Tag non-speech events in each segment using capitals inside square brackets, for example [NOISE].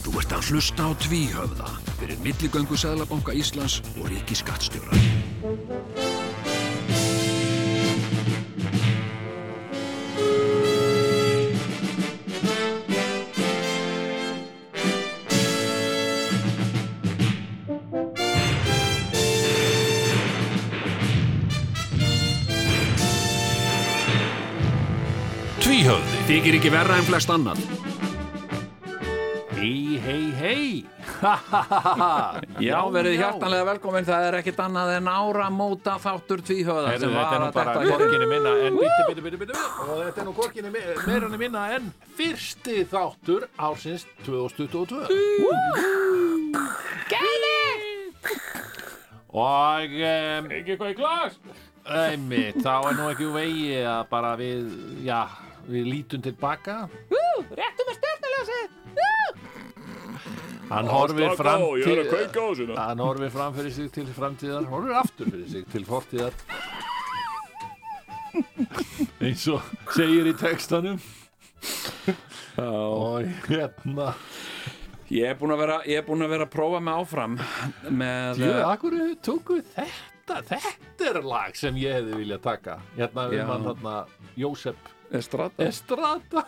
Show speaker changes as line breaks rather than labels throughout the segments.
Þú ert að hlusta á tvíhöfða fyrir milligöngu Sæðlabanka Íslands og ríkiskattstjóra. Tvíhöfði þykir ekki verra en flest annan. Hei, hei, hei! [LAUGHS] Ha, ha, ha, ha! Já, verið hjartanlega velkomin. Það er ekkit annað en áramóta þáttur tvíhöfða
Heyrðu,
sem
þetta er
var
nú
að
bara
þetta
korkinni minna en bíti, bíti, bíti, bíti, bíti. og þetta er nú korkinni mi- meira en minna en fyrsti þáttur ársins 2022 og um,
Ekki eitthvað í glas
einmitt, þá er nú ekki úr vegi að bara við, já, við lítum tilbaka
Réttum er stjórnulegsið
hann horfir fram
Ég er að
til
kveika á þessu hérna.
hann horfir fram fyrir sig til framtíðar horfir aftur fyrir sig til fortíðar eins og segir í textanum og hérna
Ég er búinn að vera, ég er búinn að vera að prófa mig áfram með...
Jú, akkur tóku þetta þetta er lag sem ég hefði viljað taka hérna
Já.
um hann þarna Jósef
eh, Estrada.
Estrada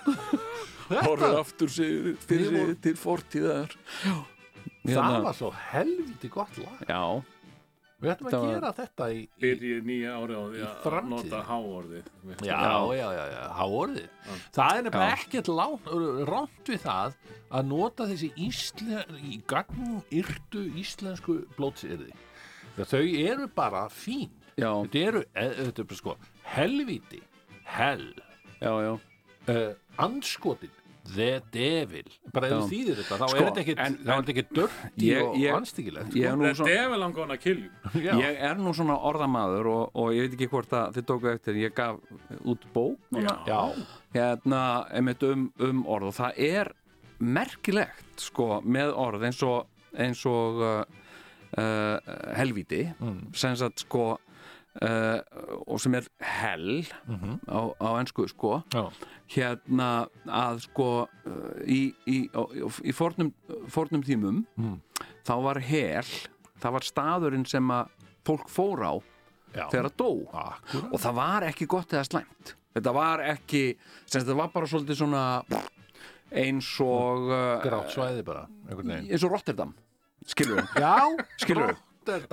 Horfir aftur sig,
Við
fyrir sig
vorum-
til fortíðar. Já.
það
Hérna,
var svo helviti gott lag
já.
við ætlum
Þetta
að
var-
gera þetta í
Byrjið nýja árið á því
Í
að
framtíð.
nota háorðið
já, já, já, já, háorðið það er nefnilega
Já.
ekkert lán- rámt við það að nota þessi ísle, í gangnum yrtu íslensku blótsyrði þau eru bara fín
Já,
þetta eru, eh, þetta er bara sko helviti, hell
já, já.
uh, anskotin The Devil bara
Já.
ef þú þýðir þetta, þá
Sko,
er þetta ekkit
en-
þá er þetta ekkit dörfti
Ég-
og
ég-
anstíkilegt
Ég er nú
Þetta
svona...
er vel hann góðan að kilju
Já.
Ég er nú svona orðamaður og, og ég veit ekki hvort að þið tóku eftir ég gaf út bók núna,
sko. já,
hérna, einmitt um, um orð og það er merkilegt sko með orð eins og, eins og uh, uh, helvíti sem sagt sko uh, og sem er hell á, á ensku sko
já,
hérna að sko uh, í, í, á- í, í fornum, fornum tímum þá var hel það var staðurinn sem að fólk fór á
já.
þegar það dó
Akkúrat.
og það var ekki gott eða slæmt þetta var ekki, sem þetta var bara svolítið svona eins og uh,
grátt svæði bara einhvern veginn
eins og Rotterdam skilur við,
[LAUGHS] já,
skilur við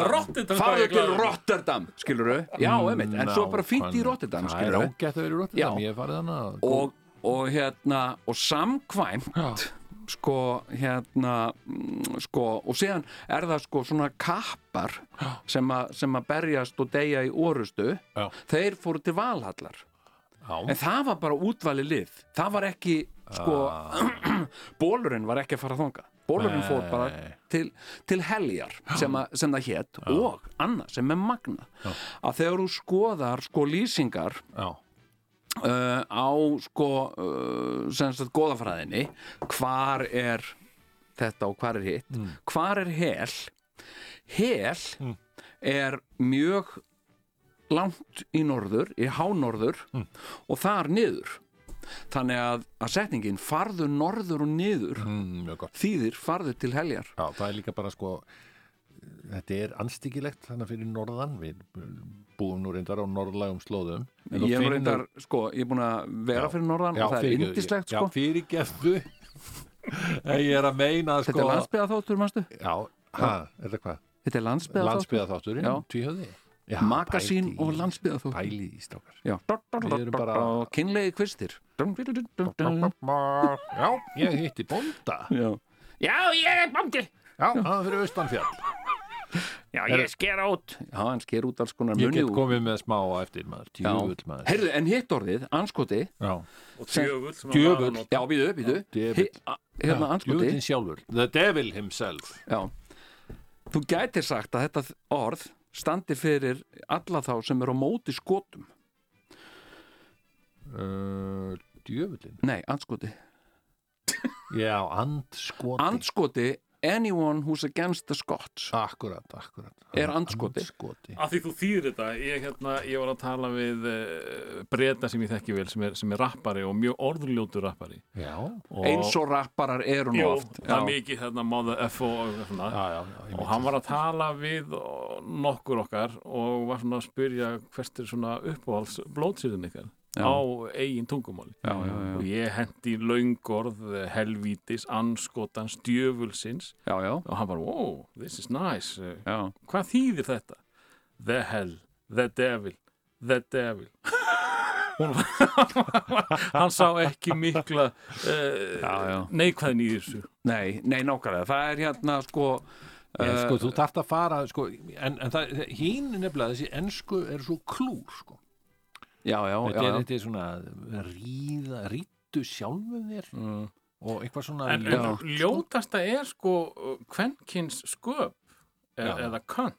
Rottið
farðu til Rotterdam, skilur við já, einmitt, en svo bara fýtt
Mm, Nákvæmlega.
í Rotterdam,
það
skilur
er
við
ágætt að vera í Rotterdam,
Já.
ég hef farið hana
og, og hérna og samkvæmt
Já.
sko hérna mm, sko og síðan er það sko svona kappar sem, a, sem að berjast og deyja í orustu
Já.
þeir fóru til valhallar
já,
en það var bara útvali lið það var ekki sko [CLEARS THROAT] bólurinn var ekki að fara þanga bólurinn fór bara
Ah. Nei.
til, til heljar sem, að, sem það hét og annað sem er magna að þegar þú skoðar sko lýsingar
já,
uh, á sko uh, sem sagt góðafræðinni hvar er þetta og hvar er hitt
Mm.
hvar er hel hel er mjög langt í norður, í hánorður
Mm.
og þar niður þannig að, að setningin farðu norður og niður
mm, mjög gott
þýðir farðu til heljar
já, það er líka bara sko þetta er anstíkilegt þannig fyrir norðan við búum nú reyndar á norðlægum slóðum En þú
ég er,
finnur-
reyndar, sko, ég er búin að vera
Já.
fyrir norðan og það er
fyrirgefðu,
yndislegt
já,
sko.
fyrirgefðu [LAUGHS] en ég er að meina sko,
þetta er landsbyða þáttur, manstu?
já, ha, er það hvað?
þetta er landsbyða
landsbyða þátturinn,
Já.
tvíhöði já,
Magasín
pældi í-
og landsbyða þáttur
pæli í strákar
Já,
Við erum bara-
kynlegi kvistir Mm.
já, ég hitti bónda
Já. Já, ég er bóndi
já, hann er fyrir austanfjall
Já, ég sker út Já, hann sker út alls konar
ég
munni
get
úr
komið með smá á eftir maður, tjúvöld maður
Heyrðu, en hitt orðið, anskoti
já,
Og djöfull sem að
Djöfull.
var að nota.
Já, býðu, býðu
Djöfull.
Hi- a- Hérna, anskoti
tjúvöldin sjálfur the devil himself
Já Þú gætir sagt að þetta orð standi fyrir alla þá sem eru á móti skotum
uh, djúvöldin,
Nei, anskoti
já, andskoti
Andskoti anyone who's against the Scots
Akkurat, akkurat.
Er andskoti?
Andskoti.
Af því þú þýðir þetta, ég, hérna, ég var að tala við uh, breyta sem ég þekki vel, sem er, sem er rappari og mjög orðljótur rappari.
Já,
Og,
eins og rapparar eru nú
Jú,
oft
það er
Já.
mikið hérna mother F og og svona.
já, já. já ég
og
myndi-
hann var að tala við ó, nokkur okkar og var svona að spyrja hvert er svona uppáhalds blótsýðin ykkar
Já.
á eigin tungumáli
Já, já, já.
og ég hendi laungorð helvítis, anskotans, djöfulsins
já, já,
og hann bara, wow, this is nice Eh,
já
hvað þýðir þetta? the hell, the devil the devil Hún var- [LAUGHS] hann sá ekki mikla
Já, já.
uh, neikvæðin í þessu
Nei, nei, nákvæmlega, það er hérna sko
En
eh,
sko, þú þarft að fara, sko, en, en það, hín nefnilega þessi ensku er svo klúr, sko.
eh, Já, já,
Þetta
já,
er
já.
þetta er svona ríða, rýttu sjálfum þér
mm.
og eitthvað svona...
en,
Já.
en ljótasta er sko kvenkins sköp e
Já.
eða kann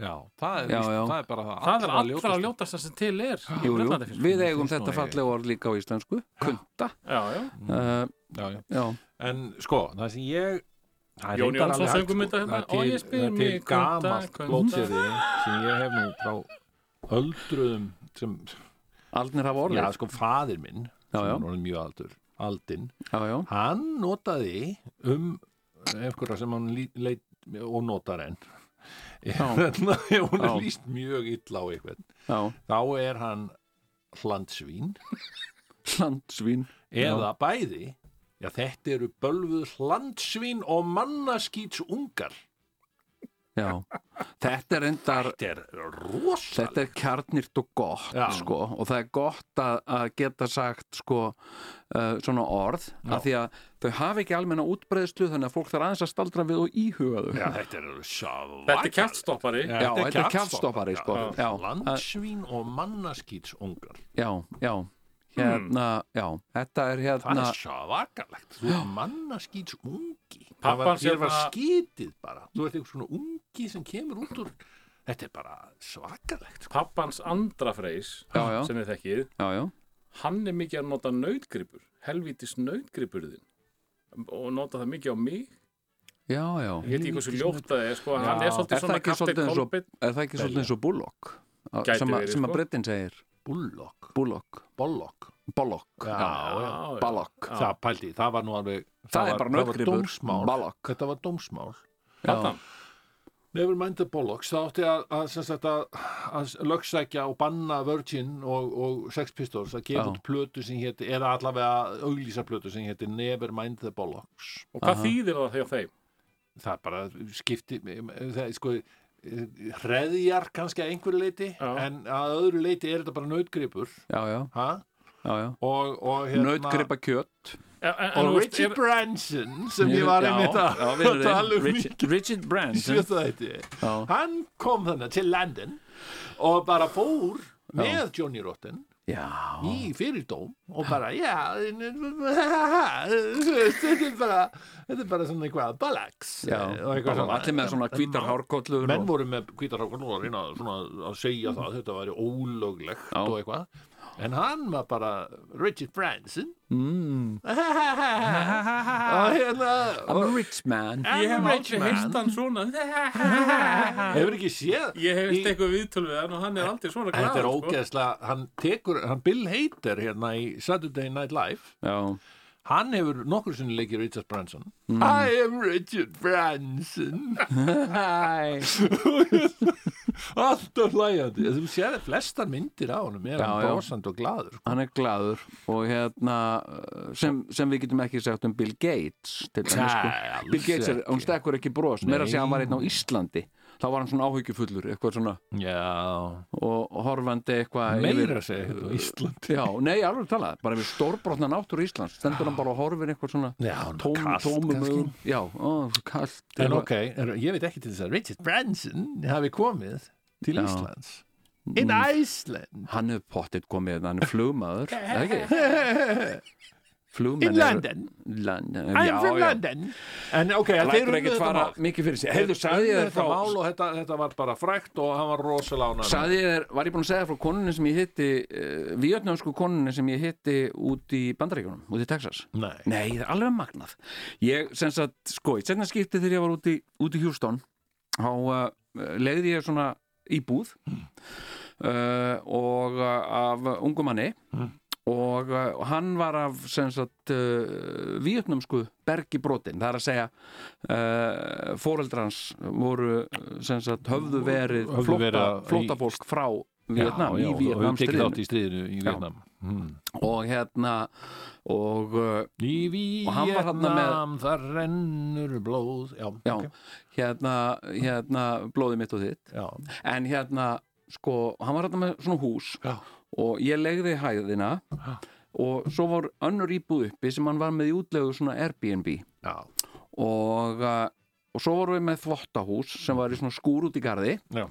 já, það er,
Já,
víst,
já.
það er bara það,
það er allra
ljótasta.
ljótasta, sem til er í
Jú, jú,
Bretlandi finnst mér.
við eigum
finnst
þetta
nú Mm.
fallega orð líka á íslensku Kunta
já, já.
uh,
Já, já.
Já,
En sko, það sem ég... það er
Jón
reyndar
Jónsson
alveg hægt,
söng um
sko.
þetta hérna,
Það er til-
og ég spyr
það er til
mig, kunta,
gamalt
kunta.
blótsyrði sem ég hef nú frá öldruðum sem,
aldnir
já
hafa orðið
sko, faðir minn
Já,
sem
já.
er orðinn mjög aldur, aldinn
Já, já,
hann notaði um einhverja sem hann lí- leit og notar enn [LAUGHS] þannig að hún er
Já.
líst mjög illa á eitthvað
já
þá er hann hlandsvín
Landsvín
eða bæði já þetta eru bölvuð hlandsvín og mannaskýts ungar
Já, þetta er endar
þetta er rosalega
Þetta er kjarnirt og gott
Já.
sko, og það er gott að, að geta sagt sko, uh, svona orð af því að þau hafa ekki almenna útbreiðslu þannig að fólk þarf aðeins að staldra við og íhuga þau
Já, þetta er svakalegt.
þetta er kjæftstoppari
Já,
Já, þetta er kjafstoppari sko.
Já.
já, að-
Landsvín og mannaskýtsungar.
já, já hérna, já, þetta er
Hmm. Það
hérna
er svakalegt. Þú er mannaskýtsungi.
Pabbi
Það var,
hans
þér
hérna-
var skítið bara. Þú ert eitthvað svona ungi sem kemur út úr. Þetta er bara svakalegt. Sko.
pappans Andra Freys
Já, já.
sem við þekkið
já, já,
hann er mikið að nota nautgripur helvítis nautgripurðin og nota það mikið á mig
já, já
ég veit ekki hversu ljótt það er sko,
Já.
hann er
er
svolítið
það
svona
ekki
Captain
svolítið eins og,
Colbert
er það ekki svolítið eins og Bullock Á-
Gæti
sem, að,
verið,
sem
sko.
að Brettin segir
Bullokk,
Bullock,
bollokk.
Bollock
Já,
Já,
já.
já.
Ballock,
Já.
Það pældi, það var nú alveg...
það er
var- Það
bara
var
nautgripur
dómsmál.
Ballock,
Þetta var dómsmál.
já,
Þarna.
Never mind the bollocks, það átti að, að, sem sagt, að, að lögsækja og banna Virgin og, og Sex Pistols að gefa
Já.
út plötu sem héti, eða allavega auglýsa plötu sem héti Never mind the bollocks.
og hvað
Aha.
þýðir það þegar þeim
Það er bara skipti, það, sko, hreðjar kannski að einhverju leiti,
Já.
en að öðru leiti er þetta bara nautgripur,
já, já,
ha?
já, já.
Og, og hérna...
nautgripa kjött
En- en-
Og
en þú veist,
Richard
er-
Branson, sem ég var einmitt að að tala um í
Richard, Richard Branson
sjötta þetta.
Já.
hann kom þannig til London og bara fór með Johnny Rotten
Já,
í fyrirdóm og bara já þetta er bara þetta er bara svona eitthvað balags
já,
og eitthvað svona
allir með svona hvítar hárkollur
menn voru með kvítarhákan og að reyna svona að segja það þetta væri ólöglegt
Já.
og eitthvað en hann var bara Richard Branson
mm.
[LAUGHS] og hérna
I'm a rich man
ég hef aldrei
Richard
heist
Branson
hann
[LAUGHS]
svona
hefur ekki séð
ég hef
Í-
heist eitthvað viðtöl við hann og hann er aldrei svona
Þetta
glaður
er
sko.
ógeðslega, hann tekur, hann Bill Hader hérna í Saturday Night Live,
Já,
hann hefur nokkur sinni leikir Richard Branson.
Mm.
I am Richard Branson.
Hæ
Alltaf hlægjandi. Þú sér að flestar myndir á honum er
Já,
hann
já.
brosand og gladur.
Hann er glaður og hérna uh, sem, sem við getum ekki sagt um Bill Gates til dæmis
Nei,
sko.
alls
Bill Gates er,
ekki.
hún stekkur ekki bros meira að segja hann var
Nei.
einn á Íslandi þá var hann svona áhyggjufullur eitthvað svona
Já.
og og horfandi eitthvað yfir-
Meira segja þetta á Ísland.
Já, nei, alveg talað, bara við stórbrotna náttúr Íslands stendur hann bara og horfir eitthvað svona
Já,
tóm,
kalt
tómum
kannski.
augum. Já, ó, kalt
En
Eitthvað-
ok, er, ég veit ekki til þess að Richard Branson hafi komið til
Já. Mm.
Íslands. In Iceland.
[LAUGHS] hérna,
[LAUGHS]
Hann hefur pottitt komið, hann er flugmaður, er það ekki? flugmenn
In
eru-
London.
London,
I'm
já,
from
já.
London En ok, en þeir
lætur
unnu
ekkert
þetta
fara
mál
mikið fyrir sig heyrðu, sagði ég
Unnu
þér
þetta mál
frá
og þetta, þetta var bara frækt og hann var rosalána
sagði ég þér, var ég búin að segja frá konunni sem ég hitti uh, vietnámsku konunni sem ég hitti út í Bandaríkjunum, út í Texas
Nei,
Nei, það er alveg magnað Ég, sem sagt, sko, í setna skipti þegar ég var úti, úti í Houston þá uh, leiði ég svona íbúð
Hmm.
uh, og uh, af ungu manni
Hmm.
og uh, hann var af sem sagt uh, vietnumsku bergi brotin, það er að segja uh, foreldrans voru sem sagt höfðu verið
Höfðu verið í-
flótta, flóttafólk frá Vietnam,
já, já,
í
og- og
Vietnam
hefur tekið þátt í stríðinu í
Já.
Vietnam hmm.
og hérna og uh,
Í
hann var þarna með-
Vietnam þar rennur blóð Já,
Já,
ok.
hérna, hérna blóðið mitt og þitt
já.
en hérna, sko, hann var hérna með svona hús
já.
og ég legði hæðina
Já.
og svo var önnur íbúð uppi sem hann var með í útlegu svona Airbnb
já.
og, uh, og svo vorum við með þvottahús sem var í svona skúr út í garði
Já.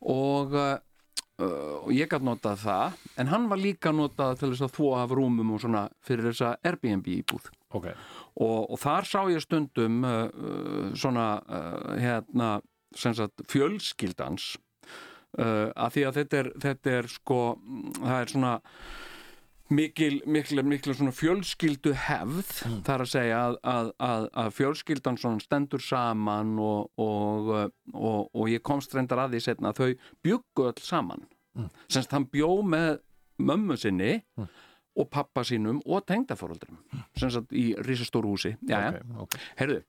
og uh, uh, og ég gætt notað það en hann var líka notað til þess að þvó af rúmum og svona fyrir þessa Airbnb íbúð
ok
og, og þar sá ég stundum uh, uh, svona uh, hérna, sem sagt, fjölskyldans uh, að því að þetta er, þetta er sko, mm, það er svona mikil, mikil, mikil svona fjölskyldu hefð þar að segja að, að, að, að fjölskyldan svona stendur saman og, og, uh, og, og ég komst reyndar að því setna að þau bjuggu öll saman mm. semst hann bjó með mömmu sinni og pappa sínum og tengdaforeldrum sem sagt í risastóru húsi Jæja,
ok, ok.
heyrðu,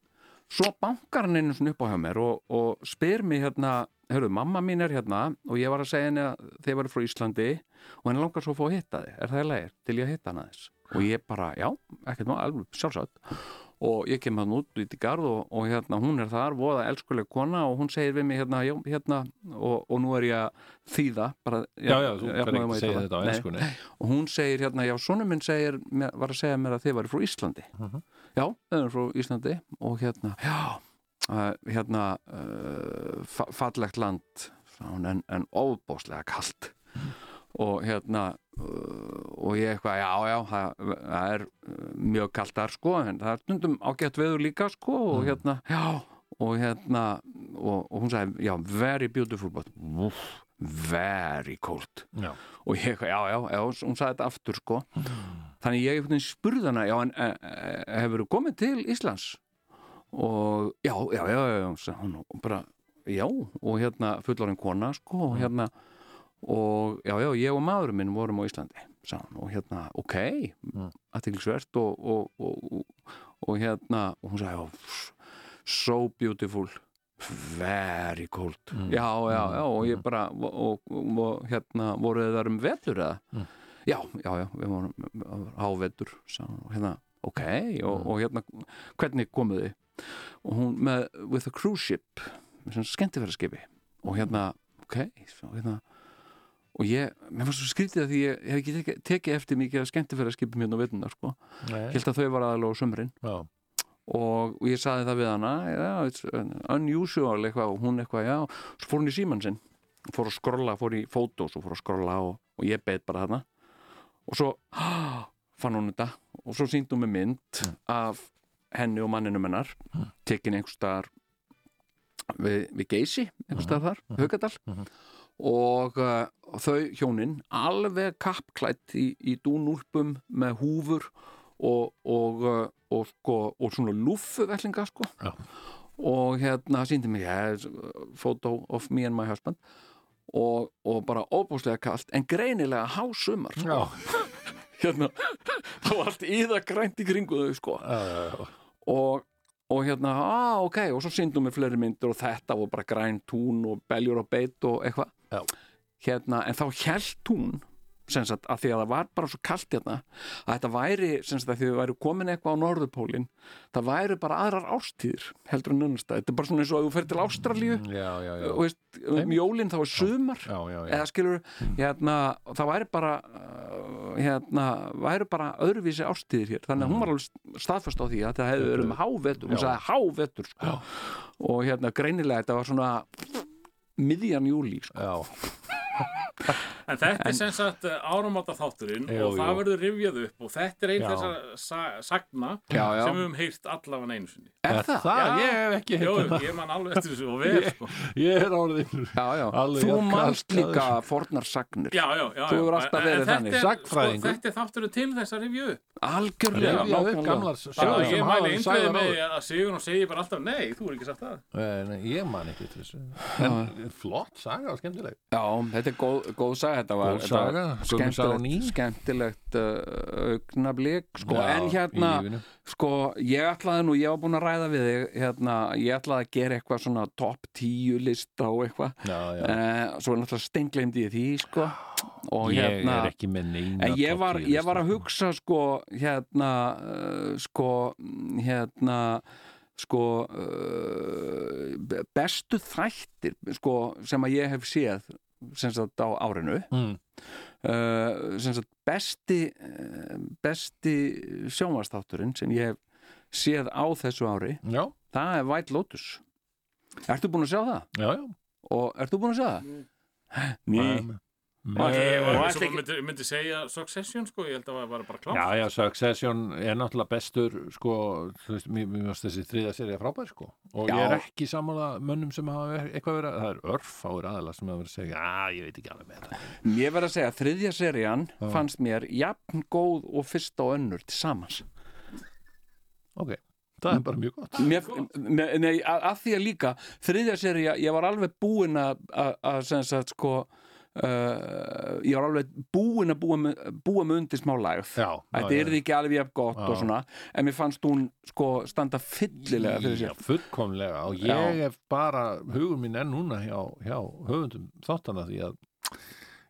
svo bankar hann einu svona upp á hjá mér og, og spyr mér hérna, heyrðu, mamma mín er hérna og ég var að segja henni að þeir varu frá Íslandi og henni langar svo að fá að hitta þig er það í lægir til ég að hitta hann aðeins og ég bara, já, ekkert maður, alveg sjálfsagt og ég kem hann út út í garð og, og hérna, hún er þar, voða elskuleg kona og hún segir við mig hérna, já, hérna og, og nú er ég að þýða bara,
Já, já, þú kann ekki
jafnvægum
að
að ég
segja
tala.
þetta á
Nei
ennskunni
og hún segir hérna, já, sonu minn segir, mér- var að segja mér að þið væri frá Íslandi já, þau eru frá Íslandi og hérna, já uh, hérna uh, fa fallegt land sagði hún, en, en ofbóðslega kalt og hérna uh, og ég eitthvað, já, já það, það er uh, mjög kalt þar sko, en það er stundum ágætt veður líka sko, og hérna, já og hérna, og, og hún sagði já, very beautiful, but woof, very cold
Já,
og ég, já, já, já, hún sagði þetta aftur sko þannig ég einhvern veginn spurði hana já, en e, e, hefur þú komið til Íslands og já, já, já, já, já sagði hún og bara, já, og hérna fullorinn kona sko, og hérna og já, já, ég og maðurinn minn vorum á Íslandi sagði hún, og hérna, ok
Mm.
aðtilsvert og, og, og, og, og hérna, og hún sagði já, so beautiful very cold
Mm.
já, já, já, og ég bara og, og, og, hérna, voruð þið þar um vetur eða?
Mm.
já, já, já, við vorum hávetur, sagði hún, og hérna ok,
Mm.
og, og hérna, hvernig komuð þið og hún með with a cruise ship, sem skemmtifæraskipi og hérna, ok og hérna og ég, mér fannst svo skrítið að því ég hef ekki tekið, tekið eftir mikið að skemmtifæraskipi mjög á vetunar, sko, ég held að þau var aðalega á sömurinn
já,
og og ég saði það við hana já, it's unusual eitthvað og hún eitthvað, já, svo fór hún í símann sinn fór að skrolla, fór í fótós og fór að skrolla og, og ég beið bara þarna og svo [GASPS] ah, fann hún þetta og svo síndi hún með mynd af henni og manninu mennar tekin einhvers staðar við, við geysi, einhvers staðar þar, Haugadal
Mhm.
og uh, þau hjónin alveg kappklætt í, í dúnúlpum með húfur og, og, uh, og, sko, og svona lúfuvellinga sko
Já.
og hérna síndi mig yeah, it's a eh, photo of me and my husband og, og bara óbúslega kalt en greinilega hásumar sko.
já,
[LAUGHS] hérna, það var allt íðagrænt í kringu þau sko
já, já, já.
og, og hérna, ah, ok og svo síndum við fleiri myndir og þetta og bara græn tún og beljur og beit og
Já.
eitthvað hérna, en þá held hún sem sagt, að því að það var bara svo kalt hérna að þetta væri, sem sagt, að því þau væri komin eitthvað á norðupólinn, það væri bara aðrar ástíðir, heldur en önnust þetta er bara svona eins og að þú fer til Ástralíu
Mm, já, já, já.
og veist, um
Einmitt.
jólinn þá er sumar
já, já, já. Mm.
eða skilur, hérna, það væri bara uh, hérna, væri bara öðruvísi ástíðir hér þannig að hún var alveg staðfast á því að það hefði verið um hávetur, hún
Mm. Já.
sagði hávetur sko. og hérna greinilega þetta var svona miðjan júli sko.
Já,
En þetta er sem sagt áramáta þátturinn
Jú,
og það
jú.
verður rifjað upp og þetta er einn
Já.
þessara sa sagna
Já, já.
sem við höfum heyrt allavega einu sinni.
Er það?
það?
Já.
Ég hef ekki
Jó,
heitt það.
ég man alveg eftir þessu og vel,
[LAUGHS]
sko.
Ég er áriðinur.
Já, já.
Alveg
Þú
jafn kalt
manst
að
líka fornarsagnir.
Já, já, já.
Þú
já.
hefur alltaf
En- en
verið
þetta
þannig.
er-
Sagnfræðingur.
Sko, þetta er þátturinn til þess að rifja upp.
Algjörlega.
Rifja upp
nákvæmlega.
gamlar sögur
Bara
sem
ég
hafa
mæli
verið
einhverjum
sagðar
með
áður.
því að Sigur og segir bara alltaf, nei, þú er ekki sagt það.
Eh, Nei, ég man ekki til þessu. En flott saga og skemmtileg.
Já, þetta er góð, góð saga þetta var,
Góð
þetta var
saga, gömul saga og ný.
skemmtilegt, skemmtilegt uh, augnablík sko,
Já,
en
í
hérna
lífinu.
sko, ég ætlaði nú, ég var búin að ræða við þig hérna, ég ætlaði að gera eitthvað svona top 10 lista og eitthvað
Já, já.
uh, svo er náttúrulega steingleimdi ég því sko, og
ég
hérna
er ekki með neina
En ég var,
topp tíu
ég var að
lista.
hugsa sko hérna uh, sko mm, hérna sko uh, be- bestu þættir sko sem að ég hef séð sem sagt á árinu
Mm.
uh, sem sagt besti uh, besti sjónvastátturinn sem ég hef séð á þessu ári
Já,
það er White Lotus Ertu búin að sjá það?
já, já.
Og ertu búin að sjá það? Ný
Nei.
Ég var
og
eins og
ætla
maður myndi, myndi segja Succession, sko, ég held að það var bara klátt.
Já, já, Succession er náttúrulega bestur sko, þú veist, mér mér finnst þessi þriða serið frábær sko og ég
Já.
er ekki sammála mönnum sem hafa ver- eitthvað verið, það er örfáir aðalega sem hafa verið að segja, að ég veit ekki alveg með þetta
Ég verð að segja að þriðja serían fannst mér jafn góð og fyrsta og önnur til samans.
Ok, það er bara mjög Ah, gott
Mér, mér, nei, að, að því að líka þriðja seríja, ég var alveg búinn að, að, að sem sagt sko uh, ég var alveg búinn að búa, með- búa með undir smá lagð.
Já,
Þetta
já,
er ekki alveg jafn gott og
Já.
svona, en mér fannst hún sko standa fyllilega fyrir
Já,
sér.
fullkomlega og
Já.
ég hef bara, hugur mín er núna hjá, hjá höfundum þáttana því að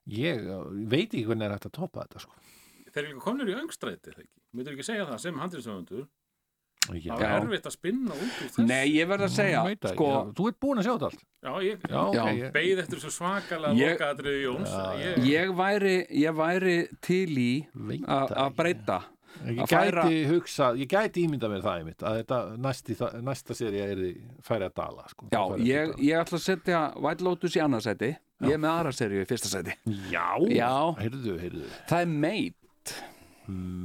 ég veit ekki hvernig er hægt að toppa þetta sko
Þeir eru líka komnir í öngstræti, þegar ekki. Myndur ekki segja það sem handriðsöfundur.
Já,
Það var
Já.
erfitt að spinna út úr þess.
Nei, ég verð að segja,
veit það,
sko,
já, þú ert búin að sjá þetta allt
Já, ég
Já, ok,
Já.
ég-
beigð eftir þessu svakalega
Ég-
lokaðatriði Jóns.
Já,
að ég,
ég væri, ég væri til í
Veit
a-
það
að
ekki.
breyta.
Ég
Að færa-
gæti hugsa, ég gæti ímynda mér það einmitt að þetta næsti, þa- næsta serið er færi að dala sko.
Já,
Færi að
ég,
dala.
ég ætla að setja White Lotus í annarsæti Ég er með aðra seríu í fyrsta sæti
Já,
Já.
heyrðu, heyrðu
Það er meit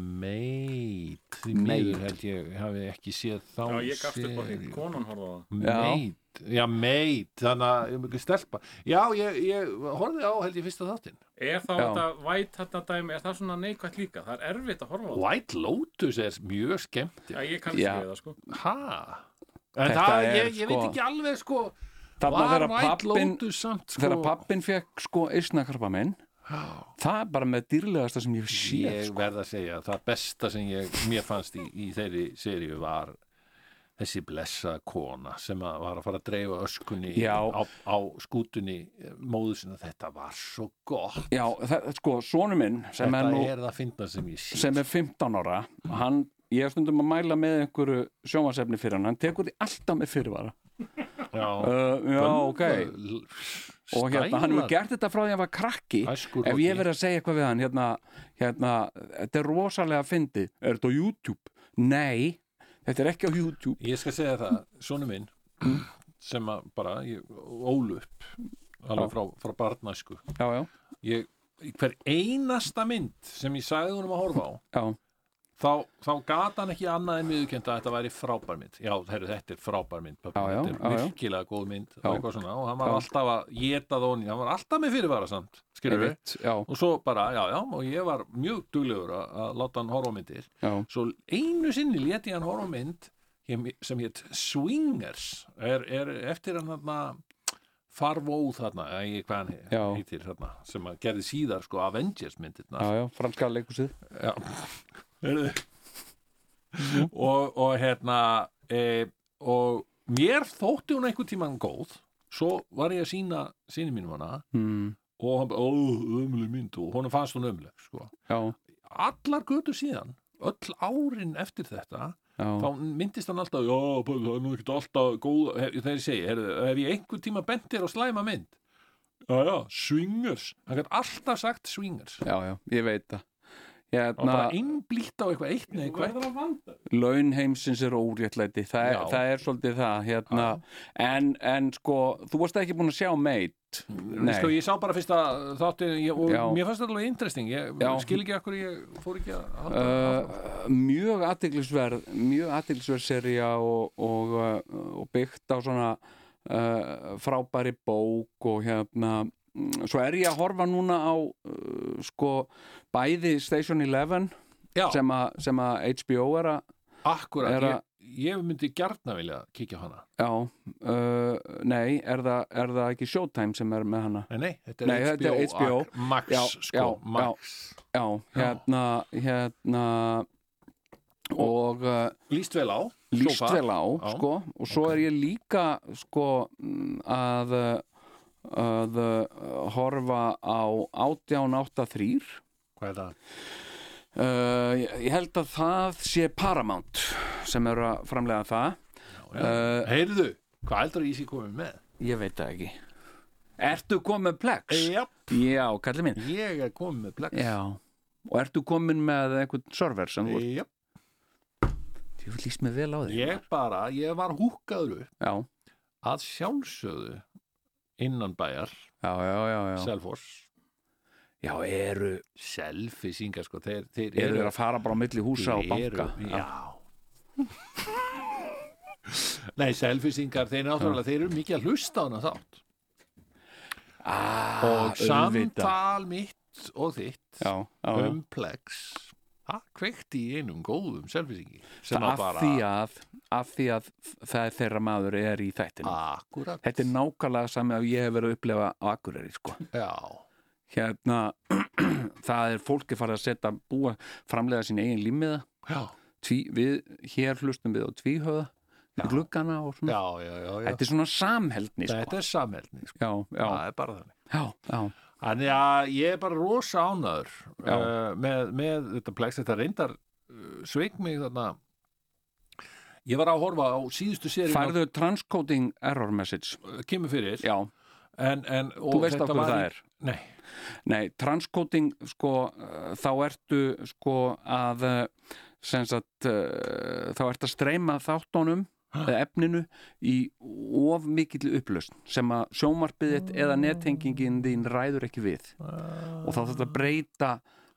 Meit, því
Meit.
miður held ég hafi ekki séð þá
já, ég gafst upp á því,
seríu.
konan horfði á það.
Já.
Meit, já, meit þannig að ég er mjög stelpa Já, ég, ég horfði á held ég fyrsta þáttinn
Er þá
Já.
þetta væt þetta dæmi, er það svona neikvægt líka? Það er erfitt að horfa á það.
White Lotus er mjög skemmt
Já, ég kannast
Já.
ekki við það, sko.
Ha? En
Þetta
það,
er,
ég, ég veit
sko,
ekki alveg sko
Þarna
Var
þegar
White
pappin
Lotus samt sko
Þegar pappin fekk sko eisnakarpa minn
Já.
Það er bara með dýrlegasta sem ég hef séð
ég
sko.
verð að segja að það besta sem ég, mér fannst í, í þeirri seríu var þessi blessa kona sem að var að fara að dreifa öskunni
Já.
á, á skútunni móðu sinna þetta var svo gott
Já, það, sko, sonu minn sem
þetta
er nú
er það fyndna sem ég sé
sem er 15 ára hann, Ég er stundum að mæla með einhverju sjónvarsefni fyrir hann Hann tekur því alltaf með fyrirvara
já,
uh, Já, ok og hérna, hann hefur
gert
gert þetta frá því að hann var krakki
Æskur
ef
Rocky.
ég verið að segja eitthvað við hann hérna, hérna, þetta er rosalega fyndi er þetta á YouTube? Nei þetta er ekki á YouTube
ég skal segja það, sonu minn
Mm.
sem að bara, ég ól upp alveg frá, frá barnæsku
já, já,
ég, hver einasta mynd sem ég sagði honum að horfa á
já,
þá, þá gata hann ekki annað en viðurkend að þetta væri frábær mynd já, heru, þetta er frábær mynd pappi,
Já, já,
þetta er
já, já.
virkilega góð mynd og
Já.
eitthvað svona og hann var
Já.
alltaf að geta það onni, hann var alltaf með fyrirvara samt skilur við,
einmitt, já,
og svo bara, já, já og ég var mjög duglegur að, að láta hann horfa á myndir
já
svo einu sinni leti ég hann horfa á mynd hém- sem hétt Swingers er, er eftir hann þarna Farvóð þarna, eða ég hvað hann
Já.
heitir þarna, sem að gerði síðar sko Avengers myndirna
Já, já, franska leikusið
Já [LAUGHS] Heyrðu. og, og hérna e, og mér þótti hún einhvern tímann góð svo var ég að sína síni mínum hana
mm,
og hann bara, ó, ömlu mynd og honum fannst hún ömlu sko.
Já,
allar götu síðan öll árin eftir þetta
já,
þá myndist hann alltaf, já, pæ, það er nú ekkert alltaf góð, hef, þegar ég segi, heyrðu, hef ég einhvern tíma bentir á slæma mynd já, já, swingers hann gætt alltaf sagt swingers
já, já, ég veit það
Það var
hérna,
bara einblýtt á eitthvað eitt neða eitthvað.
verður að vanda
laun heimsins er óréttlæti það, er-
Já.
það er svolítið það hérna. en, en sko, þú varst ekki búin að sjá meit
Nei. Sko, ég sá bara fyrst að þáttu ég, og
Já.
mér fannst þetta alveg interesting. Ég
Já.
skil ekki okkur ég fór ekki að halda.
Uh, mjög aðtiklisverð mjög aðtiklisverð seria og, og, uh, og byggt á svona uh, frábæri bók og hérna mm, svo er ég að horfa núna á uh, sko bæði Station Eleven
Já,
sem, a, sem að HBO er að
akkurat.
er að-
Ég, ég myndi gjarna vilja kíkja á hana.
já, uh, nei, er það, er það ekki Showtime sem er með hana
Nei, nei, þetta er,
Nei,
HBO,
þetta er HBO.
Ak- Max,
Já,
sko,
já,
Max.
já, hérna, hérna og uh,
Lýst vel á.
líst
Sofa.
vel á,
Já.
sko og svo er ég líka sko mm, að að uh, horfa á 1883
Hvað er það?
uh, ég ég held að það sé Paramount sem eru að framlega það Uh,
Heyrðu, hvað heldur ég sé komið með?
ég veit það ekki Ertu komið plex?
Já,
Já, kallið minn
ég er komið með Plex.
Já, og ertu komin með einhvern server sem þú
Já,
Þú líst mig vel á þig
ég bara, ég var húkaður upp
Já,
að sjálfsögðu innan bæjar,
já, já, já, já.
Selfoss,
Já, eru,
selfisingar sko, þeir, þeir
eru þeir að fara bara á milli húsa og
Þeir
banka
eru- Já [LAUGHS] Nei, selfisingar, þeir náttúrulega, þeir eru mikið að hlusta á hana þátt
ah,
og
auðvitað.
samtal mitt og þitt
já, já, já.
um plex það kveikti í einum góðum selfisingi sem
Það
að
af því
bara
að af því að það er þeirra maður er í þættinu
Ah. akkurat
þetta er nákvæmlega sami að ég hef verið að upplifa á Akureyri sko.
Já,
hérna [CLEARS THROAT] það er fólki farið að setja búa framlega sín eigin límiða
já,
tví, við, hér hlustum við á tvíhöða
Já.
við gluggana og svona
já, já, já, já.
þetta er svona samheldni
Þetta
sko.
er samheldni sko.
já, já,
Það er bara þannig
já, já,
Þannig að ég er bara rosa ánæður
Já.
uh, með, með þetta plex, þetta reyndar uh, sveik mig þarna ég var að horfa á síðustu seríu
færðu transcoding error message
kemur fyrir
já,
en, en,
þú veist á hvað það er
Nei,
Nei, transcoding sko, uh, þá ertu sko að uh, sem sagt, uh, þá ertu að streyma þáttunum
Ha?
eða efninu í of mikill upplausn sem að sjómarpið þitt
Mm.
eða nettengingin þín ræður ekki við og þá þetta breyta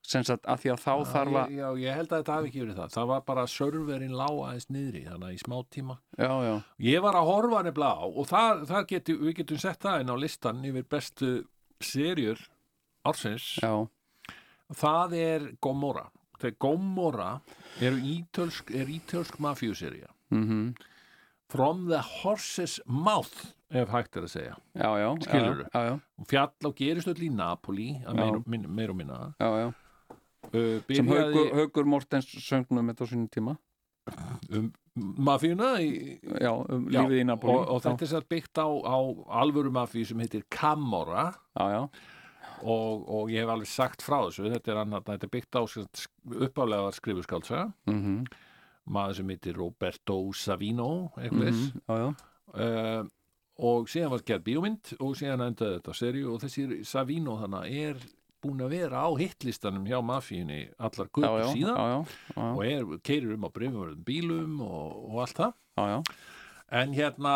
sem sagt að því að þá þarf að
ég, Ah. já, ég held að þetta hafi ekki verið það það var bara serverinn lág aðeins niðri þannig að í smá tíma
já, já,
ég var að horfa nefnilega á og það, það geti, við getum sett það inn á listan yfir bestu serjur ársins
já,
það er Gomorra þegar Gomorra er ítölsk, er ítölsk mafjúserja
mhm,
From the Horse's Mouth ef hægt er að segja
já, já
Skilurðu?
Já, já,
fjall á gerist öll í Napoli að
Já.
meira, min- meira og minna
já, já
uh,
sem haugur,
byrjaði
haugur Mortens söngnum þetta á sínum tíma
um, mafjuna í,
já, um
Já,
lífið í Napoli
og, og þetta er satt byggt á, á alvöru mafíu sem heitir Camorra
já, já,
og, og ég hef alveg sagt frá þessu þetta er, annað, þetta er byggt á uppálega skrifuskálsa
mhm,
maður sem heitir Roberto Savino
mhm,
eitthvað mm
já, já
Eh, og síðan var gerð bíómynd og síðan endaði þetta á seríu og þessi Savino þannig er búin að vera á hittlistanum hjá mafíunni allar
já,
guður
já,
síðan
já, já, já,
og er, keirir um á breyfumverðum bílum og, og allt það
já, já,
en hérna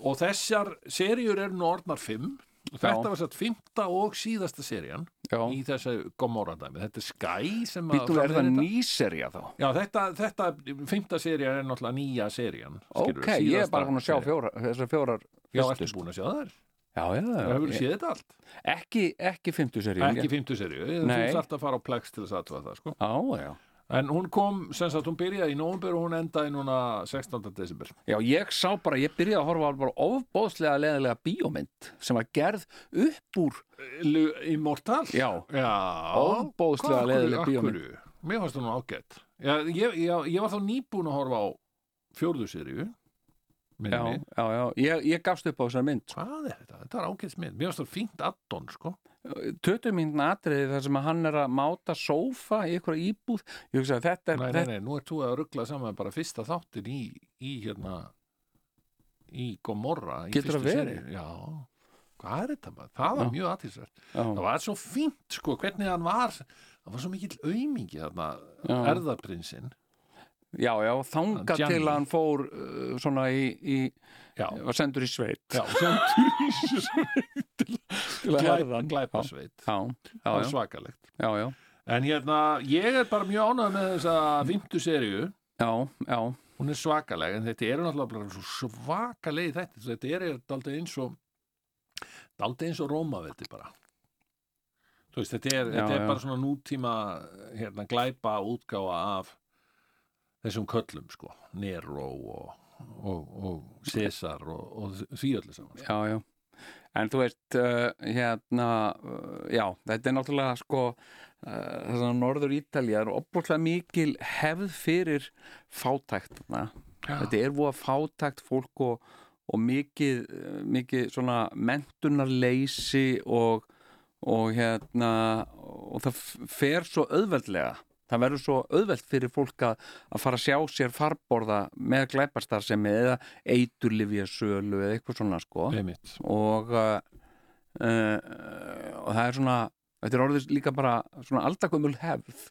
og þessar seríur eru nú orðnar fimm og þetta
Já.
var satt fymta og síðasta serían
já.
í þessu Gomorra dæmi þetta er Sky sem að
Býtum er það
framleiðir þetta.
nýserja þá?
Já, þetta, þetta fymta serían er náttúrulega nýja serían skilurðu,
Ok, ég er
síðasta
bara búin að sjá
serían.
fjóra, þessar fjórar
Já,
fyrstu,
ertu
sko.
búin að sjá þær?
Já, já,
Það hefur
já.
séð þetta allt
Ekki, ekki fymtu serjum.
Ekki fymtu seríu, þú
Nei.
finnst alltaf að fara á plex til þess aðtöða það sko.
Já, já.
En hún kom, sem sagt, hún byrjaði í nóvumber og hún endaði núna 16. desember
Já, ég sá bara, ég byrjaði að horfa á bara ofbóðslega leðilega bíómynd sem var gerð upp úr,
Lu- Immortal?
já,
Já,
Ofboðslega
hvað, af hverju-
leiðileg
af
bíómynd.
hverju? Mér fannst það nú ágætt já, ég, já, ég var þá nýbúin að horfa á fjórðu seríu
já,
minni.
já, já. Ég, ég gafst upp á þessar mynd.
Hvað er þetta? Þetta er ágætt mynd Mér fannst það fínt addon, sko
Tötum mín atriði þar sem að hann er að máta sófa í eitthvað íbúð. Ég hugsaði, þetta er,
Nei, nei,
þetta,
nei, nú ert þú að ruggla saman bara fyrsta þáttin í, í hérna í Gomorra í
Getur
fyrstu
það verið?
seríu. Já, hvað er þetta maður? Það var
Já.
mjög aðtilsvært
já,
Það var svo fínt, sko, hvernig hann var það var svo mikill aumingi þarna
Já.
erðaprinsinn
já, já, þanga
Gianni.
til að hann fór uh, svona í, í
já,
var sendur í sveit
já, sem
[LAUGHS] til að herða hann.
glæpasveit
já, já,
það er
já,
svakalegt
já, já,
en hérna, ég er bara mjög ánægð með þessa fymtu seríu
já, já.
hún er svakaleg en þetta eru náttúrulega bara svo svakalegi þetta þetta er daldið eins og daldið eins og rómaveldi bara þú veist, þetta er,
Já,
þetta er
já.
bara svona nútíma hérna, glæpa útgáfa af þessum köllum sko, Nero og, og, og César og, og því öllu saman sko.
já, já. En þú veist, uh, hérna, uh, já, þetta er náttúrulega sko, uh, þess að Norður Ítalía er opbúrlega mikil hefð fyrir fátækt. Na. Þetta er voða fátækt fólk og, og mikið, uh, mikið svona mentunarleysi og, og hérna, og það f- fer svo auðveldlega. Það verður svo auðvelt fyrir fólk að, að fara að sjá sér farborða með glæpastarsemi eða eiturlifjasölu eða eitthvað svona sko
Einmitt.
og uh, uh, og það er svona þetta er orðið líka bara svona aldakumul hefð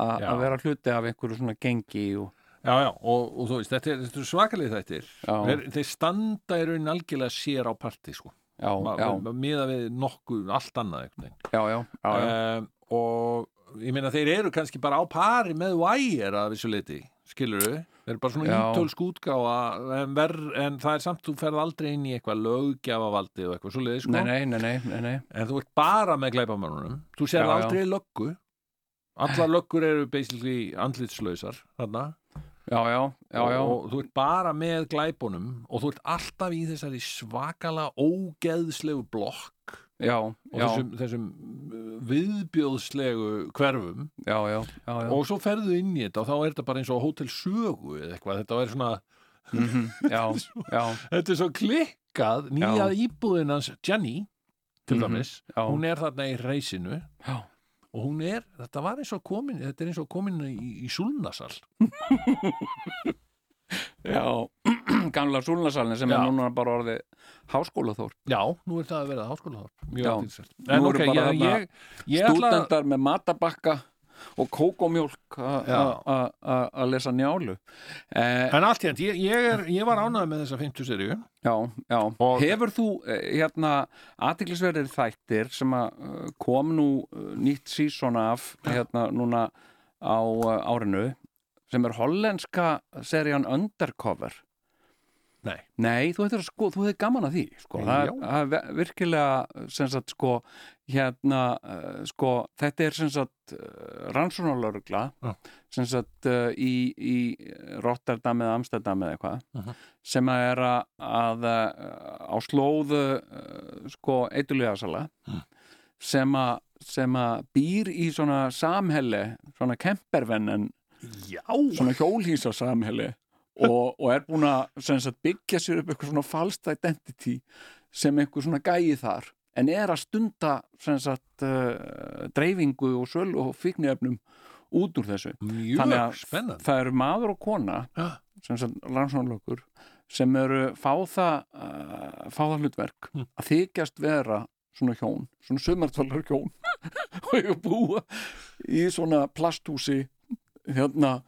a-
Já.
að vera hluti af einhverju svona gengi og,
Já, já, og, og þú veist, þetta er, þetta er svakalegi þetta er
já,
Þeir, þeir standa í raunin algjörlega sér á parti sko,
já,
Ma-
já,
ma- miða við nokkuð allt annað einhvern veginn
já, já, já, já,
um, og ég meina þeir eru kannski bara á pari með Wire að vissu leiti, skilur þau þeir eru bara svona
Já.
ítölsk útgáfa en, ver, en það er samt þú ferð aldrei inn í eitthvað löggjafavaldi og eitthvað svo leiði sko
nei, nei, nei, nei, nei, nei.
en þú ert bara með glæpamörunum þú
Já,
sér
já.
aldrei löggu allar löggur eru basically andlitslausar þarna
já, já, já, já,
Og, og þú ert bara með glæpunum og þú ert alltaf í þessari svakala ógeðslegu blokk
já,
og
já,
þessum, þessum uh, viðbjóðslegu hverfum
já, já, já, já,
og svo ferðu inn í þetta og þá er þetta bara eins og hótel sögu eða eitthvað, þetta er svona
Mhm, já,
[LAUGHS]
já,
þetta er svo klikkað, nýja íbúðin hans Jenny, til
Mhm.
dæmis
já,
hún er þarna í reysinu
já,
og hún er, þetta var eins og komin þetta er eins og komin í, í súlnasal
já, [CLEARS THROAT] gamla súlnasalni sem
Já.
er núna bara orðið háskólaþór,
já, nú er það að vera háskólaþorp mjög
Já.
aðtilsvært
Nú
en
eru
ok,
bara
ég,
þarna
ég, ég ætla að-
stúdendar með matabakka og kókomjólk a-
Já.
a- a- a- að lesa njálu eh,
en allt hérnt, ég, ég, er, ég var ánægð með þessa 50 seríu
Já, já.
Og-
Hefur þú eh, hérna aðtiklisverðir þættir sem að eh, kom nú eh, nýtt sísona af hérna núna á eh, árinu sem er hollenska serían Undercover?
Nei.
Nei, þú hefur sko, þú hefur gaman að því, sko.
Já.
Það er- það er ve- virkilega, sem sagt, sko, hérna, eh, sko, þetta er sem sagt rannsónalörugla,
Já.
sem sagt eh, í, í Rotterdam eða Amsterdam eða eitthvað sem að er að, að uh, á slóðu uh, sko eitulegasala
Mm.
sem að sem að býr í svona samhelle svona kempervennen
já,
svona hjólhýsa samhelle og, og er búin að sem sagt, byggja sér upp eitthvað svona falskt identity sem eitthvað svona gæi þar en er að stunda sem sagt, uh, dreifingu og sölu og fíkniöfnum út úr þessu Þannig að-
mjög spennandi
það eru maður og kona
Já.
sem sem rannsónlökur sem eru fá það, uh, fá það hlutverk
Mm.
að þykjast vera svona hjón, svona sumartvalar hjón [LAUGHS] og ég búa í svona plasthúsi hérna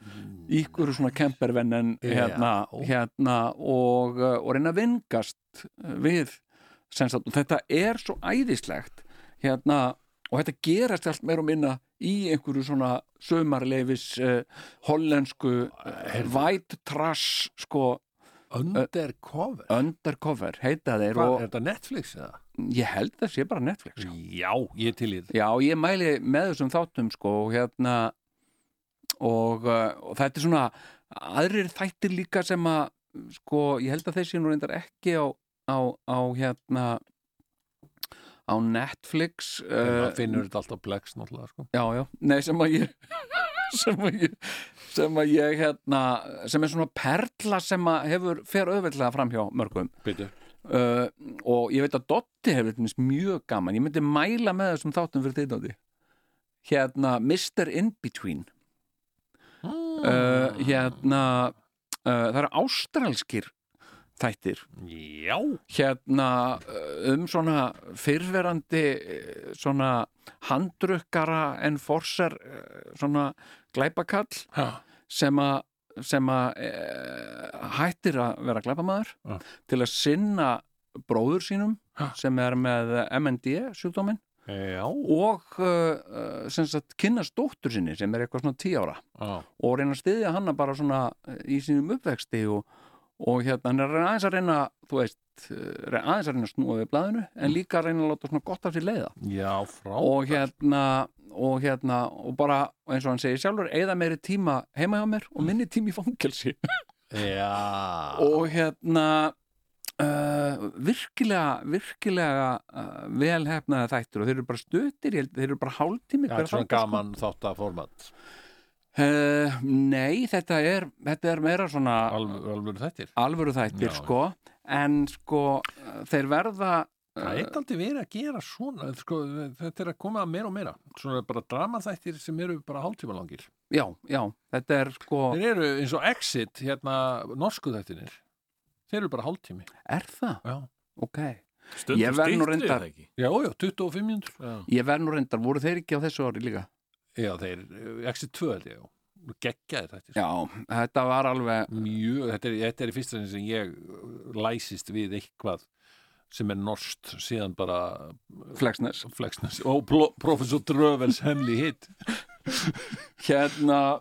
í ykkur svona kempervennen
Já.
hérna, hérna og, uh, og reyna að vingast við sem sagt, og þetta er svo æðislegt hérna, og þetta gerast allt meira og minna í einhverju svona sömarleifis uh, hollensku uh, white trash sko
Undercover
undercover heita þeir
Hva,
og
er þetta Netflix eða?
ég held það sé bara Netflix
Já, ég til í þetta
Já, ég mæli með þessum þáttum sko og hérna og, uh, og þetta er svona aðrir þættir líka sem að sko, ég held að þessi nú reyndar ekki á, á, á hérna á Netflix
Uh,
uh,
finnur þetta alltaf plex náttúrulega sko.
já, já, nei sem að ég [LAUGHS] sem að ég sem að ég hérna, sem er svona perla sem að hefur, fer auðveldlega fram hjá mörgum
Býtu
uh, og ég veit að Dotti hefur til dæmis mjög gaman, ég myndi mæla með þessum þáttum fyrir þittandi hérna Mr. In-Between uh, hérna uh, það eru ástralskir þættir
Já,
hérna eh, um svona fyrverandi eh, svona handrukkara en forser eh, svona glæpakall
já,
sem að sem að e, hættir að vera glæpamaður
Já.
til að sinna bróður sínum
Já.
sem er með MND sjúkdóminn
já,
og uh, sem sagt kynnast dóttur sinni sem er eitthvað svona 10 ára
já.
og reyna að styðja hana bara svona eh, í sínum uppvexti og, og hérna hann er að reyna aðeins að reyna þú veist, eh, re- aðeins að reyna að snúa við blaðinu
Mm.
en líka að reyna að láta svona gott af sér leiða
Já, frá.
og hérna og hérna og bara eins og hann segir sjálfur eða meiri tíma heima hjá mér
Mm.
og minni tími í
[LAUGHS]
fangelsi
Já.
og hérna Uh, virkilega, virkilega uh, velhefnaði þættur og þeir eru bara stöttir, ég held, þeir eru bara hálftími
Já, þetta
hver
er svona
þáttur, sko.
gaman þátt að format.
Eh, nei, þetta er, þetta er meira svona
Alvöru, alvöru þettir.
alvöru þættir
Já.
sko en sko eh, þeir verða
Það er aldrei verið að gera svona, sko, þetta er að koma meira og meira. Svona bara dramaþættir sem eru bara hálftíma langir.
já, já, þetta er sko
Þeir eru eins og Exit, hérna, norsku þættinir. Þeir eru bara hálftími.
er það?
Já.
Ok,
stundum
Ég verð nú
styttri
reyndar-
er það ekki
Já, já, 25 mínútur.
já.
ég verð nú reyndar voru þeir ekki á þessu ári líka?
Já, þeir, Exit 2 held ég, já. Geggjaðir þættir.
Já, þetta var alveg
Mjög, þetta er, þetta er í fyrsta sinni sem ég uh, læsist við eitthvað sem er norst síðan bara
flexnes
Flexnes og Pl- Professor Drövels hemli hitt
hérna,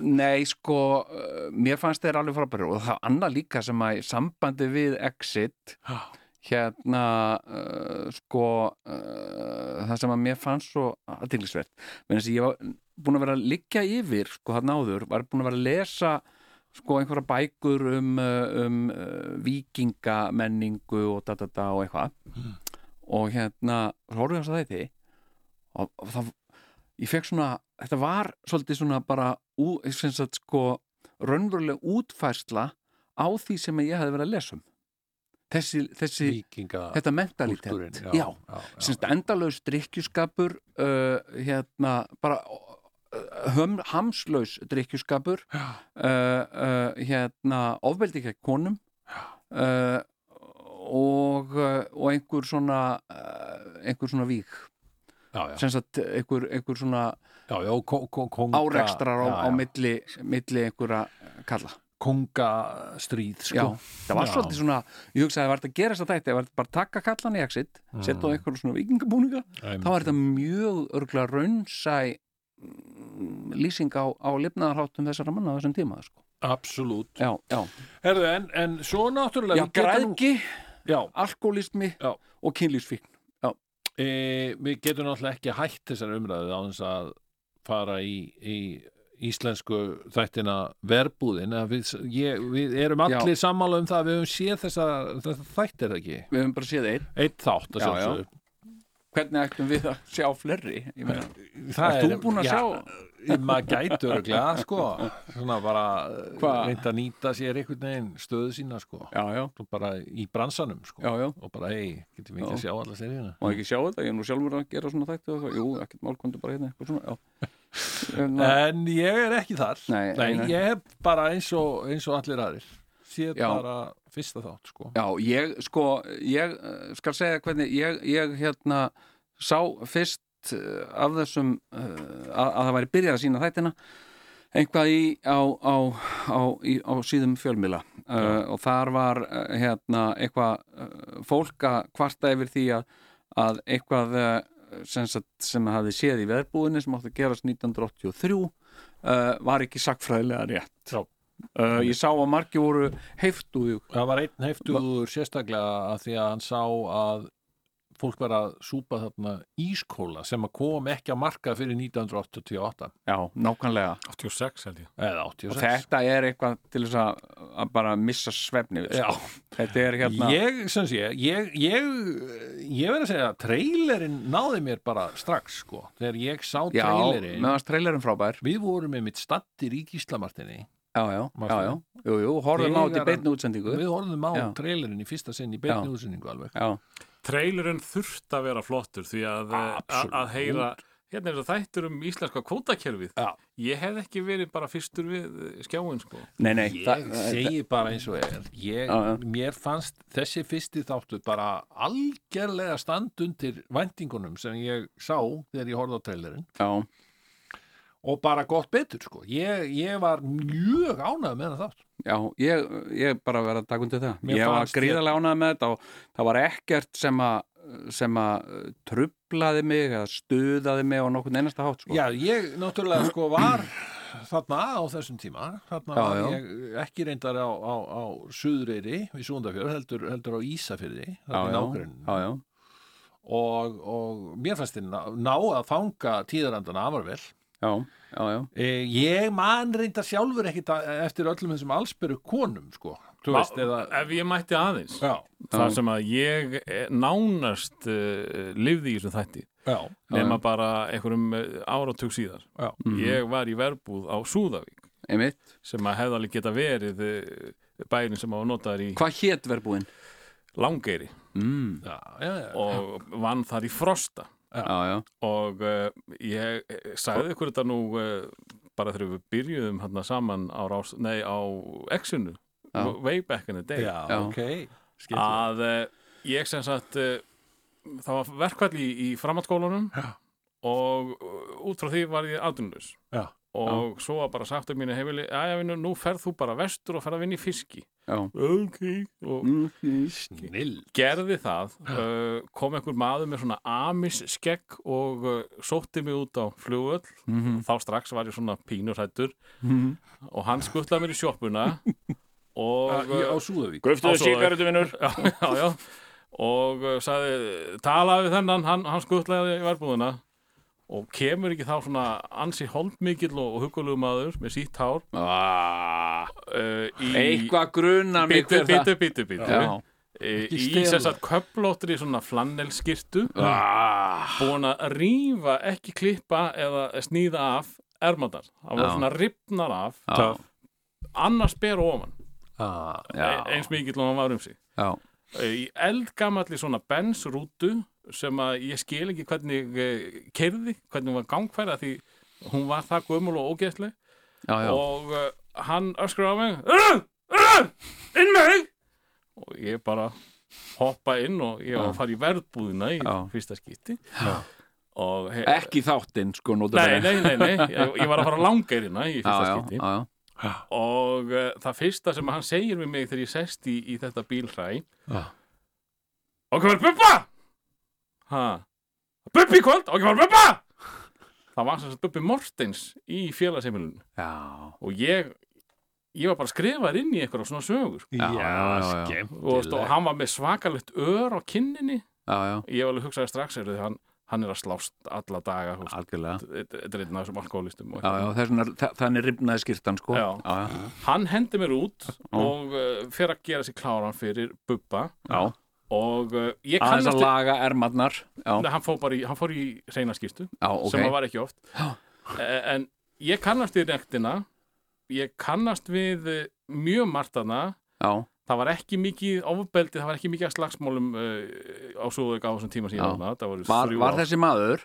nei sko eh, mér fannst þeir alveg frábæri og það annað líka sem að í sambandi við Exit hérna uh, sko uh, það sem að mér fannst svo aðtilsvert menn þess að ég var búin að vera að liggja yfir sko þarna áður, var búin að vera að lesa sko einhverja bækur um, uh, um uh, vikingamenningu og da da da og eitthvað og hérna, horfðu þess að þetta og, og það ég fekk svona, þetta var svolítið svona bara, ú, sem sagt sko raunveruleg útfærsla á því sem ég hafði verið að lesa um þessi, þessi
Víkinga
þetta mentalitet,
kúltúrinn,
já, já sem þetta endalaus drikkjuskapur uh, hérna bara uh, höm, hamslaus drikkjuskapur uh, uh, hérna ofbeldi ekki konum uh, og, uh, og einhver svona uh, einhver svona vík
já, já,
sem sagt einhver, einhver svona
já, já, ko- ko- konga
árekstrar á,
já, já,
á milli, milli einhverja kalla
kongastríð sko.
Já, það var
Já.
svolítið svona, ég hugsaði að það var þetta að gera þess að þetta, það var þetta bara að taka kallan í exit, setja á
Mm.
einhverjum svona vikingabúninga
Æm,
þá er þetta mjög örgla raunsæ mm, lýsing á, á lifnaðarháttum þessara manna á þessum tíma sko.
absolutt
já, já.
Herðu, en, en svo náttúrulega
já
við getum nú-
græðgi,
já,
alkoholismi
Já.
og kynlýsfíkn
e, við getum náttúrulega ekki hætt þessar umræðu á þess að fara í, í íslensku þættina verbúðin að við, ég, við erum
Já.
allir sammála um það að við höfum séð þessa, þessa þættir ekki
við höfum bara séð einn,
eitt þátt að
Já, já.
sjálfsögðu
hvernig ættum við að sjá fleiri ég meina,
Það
Ert þú búin að
já, maður gæti örgulega sko svona bara
Hva?
reynd að nýta sér einhvern veginn stöðu sína sko
já, já,
Svo bara í bransanum sko
já, já
og bara hei, getum við ekki
Já.
að sjá alla seríuna
má ekki sjá þetta, ég er nú sjálfur að gera svona þættu og það, jú, ekkert málkvöndu bara hérna eitthvað
[LAUGHS]
svona, já Hérna,
en ég er ekki þar
Nei, nei.
ég hef bara eins og, eins og allir aðrir séð
Já.
bara fyrsta þátt sko
Já, ég sko, ég eh, skal segja hvernig, ég, ég hérna sá fyrst eh, af þessum, eh, að, að það væri byrjað að sína þættina, einhvað í á, á, á, í, á síðum fjölmila uh, og þar var uh, hérna eitthvað uh, fólk að kvarta yfir því að, að eitthvað uh, sem, sagt, sem hafði séð í veðbúðinni sem átti að gerast 1983 uh, var ekki sakfræðilega rétt
Já.
uh, ég sá að margi voru heiftuðu
það var einn heftuður sérstaklega að því að hann sá að fólk var að súpa þarna ískóla sem að kom ekki að marka fyrir 1988
Já, nákvæmlega.
86 held ég
eða
Og
86
þetta er eitthvað til þess að, að bara missa svefni. við,
Já.
sko. Þetta er hérna...
Ég, sem sé, ég, ég, ég verð að segja að trailerinn náði mér bara strax, sko. Þegar ég sá
já,
trailerinn,
meðanst trailerinn frábær.
við vorum með mitt stattir í Gíslamartinni.
Já, já, já,
Manstu
já. Jú, jú, horfum á
Þegar
þetta í
hann-
beinni útsendingu.
Við horfðum á
Já.
trailerinn í fyrsta sinn í beinni
Já.
útsendingu alveg.
Já,
trailerinn þurft að vera flottur því að, eh,
Absolutt.
að- að heyra hérna er það þættur um íslenska kvótakerfið
Já.
ég hef ekki verið bara fyrstur við eh, skjáinn sko
Nei, nei,
Ég segi bara eins og er ég,
Já, já.
Mér fannst þessi fyrsti þáttu bara algerlega stand undir væntingunum sem ég sá þegar ég horfði á trailerinn
já,
og bara gott betur sko ég, ég var mjög ánægð með það þátt
já, ég, ég bara verið að taka undir það
Mér
Ég var
fannst ég-
gríðarlega ánægð með þetta og það var ekkert sem að sem að uh, trublaði mig eða stuðaði mig á nokkurn einasta hátt sko.
Já, ég náttúrulega sko var þarna á þessum tíma þarna
Já,
var
já.
ég ekki reyndar á, á, á Suðreiri við Súndafjörð, heldur, heldur á Ísafyrði
já,
þarna í
já,
nágrunn
já, já,
og, og mér fannst þið ná, ná að fanga tíðarandana afar vel
já, já, já.
Eh, Ég man reynda sjálfur ekkit að- eftir öllum þessum allsperu konum, sko. Þú veist, eða...
ef ég mætti aðeins
Já,
þar sem að ég eh, nánast uh, lifði í þessum þætti
já, Mhm.
nema bara einhverjum eh, áratug síðar
já.
Mm.
ég var í verbúð á Súðavík
Einmitt.
sem að hefði alveg geta verið eh, bærin sem að nota þar í
Hvað hét verbúin?
Langeiri
Mm.
Já, já, já.
og vann þar í Frosta
Já, já,
og uh, ég eh, sagði ykkur þetta nú uh, bara þegar við byrjuðum hérna saman á, rás, nei, á Exinu
Já.
way back in the day
já,
Já. Ah,
ok. Skilja.
að uh, ég sem sagt uh, það var verkvall í, í framhaldsskólanum
Já.
og uh, út frá því var ég aðdunlaus
Já.
og svo var bara sagt um mínu heimili aðja vinnu, nú ferð þú bara vestur og ferð að vinna í fiski
já.
ok og
Mm, Snill.
gerði það uh, kom einhver maður með svona amis skegg og uh, sótti mig út á flugöll þá strax var ég svona pínurhættur
Mhm.
og hann skuttlaði mér
[LAUGHS]
í sjoppuna og
Ég á Súðavík.
Guftuðu
sígarettu,
vinnur [LAUGHS] Já, já, já Og uh, sagði, talaði við þennan, hann, hann skuttlaði í verbúðuna Og kemur ekki þá svona ansi holdmikill og, og hugulegu maður með sítt hár
Ah,
uh, í,
Eitthvað grunar mig
Bítu,
hver það-
bítu, bítu, bítu
Já,
Ekki
Í
stela.
sem sagt köplóttri svona flannelskirtu
ah,
Búin að rífa, ekki klippa eða sníða af ermandar Það voru
Já.
svona ripnar af
já,
Annars ber ofan,
Ah,
Já.
eins mikill og hann var um sig
já,
í eldgamalli svona bensrútu sem að ég skil ekki hvernig kerði, hvernig hún var gangfæra því hún var það gömul og ógeðsleg
já, já.
og uh, hann öskur á mig "Ugh, ugh, inn með þig og ég bara hoppa inn og ég var að fara í verðbúðina í
Já.
fyrsta skipti og he-
Ekki þáttinn sko
nei, nei, nei, nei, ég, ég var að fara langeirina í
já,
fyrsta
já,
skipti
já,
og uh, það fyrsta sem hann segir við mig þegar ég sest í, í þetta bílhræ
Já.
og hvað er bubba? ha bubbi í kvöld, og hvað er bubba? það var sem sagt bubbi Mortens í félagseimilun
já,
og ég ég var bara skrifað inn í einhverja svona sögur
Já, já, já, já.
og, veist, og hann var með svakalegt ör á kinninni
já, já,
ég var alveg hugsaði strax er, hann, hann er að slást alla daga þú veist,
algjörlega
þetta er einn af þessum alkoholistum og
Já, já, þess vegna, þa- þannig rifnaði skýrtan sko
Já.
já,
hann hendi mér út og uh, fer að gera sér kláran fyrir Bubba
já.
og uh, ég
Aðeins
kannast
að laga ermarnar Já,
Nei, hann, fór bara í, hann fór í reynarskýrstu
já, ok
sem að var ekki oft Eh, en ég kannast við rektina ég kannast við eh, mjög martana
Já,
það var ekki mikið ofbeldi það var ekki mikið af slagsmálum uh, á súðauk á þessum tíma
Já.
síðan þarna. það voru
var,
þrjú
var
ár.
þessi maður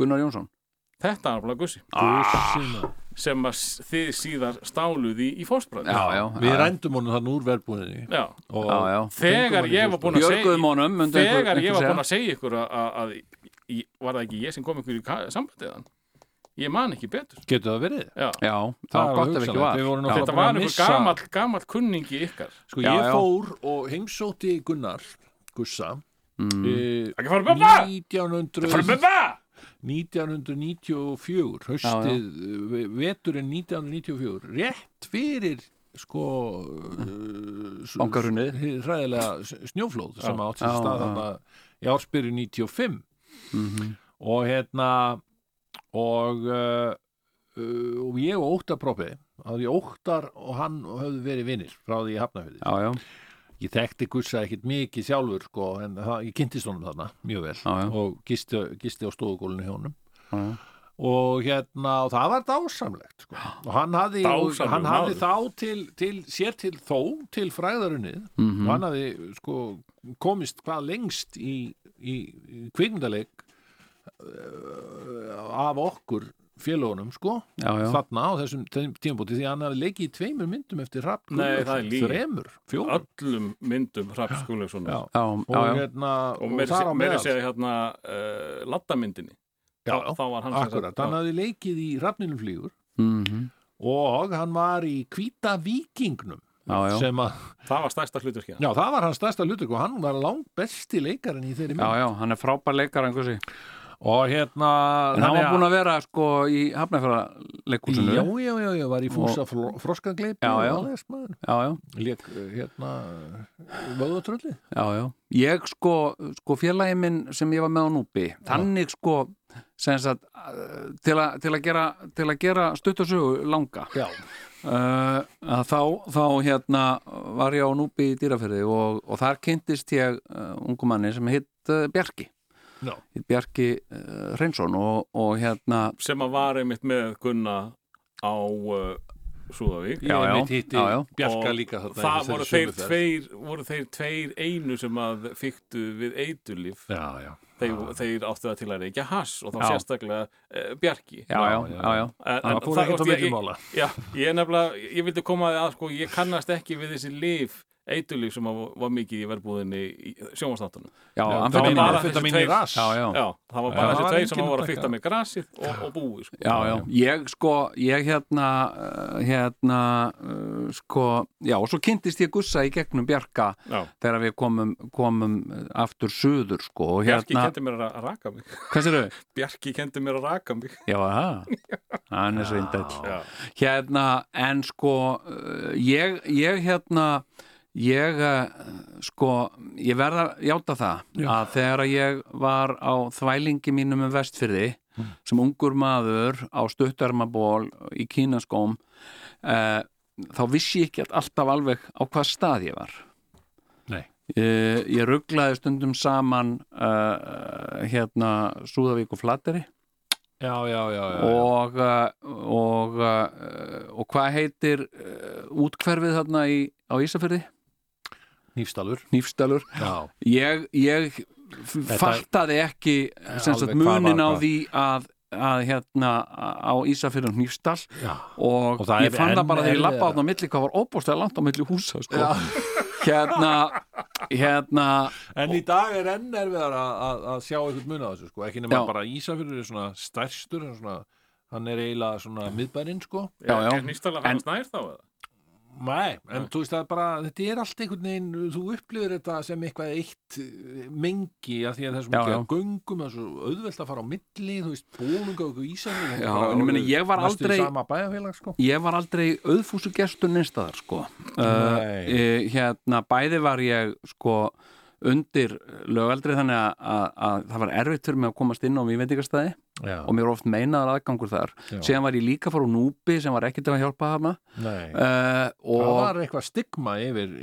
Gunnar Jónsson
þetta er alveg gussi
Ah. Guðsina.
sem að s- þið síðar stáluði í fósbræði
Já, já,
Við
já,
rændum honum þann úr verðbúinni.
Já.
Og
já, já.
þegar
Fengum hann í
ég var búin að segja
Björguðum honum myndi einhver-
þegar
einhver
ég var
segja.
búin að segja ykkur að, að, að í- var það ekki ég sem kom ykkur í ka- sambandið hann ég man ekki betur
getur það verið.
Já.
Já, það var
er
gott ef ekki
hugsanlegt.
var
Við vorum
Já.
náttúrulega
þetta
búin
var
að
einhver
missa-
gamall, gamall kunningi ykkar
Sko,
Já,
ég
já.
fór og heimsótti Gunnar, Gussa, mm.
ekki fara bubba,
1900...
fara bubba
1994
Já,
höstið, já. eh, veturinn 1994 rétt fyrir sko eh,
Bankahrunið.
hið hræðilega s- snjóflóð sem átti
Já,
sér stað
já.
þarna í ársbyrju 95
Mhm.
og hérna og uh, uh, og ég og Óttar proppi að ég Óttar og hann höfðu verið vinnir frá því ég hafnafjöði
Já, já,
ég þekkti Gussa ekkit mikið sjálfur sko, en það, ég kynntist honum þarna mjög vel
Já, já.
og gisti, gisti á stóðugólinu hjá honum
já, já.
og hérna, og það var dásamlegt sko. og hann hafði,
Dásamlegur
hann hafði
maður.
þá til, til, sér til þó til fræðarunnið
Mhm.
og hann hafði sko, komist hvað lengst í, í, í kvikmyndaleg eh, af okkur félagunum sko
já, já,
þarna á þessum tímabóti því að hann hafði leikið í tveimur myndum eftir Rapp
Nei, það er
Guðlaugsson.
lygi.
þremur, fjórum
öllum myndum Rapp Skúleiksonar
já.
og,
já,
og,
já, já.
Hérna, og,
meira
þar á
seg- meira
meðal já,
segja hérna uh, laddamyndin
já,
þá var hann sem sagt-
akkurat, hann hafði leikið í Rappninum flýgur
Mm
og hann var í Hvíta Víkingnum
já, já,
sem að,
það var stærsta hluturkja
já það var hans stærsta hlutur og hann var langt besti leikarinn í þeirri
já,
mynd
já, hann er frábær leikar einhversi.
og hérna
en hann var búin að vera sko í hafnafjörðarleikúsinu
Já, já, já, já, var í fúsa og... froskangleipi
Já, já.
og aðeins maður
já, já,
Lék, uh, hérna, vöðutrölli
já, já ég sko, sko félagi minn sem ég var með á núpi þannig sko sem sagt, uh, til, a, til að gera til að gera stuttasögu langa
Já,
uh, að þá, þá hérna var ég á núpi í dýrafyrði og, og þar kynntist ég uh, ungu manni sem hitt uh, Bjarki
já,
hitt Bjarki uh, Reynsson og, og hérna
sem að var einmitt með Gunna á uh, Súðavík
Já, já, já, já.
Bjarka
Og
líka þarna í
það
þessari
voru þeir,
sömu ferð.
tveir, voru þeir tveir einu sem að fyktu við eitulif
Já, já,
þeir, þeir áttu það til að reykja hass og þá
Já.
sérstaklega uh, Bjarki
já, já,
já,
já, já.
En-
það
en
fór ekkert á
ég-
milli
ég-
mála
Já, ég er nefnilega, ég vildi koma að því að sko, ég kannast ekki við þessi lif eitulif sem að vo- var mikið í verbúðinni í sjónvastáttunum.
Já,
já, hann
það
fyrir
var
mér
bara þessi tveir
já, já,
Já, það var
Já, það
bara
var
þessi tveir
engin
sem að voru að
upptaka.
fykta með grasið og, og búið, sko.
já, já, ég sko ég hérna uh, hérna uh, sko, já, og svo kynntist ég gussa í gegnum Bjarka
Já.
þegar við komum, komum uh, aftur suður sko, og
Bjarki
hérna
kendi mér að ra- raka mig. [LAUGHS]
hvað sér þau?
Bjarki kendi mér að raka mig.
Já, það, hann er svo indæll
Já,
hérna, en sko uh, ég, ég hérna ég uh, sko ég verð að játa það að þegar að ég var á þvælingi mínum um vestfyrði sem ungur maður á stuttarmaból í kínaskóm uh, þá vissi ég ekki alltaf alveg á hvað stað ég var
Nei.
Eh, ég rugglaði stundum saman uh, hérna Súðavík og Flatteri
Já, já, já, já, já.
og, uh, og, uh, og hvað heitir uh, útkverfið þarna í, á Ísafyrði?
Nýfstalur
Nýfstalur.
Já,
Ég, ég f- fattaði ekki sem sagt
alveg hvað var
munin á
hvað.
því að, að hérna á Ísafyrði og Nýfstall
já,
og,
Og það
ég
er
fann það
enn
bara þegar ég lappa
erfiðara.
á milli hvað var óbústlega langt á milli húsa sko. hérna hérna
En í dag er enn erfiðar að, að, að sjá eitthvað mun á þessu sko, ekki nema
Já.
bara Ísafjörður er svona stærstur hann svona, hann er eiginlega svona miðbærin sko.
Já, já.
Er nýstala
En-
fannst nær þá eða?
Nei, en þú veist það er bara þetta er allt einhvern veginn, þú upplifir þetta sem eitthvað eitt eh, mengi að því að það er svo
Já,
mikið
já.
að göngum það er svo auðvelt að fara á milli, þú veist bólunga og Ísafjörður
Já, en ég meina, ég var aldrei-
sama bæjarfélag sko.
ég var aldrei auðfúsu gestur nynstaðar sko uh,
Nei,
e, hérna bæði var ég sko undir lögaldri þannig að, að, að það var erfitt fyrir mig að komast inn á vínveitingastæði
já,
og mér var oft meinaðar aðgangur þar
Já.
síðan var ég líka að fara úr núpi sem var ekkert að hjálpa hana
nei
uh,
Það
og
var eitthvað stigma yfir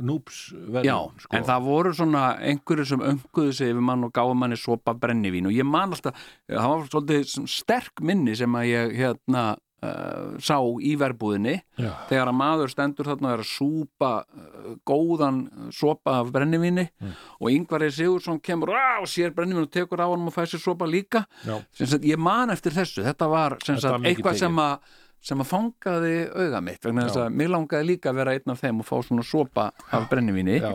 núps
Já,
verðum sko.
en það voru svona einhverju sem önguðu sig yfir mann og gáðu manni sopa brennivín og ég man alltaf, það var svolítið sem sterk minni sem að ég hérna uh, sá í verbúðinni
Já.
þegar að maður stendur þarna og er að súpa uh, góðan sopa af brennivíni
Mm.
og Yngvarri Sigursson kemur á, sér brennivín og tekur á hann og fær sér sopa líka
Já.
Sem sagt, ég man eftir þessu, þetta var sem
Þetta
sagt,
var mikið
eitthvað
tekið.
sem að sem að fangaði auga mitt vegna þess
Já.
að mér langaði líka að vera einn af þeim og fá svona sopa af brennivíni
Já.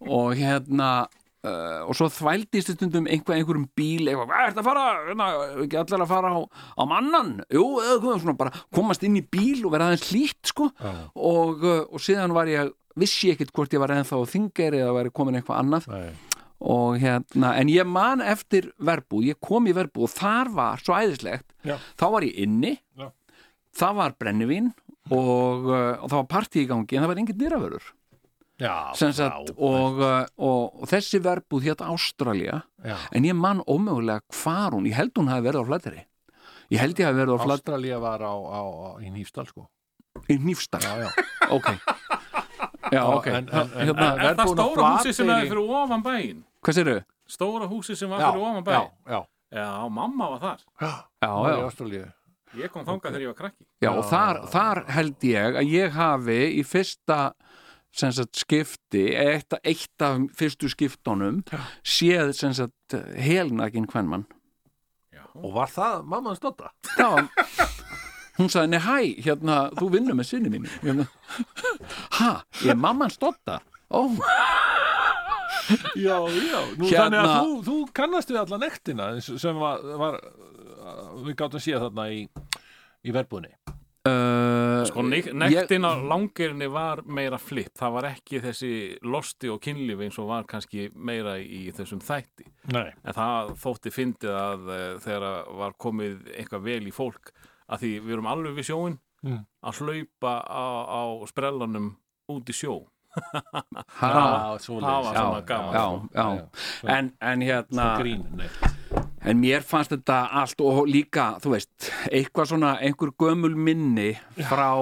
og hérna uh, og svo þvældist stundum einhver, einhverjum bíl eitthvað, hvað ert að fara, hérna, ekki allir að fara á, á mannan, jú, eða komum svona bara komast inn í bíl og vera aðeins hlýtt sko,
Já.
og, uh, og síðan var ég vissi ég ekkert hvort ég var ennþá þingeri eða væri komin eitthvað annað
Nei.
og hérna, en ég man eftir verbu, ég kom í verbu og þar var svo æðislegt,
Já.
þá var ég inni
Já.
það var brennivín og, uh, og það var partí í gangi en það var engin dyraförur
Já,
Sem sagt,
já,
og, uh, og, og þessi verbúð hétt Ástralja
já.
en ég man ómögulega hvar hún ég held hún hafi verið á flatteri ég held ég hafi verið á flatteri
Ástralía var á, á, á, í Nýfstal sko
í nýfstar,
já, já.
ok já, ok
en- en- en-
hérna,
en-
Er það
Verbúðin á
stóra húsi sem
Flateyri-
er fyrir ofan bæinn?
hvað sérðu?
Stóra húsi sem var
Já,
fyrir ofan
já,
bæinn?
já,
Já, mamma var þar.
já,
Já,
það var í
já,
Ástralíu
Ég kom þangað þegar ég var krakki.
já, og þar, þar held ég að ég hafi í fyrsta sem sagt skipti eitt, eitt af fyrstu skiptunum séð sem sagt helnakin hvernmann
og var það mamma hans Dodda
það var hún sagði, nei hæ, hérna, þú vinnur með sinni mínu hérna, ha, ég er mamman stotta ó,
já, já, nú
Hérna-
þannig að þú, þú kannast við allan ektina eins og- sem var, var við gáttum séð þarna í, í verbúðinni
uh,
Sko, nek- nektin á langirinni var meira flipp, það var ekki þessi losti og kynlífi eins og var kannski meira í þessum þætti
Nei.
en það þótti fyndið að eh, þegar að var komið eitthvað vel í fólk að því við erum alveg við sjóin
Mm.
að hlaupa á, á sprellanum út í sjó
Ah,
ha,
svo
það var
já,
svona gaman, sko.
já, já, En, en hérna
sko. grín, nei
en mér fannst þetta allt og líka, þú veist, eitthvað svona einhver gömul minni frá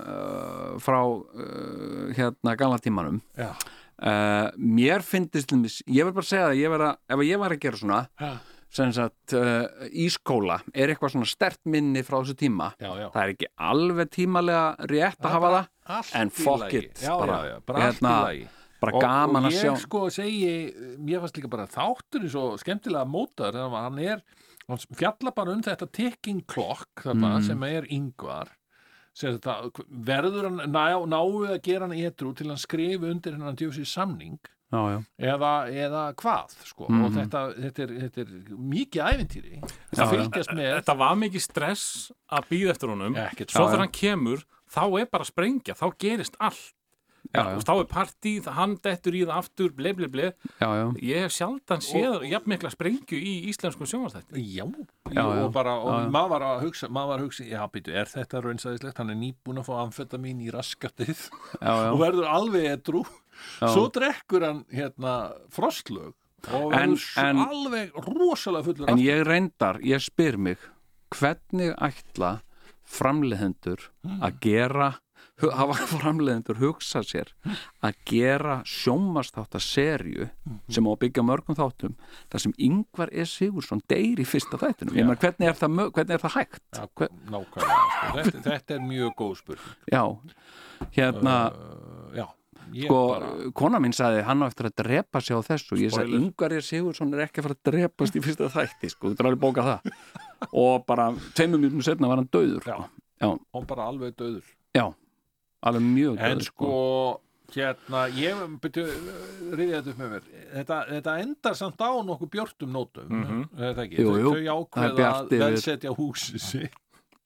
uh, frá uh, hérna gamla tímanum
já,
uh, mér finnst til dæmis, ég verð bara að segja það, ég verð að, ef ég var að gera svona
já,
sem sagt, uh, í skóla er eitthvað svona stert minni frá þessu tíma
já, já.
það er ekki alveg tímalega rétt að hafa það
Allt
En
í
fuck
lagi.
it,
já,
bara,
já, já, bara allt í
hérna,
lagi
bara
Og-
gaman að sjá
og ég sko segi, mér fannst líka bara þátturinn svo skemmtilega mótar þannig að hann er, hann fjalla bara um þetta ticking clock þarna
Mm.
sem er yngvar sem það, verður hann, ná, náu að gera hann etru til hann skrifi undir hennan djósi samning
já, já.
eða, eða hvað sko.
Mhm.
og þetta, þetta, er, þetta er mikið ævintýri
Já,
það fylgjast með
þetta var mikið stress að býða eftir honum
Ekkert
já,
svo
já.
þegar hann kemur þá er bara að sprengja, þá gerist allt
Já,
Þú
já.
veist, þá er partíð, hann dettur í það aftur ble, ble, ble,
já, já,
ég hef sjaldan séð jafn mikla sprengju í íslenskum sjónvastætti
Já,
Já,
jú,
já.
og bara, og
Já, já.
maður var að hugsa, maður var að hugsa, já, býtu, er þetta raunsæðislegt, hann er nýbúin að fá amfetamín í raskatið
já,
og
já.
verður alveg edrú, svo drekkur hann, hérna, frostlög og verður
En-
svo
en-
alveg rosalega fullur
en
aftur.
ég reyndar, ég spyr mig hvernig ætla framleiðendur
Hmm.
að gera hu- hafa [LAUGHS] framleiðendur hugsa sér að gera sjómastátta serju
Hmm.
sem á að byggja á mörgum þáttum þar sem yngvar E. Sigursson deyr í fyrsta þættinum, ég meina hvernig er það, mö- hvernig er það hægt
Já,
Hver-
nákvæmlega, sko. þetta, þetta er mjög góð spurning,
já, hérna
uh, já, ég
sko,
bara,
kona mín sagði hann á eftir að drepa sig á þessu ég sagði,
Spoiler.
Ingvar er Sigurðsson er ekki að fara að drepast í fyrsta þætti, sko, þú dráði bóka
[LAUGHS]
það og bara tveimum mjög setna var hann döður
Já.
sko.
hún bara alveg döður.
alveg mjög
En
döður
sko, hérna, ég byrju, rifið þetta upp með mér. Þetta, þetta endar samt á nokkuð björtum nótum, mm
Mhm.
þetta ekki?
Jú, jú.
Þau
Það er
ákveða að
bjart yfir.
velsetja húsin sín,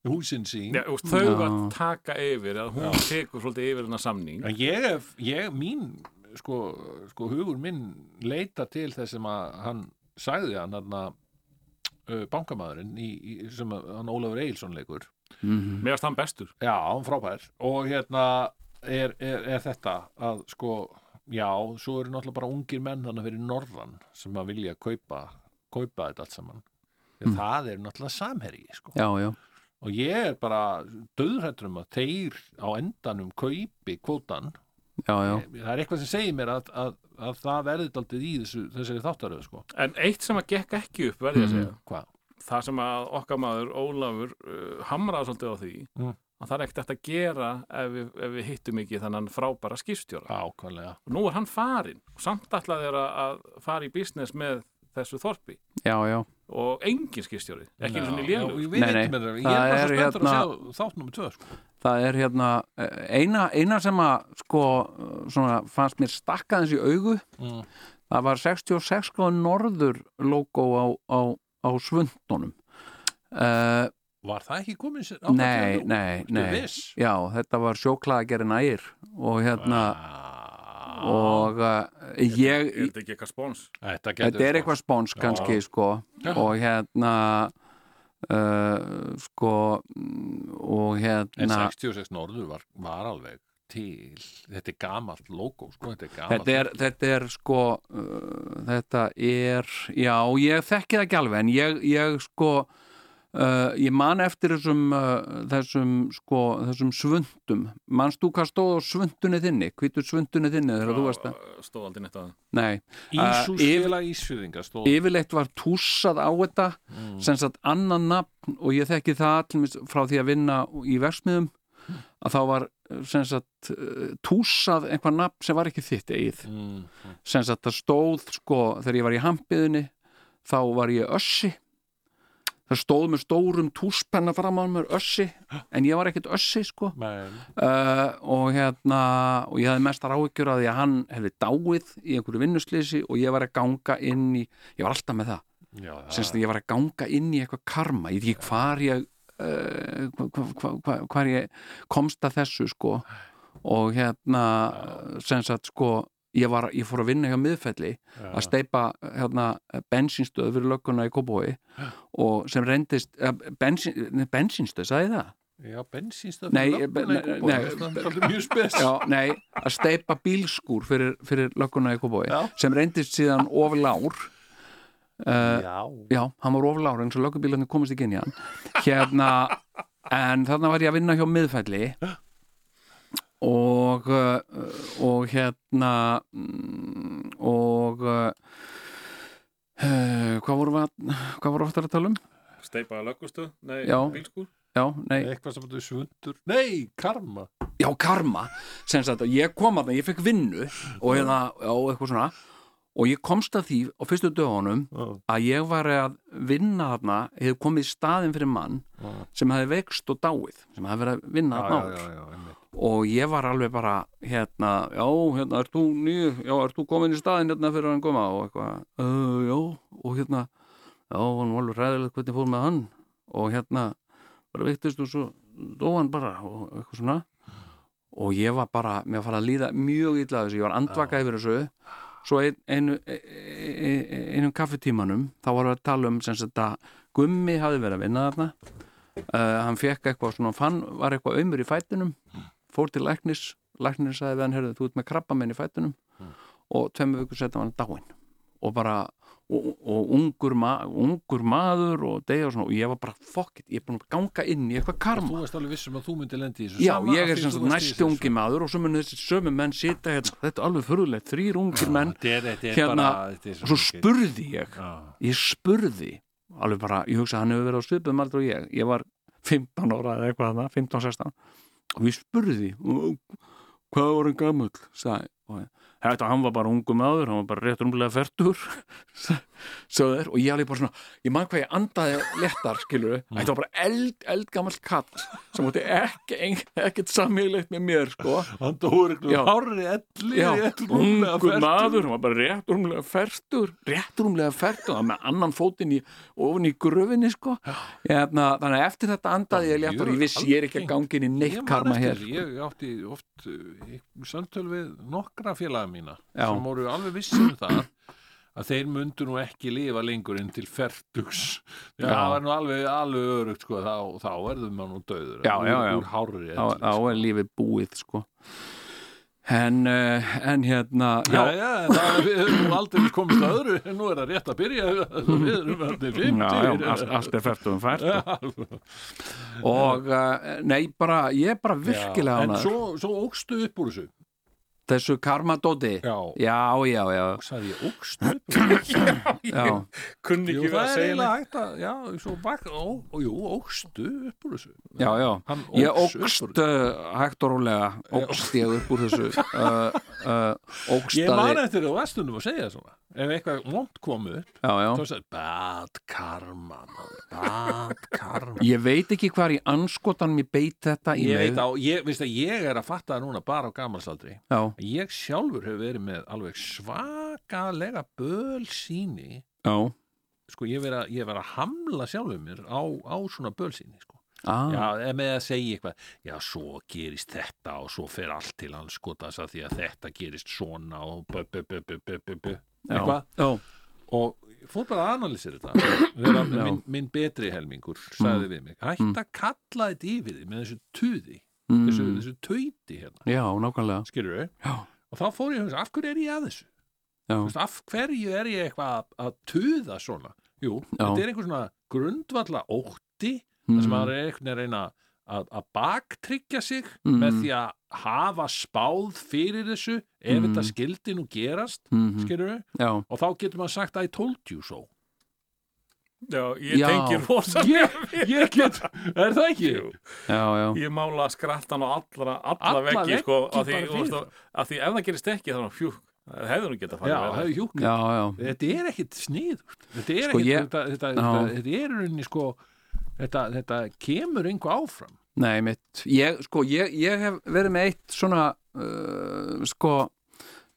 húsin sín.
Já, og þau
Já.
að taka yfir að hún tekur svolítið yfir hennar samning
En ég hef, ég, mín, sko, sko, hugur minn leita til þess sem að hann sagði hann, hann að bankamæðurinn í, í, sem að, hann Ólafur Eilsson leikur
mm
mér erst hann bestur
Já, hann frábær og hérna er, er, er þetta að sko, já, svo eru náttúrulega bara ungir menn þannig fyrir norðan sem að vilja kaupa, kaupa þetta allt saman mm. það er náttúrulega samherji sko.
já, já,
og ég er bara döðrættur um að þeir á endanum kaupi kvótan
já, já,
það er eitthvað sem segir mér að, að, að það verði daldið í þessu, þessari þáttaröðu sko.
en eitt sem að gekk ekki upp
Mm-hmm.
verði að segja
hvað?
það sem að okkar maður Ólafur uh, hamraði svolítið á því
Mm.
að það er ekkert hægt að gera ef við, ef við hittum ekki þannan frábæra skipstjóra
Ákvæmlega
og nú er hann farinn og samt alltaf er að, að fara í business með þessu þorpi
já, já.
og engin skipstjóri, ekki eins og
Já,
nýljölu
já, við
Nei, nei,
vitum þetta. Ég
það
er bara
er
svo spenntur að
hérna-
sjá þátt nummer tvö sko.
það er hérna eh, eina, eina sem að sko, svona, fannst mér stakkaðins í augu
Mm.
það var 66 gráður norður logo á, á, á svundunum uh,
Var það ekki komin sér
Nei, nei, nei.
viss?
já, þetta var sjóklaðagerinn ægir og hérna
Ah,
og uh, ég,
er þetta ekki eitthvað spóns?
þetta, sko-
þetta er eitthvað spóns kannski sko
Já.
og hérna uh, sko mm, og
En
hérna
66 norður var, var alveg til Þetta er gamalt logo sko, Þetta er gamalt
þetta er, þetta er sko uh, þetta er já, ég þekki það ekki alveg en ég, ég sko Uh, ég man eftir þessum uh, þessum sko, þessum svundum manst þú hvað stóð á svundunni þinni hvítur svundunni þinni þegar þú varst að
stóð aldrei neitt að
nei,
Ísús
eh, yfir-
félag Ísfyrðinga stóð
yfirleitt var tússað á þetta sem sagt annan nafn og ég þekki það allmis frá því að vinna í versmiðum að þá var eh, sem sagt eh, tússað einhver nafn sem var ekki þitt eigið
mm.
sem sagt það stóð sko þegar ég var í hampiðinni þá var ég össi það stóð með stórum túspenna fram á mér össi, en ég var ekkert össi sko
Men,
uh, og hérna og ég hafði mestar áhyggjur að því að hann hefði dáið í einhverju vinnuslýsi og ég var að ganga inn í, ég var alltaf með það
já,
semst að ég var að ganga inn í eitthvað karma ég veit ekki hvar ég uh, hvar, hvar, hvar, hvar ég komst að þessu sko og hérna semst að sko ég, var, ég fór að vinna hjá miðfelli að steipa hérna, bensinstöð fyrir lögguna í Kóbói og sem reyndist eh, bensin, nei, bensinstöð, sagði ég það?
já bensínstöð
Nei,
fyrir
be-
lögguna í
ne-
Kópavogi.
nei,
sko. Það er svolítið mjög spes
Já, nei, að steipa bílskúr fyrir, fyrir lögguna í Kóbói
Já.
sem reyndist síðan oflár uh,
já,
já, hann var oflár eins og löggubílarnir komist ekki inn í hann hérna, en þarna var ég að vinna hjá miðfælli og uh, og hérna mm, og uh, Uh, hvað vorum við að, hvað vorum við oftar að tala um?
Steipaða löggustu, nei,
Já.
bílskur
Já, nei,
eitthvað sem þetta er svundur nei, karma
já, karma sem sagt að ég kom að það, ég fekk vinnu og hérna, já, eitthvað svona og ég komst að því á fyrstu dögunum
Já.
að ég var að vinna þarna hefði komið í staðin fyrir mann
Já.
sem hefði veikst og dáið sem hefði verið að vinna
já,
þarna
já,
áður
já, já, einmitt.
og ég var alveg bara hérna, já, hérna, ert þú nýju já, ert þú komin í staðin hérna fyrir hann koma og eitthvað, uh, já, og hérna já, hann var alveg ræðilegt hvernig fór með hann og hérna bara veiktist og svo dó hann bara og eitthvað svona og ég var bara, mér var farið að líða mjög illa af þessu, ég var andvaka yfir þessu svo ein, einu, e- e- e- einum kaffetímanum, þá varum við að tala um sem sagt að Gummi hafði verið að vinna þarna uh, hann fekk eitthvað svona, fann, var eitthvað aumur í fætinum fór til læknis læknir sagði við hann, herðu, þú ert með krabba minn í fætinum og tveimur vikur setja hann dáinn og bara og, og ungur, ma ungur maður og degja og svona, og ég var bara fokkitt, ég er búin að ganga inn í eitthvað karma
þú veist alveg vissum að þú myndi lendi í þessu
Já,
sama
ég
af
er
því þú
sem sagt
varst í
næsti
þessu.
ungi maður og svo munu þessi sömu menn sita hérna, þetta er alveg förðulegt, þrýr ungir menn
Þetta er- þetta er
hérna,
bara- þetta er
og svo
mikið.
spurði ég,
Já.
ég spurði alveg bara, ég hugsa að hann hefur verið á svipum aldrei og ég, ég var 15 ára eða eitthvað þarna, 15-16 og ég spurði "Og hvað var hann gamull, sagði og ég, Þetta, hann var bara ungu maður, hann var bara rétt rúmlega [LAUGHS] fertur sögður og ég alveg bara svona, ég man hvað ég andaði léttar, skilur þetta var bara eld, eldgamall katt sem átti ekki, ekkert samílegt með mér, sko
hann dóur eitthvað
Já.
hárri elli
Já,
elli-
ungur
fertur.
maður, hann var bara rétt rúmlega fertur, rétt rúmlega fertur, það með annan fótinn í, ofin í gröfinni, sko. Hérna, þannig að eftir þetta andaði ég létt og ég vissi ég er ekki að gangi inn í
Ég
neitt
man
karma
eftir
hér. sko.
því, ég átti oft uh, í samtöl við nokkra félaga mína
Já.
sem voru alveg vissum það að þeir mundu nú ekki lifa lengur en til ferdugs
Já.
það var nú alveg, alveg örugt sko, þá, þá verðum maður nú döður
Já, já, já.
úr, úr hárri
Þá þá er lífið búið, sko. En, eh, en hérna,
Já, já, það, við höfum nú aldrei komist að öðru, en nú er það rétt að byrja, [LAUGHS] við erum allir 50.
Já,
[LAUGHS]
já, allt, allt er fertum fært og eh, nei, bara, ég er bara virkilega
En
hana
svo, svo ógstu upp úr þessu.
þessu karmadóti
Já,
já, já, já,
sagði ég ógstu upp
[CLEARS THROAT]
úr þessu.
já,
Kunni
Jú,
ekki verið
það
að
er
segja
eiginlega
neitt.
hægt að, já, svo bak, ó, ó, jú, ógstu upp úr þessu.
já, já.
Hann
Ég
óx upp úr
ógst
þessu.
uh, hægt og rólega ógst ég upp úr
[LAUGHS]
þessu uh, uh,
Ég man
ógstaði
eftir á vestunum að segja svona. Ef eitthvað vond kom upp,
já, já.
þá sagði, bad karma, maður, bad karma.
ég veit ekki hvar í anskotanum ég beit þetta í
Ég
mig.
veit á, ég, veist að ég er að fatta það núna bara á gamalsaldri.
já,
Ég sjálfur hefur verið með alveg svakalega bölsýni.
já.
Sko, ég hef verið að, ég hef verið að hamla sjálfur mér á, á svona bölsýni, sko.
Ah, já,
Já, með að segja eitthvað Já, svo gerist þetta og svo fer allt til hans sko þess að því að þetta gerist svona og bu, bu, bu, bu, bu, bu, bu.
já,
eitthvað og ég fór bara að analýsa þetta Vera,
Já. Mm.
minn, minn betri helmingur sagði við mig, hætt að kalla þetta yfir þig með þessu tuði þessu,
mm,
þessu tauti hérna,
já, nákvæmlega
skilur við
já,
og þá fór ég að hugsa, af hverju er ég að þessu
já,
Þú veist, af hverju er ég eitthvað að, að tuða svona Jú,
Já.
þetta er einhver svona grundvalla ótti
mm,
þar sem maður er einhvern veginn að reyna að, að baktryggja sig
Mm.
með því að hafa spáð fyrir þessu ef
Mm.
þetta skildi nú gerast
mhm,
skilur
já,
og þá getur maður sagt I told you
[LAUGHS]
so
Já, ég
Já.
tengi rosa
ég, ég get, er það ekki?
já, já
Ég mála skrattan á allra, alla,
Alla
veggi,
veggi
sko, að því,
bara
þú veist,
fyrir.
að- að því ef það gerist ekki, þannig, fjú, Það hefði nú getað
já,
farið
það
verra.
er hjúkn
já, já,
þetta er ekkit snið þetta er
Sko,
ekkit
ég-
þetta, þetta,
Já.
þetta, þetta er unni sko þetta, þetta kemur einhver áfram
nei mitt ég, sko, ég, ég hef verið með eitt svona uh, sko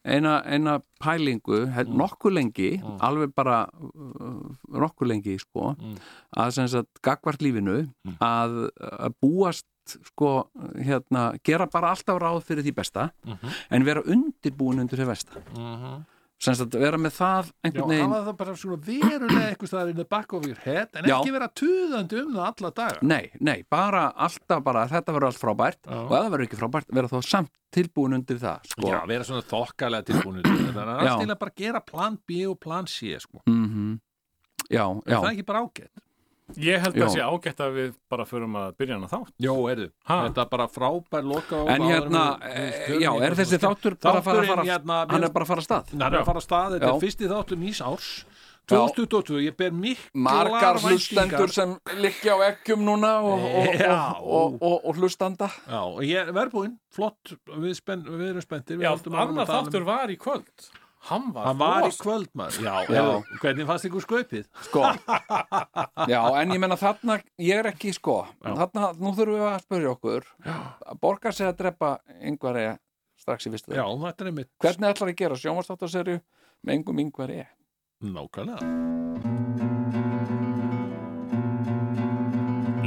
eina, eina pælingu hef,
Mm.
nokkuð lengi, alveg bara uh, nokkuð lengi sko
Mm.
að sem sagt gagvart lífinu að, að búast sko hérna, gera bara alltaf ráð fyrir því besta
Mhm.
en vera undirbúin undir því besta sem sagt vera með það
já,
einhvern veginn
hafa það bara svona verulega eitthvað staðar in the back of your head en
Já.
ekki vera tuðandi um það alla daga
Nei, nei, bara alltaf bara þetta verður allt frábært
Já.
og ef það verður ekki frábært verður þá samt tilbúin undir það sko.
Já, vera svona þokkalega tilbúinu þannig að
Já.
allt til að bara gera plan B og plan C sko.
Mhm. já,
er það
já,
ekki bara ágætt?
Ég held að
Já.
sé ágætt að við bara förum að byrja hana þá.
Jó, erðu,
Ha?
þetta er bara frábær loka á-
en
áður
hérna
við- við
eh,
förum
já,
í
er
þetta
þessi
svona-
þáttur bara að fara að
Þátturinn,
fara
hérna,
hann er
mér-
bara að fara að stað
Hann er að fara að stað, þetta er
Já.
fyrsti þáttur nýs árs 2022, ég ber miklar
margar
væntingar.
hlustendur sem liggja á ekkjum núna og, og,
Já.
og, og, og, og hlustanda
Já, og ég verðbúinn, flott, við, spenn, við erum spenntir við
Já,
höldum áfram að
annar
tala um-
þáttur var í kvöld. Hann var,
Hann var í
rosa-
kvöld maður Já,
Já.
já. hvernig fannst ykkur skaupið? [LAUGHS]
sko já, en ég menna þarna ég er ekki sko,
Já.
þarna nú þurfum við að spyrja okkur að borga sig að drepa yngvar eða strax í fyrstu
Já, þetta er einmitt
Hvernig ætlar að gera sjónvastáttarserju með engum yngvar ég?
Nákvæmlega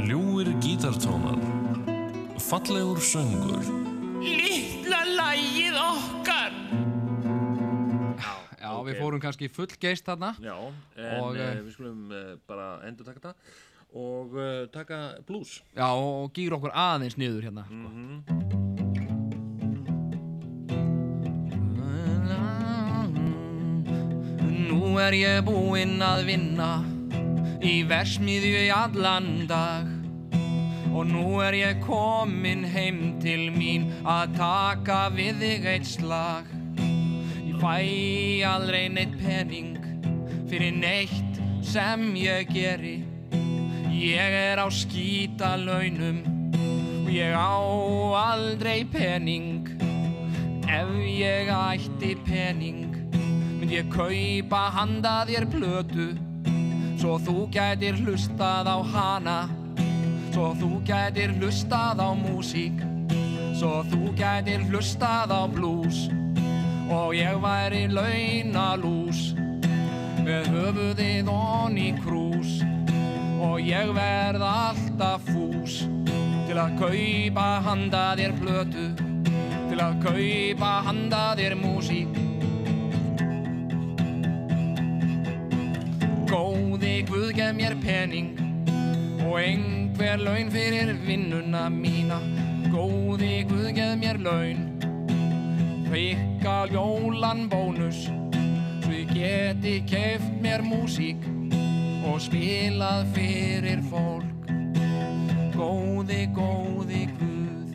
Ljúir gítartónar Fallegur söngur
Litla lagið okkar
Já, við fórum kannski full geist þarna
Já, en
Og,
og,
eh,
við skulum uh, bara endur taka þetta og uh, taka blues
Já, og gýr okkur aðeins niður hérna sko. Nú er ég búinn að vinna Í versmiðju í allan dag Og nú er ég kominn heim til mín Að taka við þig eitt slag Ég fæ aldrei neitt pening Fyrir neitt sem ég geri Ég er á skítalaunum og ég á aldrei pening. Ef ég ætti pening, myndi ég kaupa handa þér plötu, svo þú gætir hlustað á hana, svo þú gætir hlustað á músík, svo þú gætir hlustað á blues, og ég væri launalús, með höfuðið onni krús og ég verð alltaf fús til að kaupa handa þér plötu til að kaupa handa þér músík Góði Guð gef mér pening og einhver laun fyrir vinnuna mína Góði Guð gef mér laun Fikka jólan bónus svo ég geti keft mér músík og spilað fyrir fólk Góði, góði Guð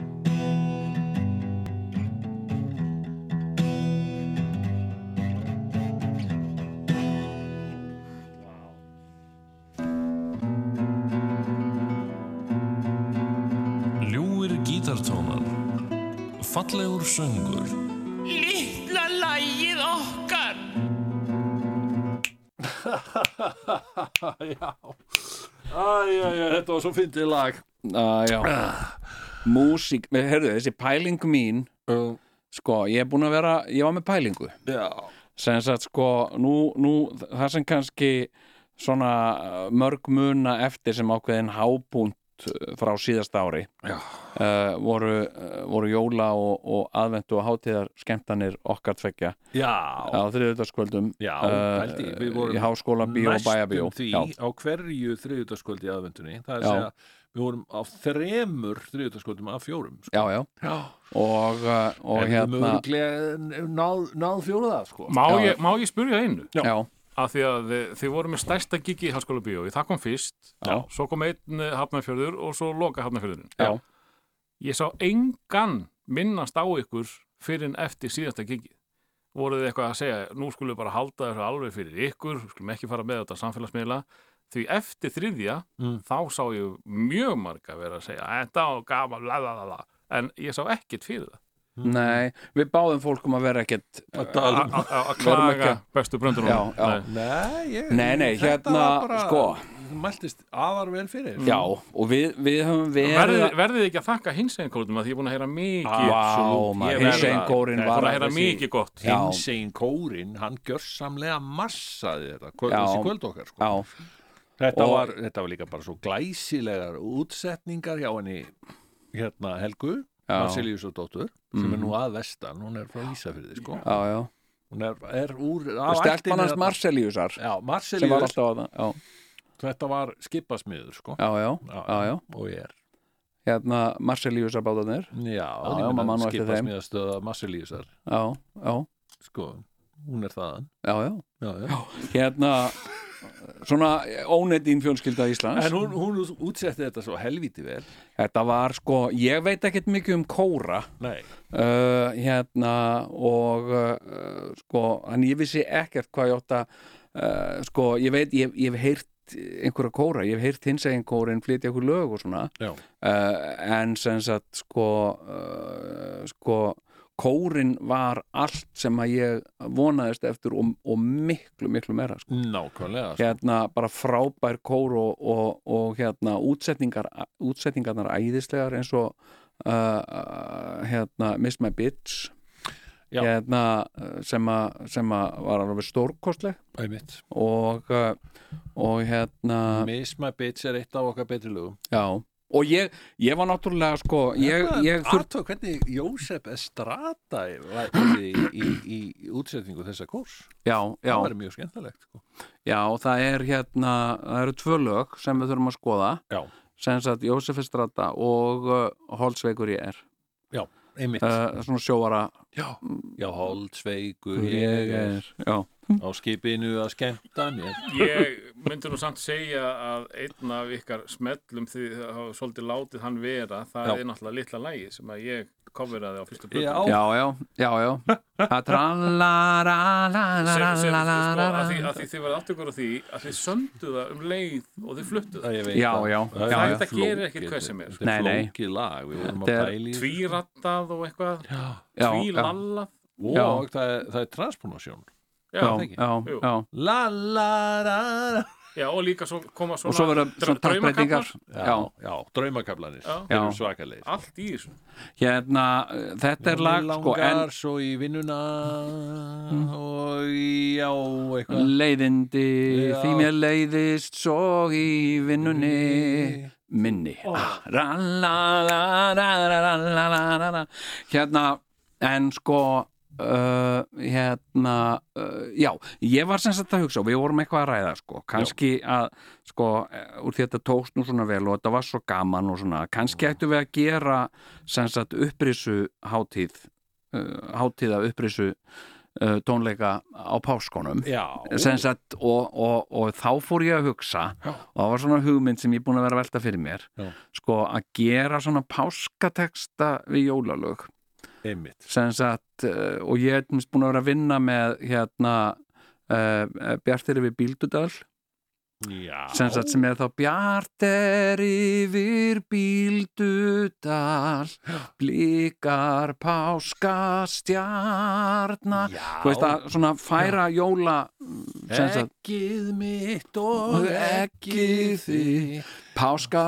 Ljúir gítartónar Fallegur söngur
Litla lagið okkar
Já Æja, já, þetta var svo fyndið lag
Uh, já. Músík, herðu, þessi pæling mín,
uh,
sko, ég er búin að vera, ég var með pælingu.
Já
Sens að, sko, nú, nú, það sem kannski svona uh, mörg muna eftir sem ákveðin hápúnt uh, frá síðast ári
Já.
uh, voru, uh, voru jóla og, og aðventu og hátíðar skemmtanir okkar tvekja
Já,
á þriðutaskvöldum
já,
Eh,
uh,
pældi, ég, við vorum
í háskóla bíó og bæjabíó
næstum því
Já.
á hverju þriðutaskvöldi í aðvendunni það er
Já.
að segja, við vorum á þremur þriðutaskvöldum af fjórum sko.
já, já
Já,
og, uh, og
en við
hérna
mögulega náð, náð fjóruða sko.
Má,
Já.
ég, má ég spyrja einu?
já,
Af því að þið, þið voru með stærsta gigi í Háskóla Bíó. Það kom fyrst,
Já.
svo kom einn eh, Hafnarfjörður og svo loka Hafnarfjörðurinn.
já,
Ég sá engan minnast á ykkur fyrir en eftir síðasta gigi. Voruð þið eitthvað að segja, nú skulum við bara halda þessu alveg fyrir ykkur, skulum ekki fara með þetta á samfélagsmiðla. Því eftir þriðja,
Mm.
þá sá ég mjög marga vera að segja, þetta og gaman, la la la la. En ég sá ekkit fyrir það.
Mm.
Nei, við báðum fólkum að vera ekkert
Að- um- að að
Verum ekki
klaga
að-
bestu bröndunum
Já, já.
Nei, ég,
Nei, nei,
þetta
hérna,
var bara,
sko.
Mæltist aðar vel fyrir
uh, Já, og við, við höfum verið
Verðið, verðið ekki að þakka hins einn kórum að því ég er búin að heyra mikið
Vá, maður,
Ég verð
hins einn
að-
kórin
Nei,
búin
var
að heyra mikið gott
Já.
Hinsegin kórin, hann gjörsamlega massaði þetta, kvöld,
Já.
þessi kvöld okkar sko.
Já,
þetta,
Og-
var, þetta var líka bara svo glæsilegar útsetningar hjá henni hérna Helgu,
Já. Mm.
Marceliusdóttur sem er nú að vestan, hún er frá Ísafyrði sko.
já, já
hún er, er úr hérna.
Og stelpan hans Marceliusar
Já,
sem var
Marcelius,
alltaf að það Já,
þetta var skipasmiður sko.
já, já,
Já.
já, já
og ég er
Hérna, Marceliusar báðanir
Já,
já,
ég meina,
maður man nú eftir þeim.
skipasmiðastöða Marceliusar
Já, já,
sko, hún er þaðan
já, já
já, já.
Hérna, svona óneitt fjölskylda Íslands
En hún, hún útsetti þetta svo helvíti vel
Þetta var sko, ég veit ekkert mikið um kóra
Nei,
uh, hérna og uh, sko, en ég vissi ekkert hvað ég átt að uh, sko, ég veit, ég, ég hef heyrt einhverja kóra, ég hef heyrt hins eginn kórin flytja einhver lög og svona
Já.
uh, en sem sagt sko uh, sko kórin var allt sem að ég vonaðist eftir og, og miklu, miklu meira sko
nákvæmlega sko.
hérna bara frábær kór og, og, og hérna útsetningar útsetningarnar æðislegar eins og uh, uh, hérna Miss My Bitch
Já.
hérna uh, sem að sem að var alveg stórkostleg
Æmitt
og uh, og hérna
Miss My Bitch er eitt af okkar betri lögum
já og ég, ég var náttúrulega sko ég, ég þurft
Aðtók hvernig Jósef Estrada var í, í, í útsetningu þessa kurs
já, já,
Það var mjög skemmtilegt sko.
já, það er hérna það eru tvö lög sem við þurfum að skoða
Já,
sem sagt Jósef Estrada og uh, Holsveikur ég er
einmitt
uh, svona sjóara
Já, já holdsveikur
ég
ég
er já,
á skipinu að skemmta mér
Ég myndi nú samt segja að einn af ykkar smellum því það hafa svolítið látið hann vera það
Já.
er náttúrulega litla lægi sem að ég coveraði á
Já,
fyrstu blötu
já, já, já, já. Það
sem, sem, sko,
trallaralala-
að því, að því þið verða átt ykkur á því að þið söndu það um leið og þið fluttu það
ég veit
Já,
það.
já,
Það
já,
er
já.
flókið,
Þetta gerir ekkert hvað sem er.
Þetta
Nei,
er
nei.
flókið lag, við vorum að
Þetta er
pæli
tvírattað og eitthvað
Já, já,
tvílallað
Já.
Og það er, það er transponasjón
já,
já, já.
ekki?
já,
Jú.
já.
La la la la
og líka svo koma svona
Og svo verða
dra-
svona takkbreytingar
draumakaflar.
Já,
Já, já, draumakablanir
Já.
Þeir eru
Já.
svakalegir
allt í þessu
hérna, uh, þetta er lag sko,
langar
en Mm.
svo í vinnuna og í- já,
sko.
eitthvað
leiðindi
Já.
því mér leiðist svo í vinnunni minni Ah, ralalalalalalalala. hérna, en sko Uh, hérna uh, já, ég var sem sagt að hugsa og við vorum eitthvað að ræða sko kannski að sko, eh, úr því þetta tókst nú svona vel og þetta var svo gaman og svona kannski ættum við að gera sem sagt upprisu hátíð uh, hátíða upprisu uh, tónleika á páskonum
Já,
sem sagt og, og, og þá fór ég að hugsa
Já.
og það var svona hugmynd sem ég er búin að vera að velta fyrir mér
Já.
sko að gera svona páskateksta við jólalög
einmitt
sem sagt eh, og ég er til dæmis búin að vera að vinna með hérna uh, Bjartir yfir Bíldudal
Já,
sem sagt sem er þá Bjartir yfir Bíldudal blikar páskastjarna
já
þú veist að svona færa jóla mm, sem sagt
Ekkið mitt og ekkið þitt
Páska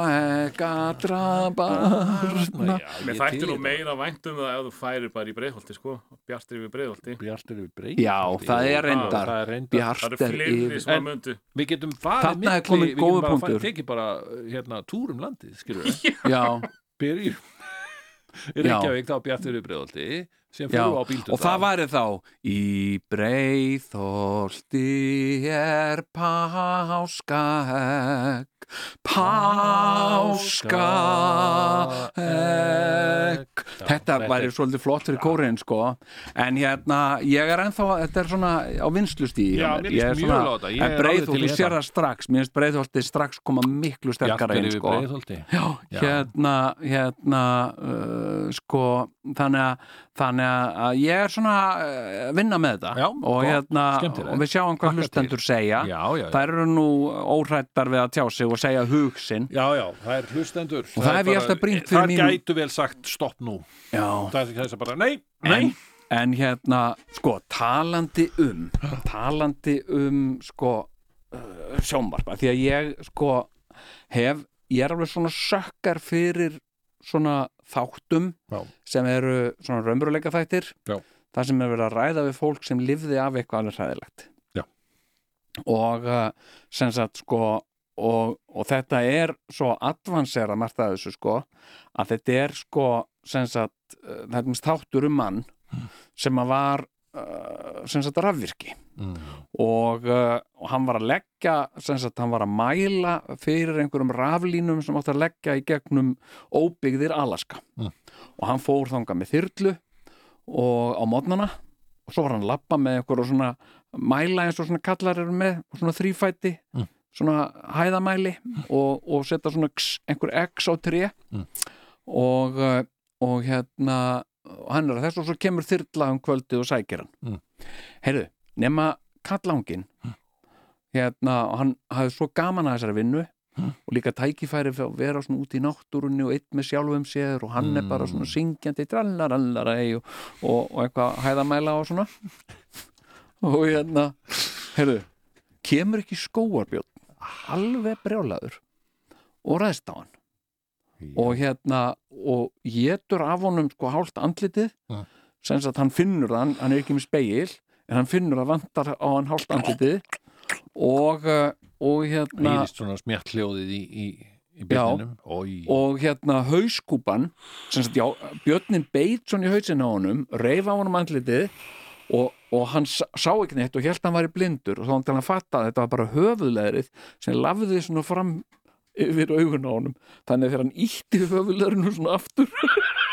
eka drabarna
Já,
Mér
ég
þætti
til
nú
í
meira vænt um það ef þú færir bara í breiðholti sko bjartir yfir breiðholti
það. Bjartur yfir breyt
Já, það er
Það
reyndar
er reyndar
það
Bjart
eru
er
fleiri
yfir
sem að
En-
myndu
Við getum farið
Þarna er kominn
við getum
góður
bara
punktur.
farið- tekið bara hérna túr um landið, skilur við
[LAUGHS] Já,
[LAUGHS] byrjum
[LAUGHS]
í Reykjavík þá Bjartur Uppriðaldi sem
já
fyrir á bíldum
Og það væri þá Í breiðholti er páska ek Páska ek Þetta væri svolítið flott fyrir kórin sko En hérna, ég er ennþá Þetta er svona á vinslusti
Já, mér líst mjög vel á þetta. Ég er
En
alveg
breiðholti,
til í
þú
þetta.
sér það strax Mér finnst breiðholti strax koma miklu sterkara
Bjartur
inn
yfir
sko
Breiðholti
Já,
Já.
hérna, hérna uh, sko, þannig að þannig að- að ég er svona uh, að vinna með þetta
Já,
og
gott,
hérna
skemmtilegt.
og við sjáum hvað
Hlakka til.
hlustendur segja
Já, já, já.
þær eru nú óhrættar við að tjá sig og að segja hug sinn
já, já, það er hlustendur og
það hef ég alltaf brýnt fyrir
það
mín-
gætu vel sagt stopp nú
já.
það er þess að bara, nei, nei
en, en hérna, sko, talandi um talandi um, sko uh, sjónvarpa, því að ég, sko hef, ég er alveg svona sökkar fyrir svona þáttum
Já.
sem eru svona raunveruleika þættir
Já.
það sem er verið að ræða við fólk sem lifði af eitthvað alveg hræðilegt
Já.
og uh, sem sagt, sko og, og þetta er svo advansera margt að þessu, sko að þetta er, sko, sem sagt uh, það er minnst þáttur um mann sem að var uh, sem sagt rafvirki
Mm.
og, uh, og hann var að leggja sem sagt hann var að mæla fyrir einhverjum raflínum sem átti að leggja í gegnum óbyggðir Alaska
Mm.
og hann fór þangað með þyrlu og á mótnana og svo var hann að labba með einhverju svona mæla eins og svona kallar eru með og svona þrýfæti
Mm.
svona hæðamæli og, og setja svona x, einhver x á tré
Mm.
og, uh, og hérna og hann er að þessu og svo kemur þyrla um kvöldið og sækir hann
Mm.
heyrðu, nema kallangin hérna og hann hafði svo gaman að þessari vinnu og líka tækifæri fyrir að vera svona út í náttúrunni og einn með sjálfum sér og hann er bara svona syngjandi trallarallarei og, og, og eitthvað hæðamæla og svona [LAUGHS] og hérna heyrðu, kemur ekki skóarbjörn alveg brjálaður og ræðst á hann og hérna og getur af honum sko hálft andlitið
Mm.
sem sagt hann finnur það, hann, hann er ekki með speil en hann finnur það vantar á hann hálft andlitið og uh, og hérna
Írist svona smjart hljóðið í, í, í
Já.
byrninum Oj.
og hérna hauskúpan sem sagt, já, Björnin beit svona í hausin á honum, reif á honum andlitið og, og hann sá sá ekki neitt og held hann væri blindur og þá hann til að fatta að þetta var bara höfuðleðrið sem lafði svona fram yfir augun á honum þannig að þegar hann ítti höfuðleðrinu svona aftur [LAUGHS]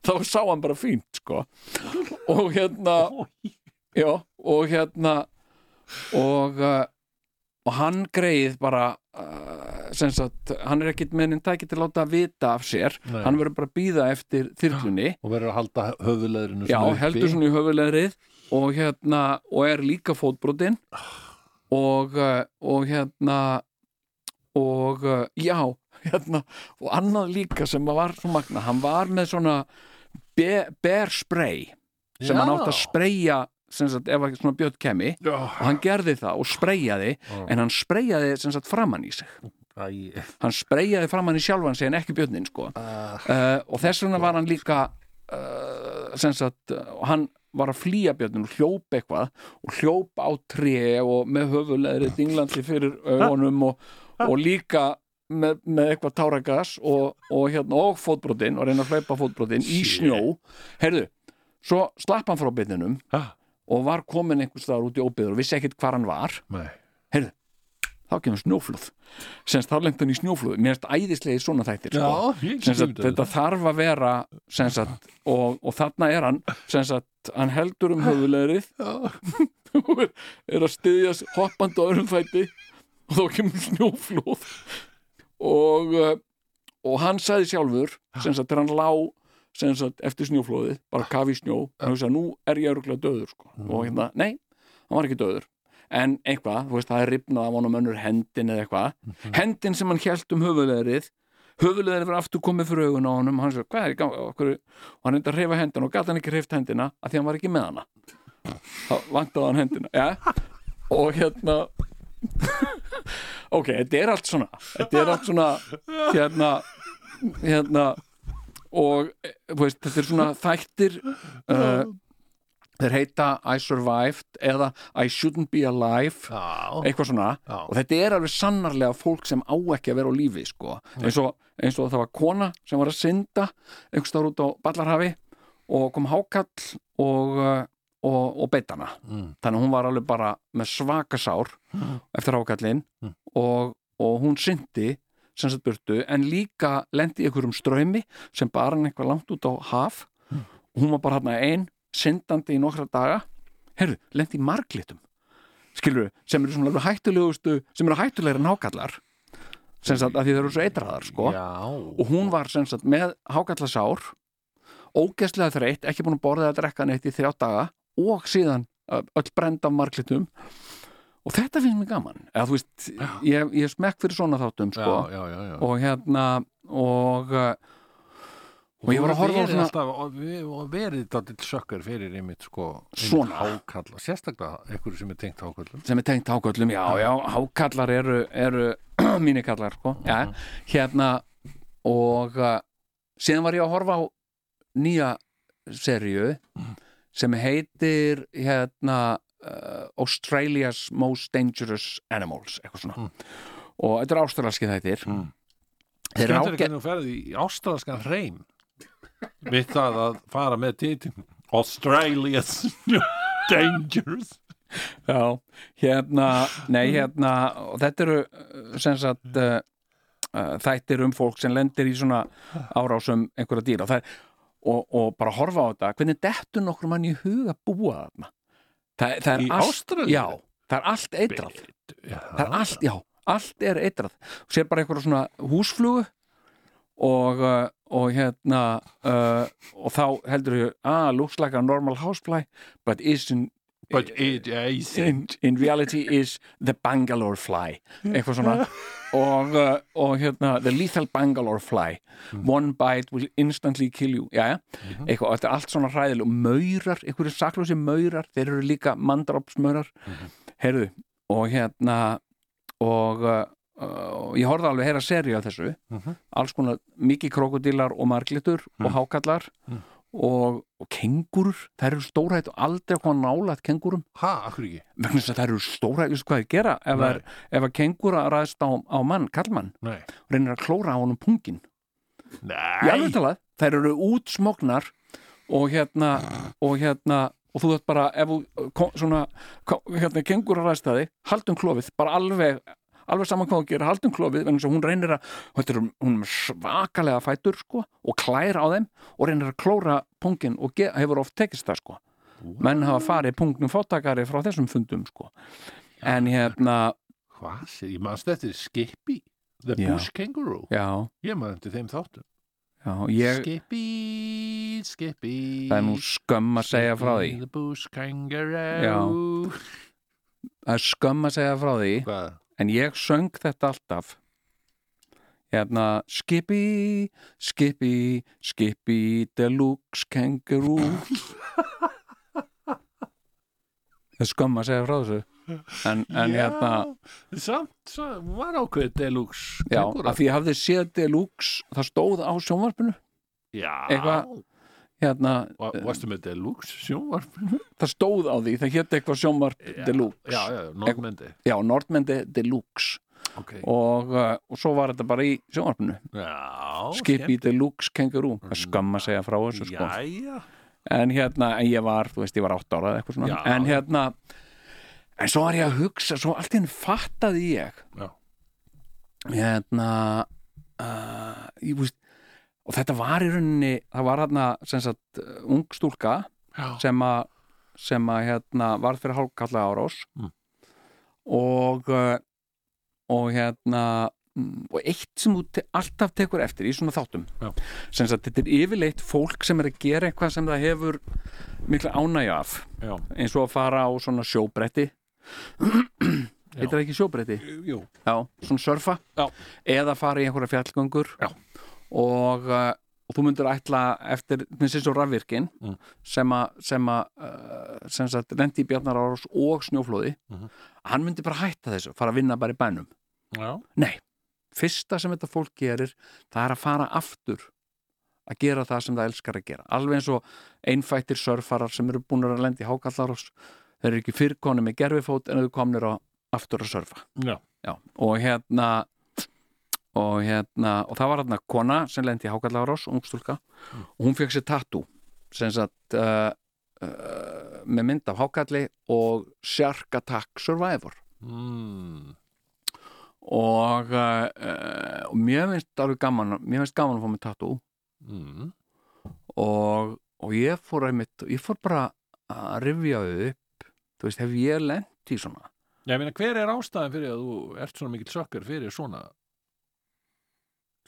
þá sá hann bara fínt sko og hérna já, og hérna og uh, og hann greið bara uh, sem sagt, hann er ekkit með enn tæki til að láta vita af sér
Nei.
hann verður bara að býða eftir þyrlunni
og verður að halda höfuleðrinu
já, heldur svona í höfulegrið og hérna, og er líka fótbrotinn og uh, og hérna og uh, já, hérna og annað líka sem var svo magna hann var með svona be bear spray sem hann átt að spreyja sem sagt, ef að svona bjött kemi og hann gerði það og spreyjaði en hann spreyjaði sem sagt framann í sig
Æ,
hann spreyjaði framann í sjálfan sig en ekki björnin sko
uh,
uh, og þess vegna var hann líka uh, sem sagt uh, og hann var að flýja björnin og hljóp eitthvað og hljóp á tré og með höfuleðri dinglandi fyrir augunum og, og líka með, með eitthvað táragas og, og, hérna, og fótbrotin og reyna að hlaupa fótbrotin í snjó heyrðu, svo slapp hann frá byrninum
Ha?
og var komin einhvers staðar út í óbyður og vissi ekkit hvar hann var
nei
þá kemur snjóflóð semst þá lengt hann í snjóflóð mér erst æðislegið svona þættir sko.
ég
Sem sagt, þetta þarf að vera sem sagt, og, og þarna er hann sem sagt, hann heldur um höfulegrið [LAUGHS] og er- er að styðja sig hoppandi á öðrum fæti og þá kemur snjóflóð og, uh, og hann sagði sjálfur sem sagt, þegar hann lá sem sagt, eftir snjóflóðið, bara kafi í snjó hann hugsaði, nú er ég örgulega döður sko. og hérna, nei, hann var ekki döður en eitthvað, þú veist, það er ripnað af honum önnur hendin eða eitthvað hendin sem hann held um höfulegrið höfulegar var aftur komið fyrir augun á honum og hann svo, hvað er í gangi, okkur og hann reyndi að reyfa hendina og gæti hann ekki reyft hendina að því hann var ekki með hana þá vantaði hann hendina ja. og hérna [LAUGHS] ok, þetta er allt svona þetta er allt svona hérna, hérna og eh, þú veist, þetta er svona þættir uh, þeir heita I survived eða I shouldn't be alive
já,
eitthvað svona
Já.
og þetta er alveg sannarlega fólk sem á ekki að vera á lífi sko. eins, og, eins og það var kona sem var að synda einhvers þar út á Ballarhafi og kom hákall og, uh, og, og beitt hana
Mm.
þannig að hún var alveg bara með svakasár eftir hákallin
Mm.
og, og hún syndi sem sett burtu en líka lendi í einhverjum ströymi sem bara hann eitthvað langt út á haf og hún var bara hann ein syndandi í nokkra daga herru, lendi í marglitum skilur, sem eru svona alveg hættulegustu sem eru hættulegri en hákallar sem sagt að því þeir eru svo eitraðar sko
já.
og hún var sem sagt með hákallasár ógeðslega þreytt, ekki búin að borða eða drekka neitt í þrjá daga og síðan uh, öll brend af marglitum og þetta finnst mér gaman eða þú veist, ég, ég smekk fyrir svona þáttum sko,
já, já, já, já.
og hérna og, uh, og ég var að horfa á
verið
svona
alltaf, og við- og verið dálítið sökkar fyrir einmitt sko einmitt
Svona.
hákarla, sérstaklega einhverju sem er tengt hákallum
sem er tengt háköllum, já, já, hákallar eru, eru [CLEARS THROAT] mínikallar sko. já, hérna og uh, síðan var ég að horfa á nýja serju sem heitir hérna uh, Australia's Most Dangerous Animals eitthvað svona og þetta er ástralarski þættir mm. þeir eru
Skemmtir ekki
ágætt
að þú ferði í ástralskan hreim við það að fara með titin Australia's [LAUGHS] Dangerous
Já, hérna, nei, hérna og þetta eru uh, sem sagt uh, uh, þættir um fólk sem lendir í svona árásum einhverja dýra Það er, og, og bara horfa á þetta hvernig dettur nokkur mann í hug að búa þarna það, það er
Í
allt,
Ástralíu?
Já, það er allt eitrað það er
Já,
allt, já, allt er eitrað og sér bara einhverja svona húsflugu og, uh, og hérna uh, og þá heldur ég, ah, looks like a normal housefly but isn't
but
Eh,
it is
in, in reality is the Bangalore fly eitthvað svona og, uh, og hérna, the lethal Bangalore fly one bite will instantly kill you já, eitthvað, og þetta er allt svona hræðileg og maurar, einhverju saklösi maurar þeir eru líka mandarapsmaurar heyrðu, og hérna og uh, uh, ég horfði alveg að heyra seri á þessu alls konar mikið krokodílar og marglitur og hákallar og, og kengurur, þær eru stórhætt og aldrei að koma nálægt kengurum
ha, akkur ekki
vegna þess að það eru stóra, ég veist hvað þið gera ef, er, ef að kengúra ræðst á, á mann, kallmann
nei,
reynir að klóra á honum pungin
nei.
ég alveg talað, þær eru útsmognar og hérna og hérna, og þú þátt bara ef þú, kom, svona, kom, hérna kengúra ræðst að þig, haldum klófið, bara alveg alveg saman hvað þú gerir, haldum klófið vegna þess að hún reynir að, þetta er hún er með svakalega fætur sko, og klær á þeim og reynir að klóra pungin og ge, hefur oft tekist það sko menn hafa farið pungnum fátakari frá þessum fundum sko en hérna,
hvað, sé- ég manst þetta er Skippy the
Já.
bush kangaroo
já,
ég mann eftir þeim þáttum
já ég,
Skippy, Skippy
það er nú skömm að segja frá því
the bush kangaroo
Já. það er skömm að segja frá því
hvað,
en ég söng þetta alltaf hérna Skippy, Skippy Skippy Deluxe Kangaroo það er skömm að segja frá þessu en, en hérna
samt, samt hún var ákveð deluxe
já,
kengúra.
af því ég hafði séð Deluxe það stóð á sjónvarpinu
já.
eitthvað- hérna,
Va- varstu með deluxe sjónvarp
það stóð á því, það hétt eitthvað sjónvarp [LAUGHS] Deluxe
já, já, norðmendi
já, Nordmendi Deluxe
okay.
og, uh, og svo var þetta bara í sjónvarpinu
já,
Skippy Deluxe Kangaroo það er skömm að segja frá þessu
skemmt.
sko
já, já,
en hérna, en ég var, þú veist, ég var átt ára eða eitthvað svona,
Já.
en hérna en svo var ég að hugsa, svo allt í henni fattaði ég
Já.
hérna uh, ég veist og þetta var í rauninni, það var hérna sem sagt, uh, ung stúlka
Já.
sem að sem að hérna varð fyrir hálfkalla árás
Mm.
og uh, og hérna mm, og eitt sem þú te alltaf tekur eftir í svona þáttum
Já.
sem sagt, þetta er yfirleitt fólk sem er að gera eitthvað sem það hefur mikla ánægja af
já.
eins og að fara á svona
[CLEARS THROAT]
sjóbretti heitir það ekki sjóbretti?
Jú.
Já, svona surfa
Já.
eða fara í einhverja fjallgöngur
Já.
og, uh, og þú myndir ætla eftir, minnst eins og rafvirkin
Mm.
sem að sem að uh, sem sagt, lendi í Bjarnar Árás og snjóflóði
Mhm.
hann myndi bara hætta þessu, fara að vinna bara í bænum
já,
Nei, fyrsta sem þetta fólk gerir það er að fara aftur að gera það sem það elskar að gera alveg eins og einfættir sörfarar sem eru búin að lenda í hákallarás þeir eru ekki fyrr konum með gerfifót en þau komnir á aftur að sörfa
Já.
og hérna og hérna, og það var hérna kona sem lendi í hákallarás, ungstúlka og hún fekk sér tattoo sem sagt uh, uh, með mynd af hákalli og Shark Attack Survivor
mm.
og, uh, og mér finnst alveg gaman mér finnst gaman að fá mig tattoo
Mm.
og, og ég fór einmitt, ég fór bara að rifja upp þú veist, hef ég lent í svona
Já, ég meina, hver er ástæðan fyrir að þú ert svona mikill sökkar fyrir svona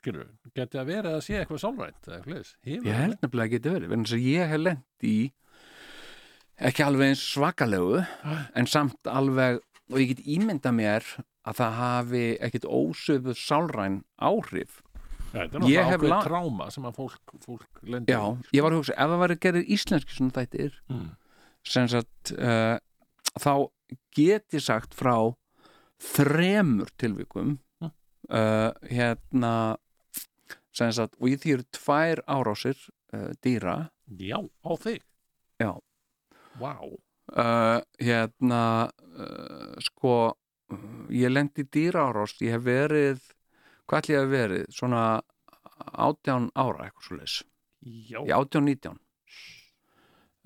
skilur, geti að vera að sé eitthvað sálrænt eða eitthvað leis, hefur
ég held nefnilega að geti verið, þannig að ég hef lent í ekki alveg eins svakalegu en samt alveg og ég get ímynda mér að það hafi ekkit ósöfuð sálræn áhrif
þetta
Ég
er
hef
náttúrulega
la-
ákveð tráma sem að fólk, fólk lendir
Já,
í.
ég var að hugsa, ef það væri gerir íslenski svona þættir
Mm.
sem sagt uh, þá get ég sagt frá þremur tilvikum
Mm.
uh, hérna sem sagt, og í því eru tvær árásir uh, dýra
Já, á þig
Já.
Vá,
uh, hérna uh, sko ég lendi dýra árás, ég hef verið hvað ætli ég hef verið, svona átján ára eitthvað svo leis
já,
í 18-19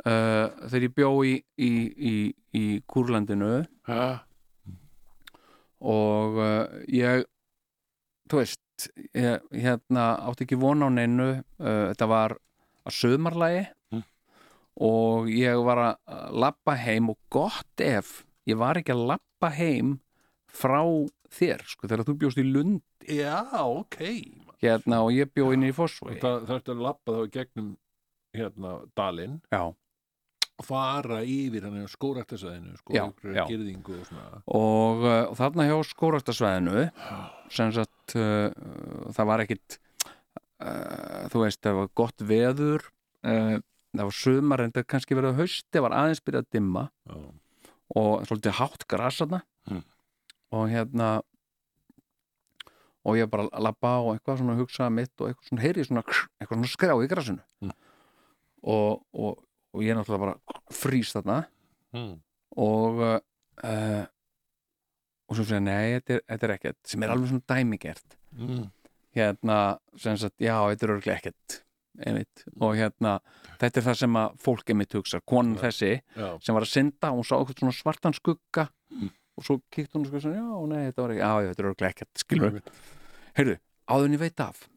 uh, þegar ég bjó í, í, í, í Kúrlandinu
Ha,
og uh, ég þú veist ég, hérna átti ekki von á neinu uh, þetta var að sömarlægi
Mm.
og ég var að lappa heim og gott ef ég var ekki að lappa heim frá þér sko þegar þú bjóst í Lund
já, ok
hérna og ég bjó inn í Fossvegi
Það þarfti að labba þá í gegnum hérna, dalinn
já
fara yfir hann í skóraktasæðinu sko,
Já,
einhverju
já.
girðingu og svona
og, uh, og þarna hjá skóraktasvæðinu sem sagt uh, það var ekkit uh, þú veist, það var gott veður uh, það var sumar en það kannski verið á hausti, var aðeins byrjað að dimma
Já,
og svolítið hátt gras þarna
Mm.
og hérna og ég bara að labba á eitthvað svona hugsaða mitt og eitthvað svona heyri ég svona, krr, eitthvað svona skrá í grasinu
Mm.
og, og, og ég náttúrulega bara frýs þarna
Mm.
og uh, og svo segja nei, þetta er, þetta er ekkert sem er alveg svona dæmigert
Mm.
hérna, sem sagt, já, þetta er örglega ekkert einmitt, og hérna þetta er það sem að fólk einmitt hugsa konan
Já.
þessi
já, Mm.
sem var að synda og hún sá eitthvað svona svartan skugga og svo kíkt hún og sko svona, já, nei, þetta var ekki, já, já, þetta er örglega ekkert skilur, heyrðu, áður en ég veit af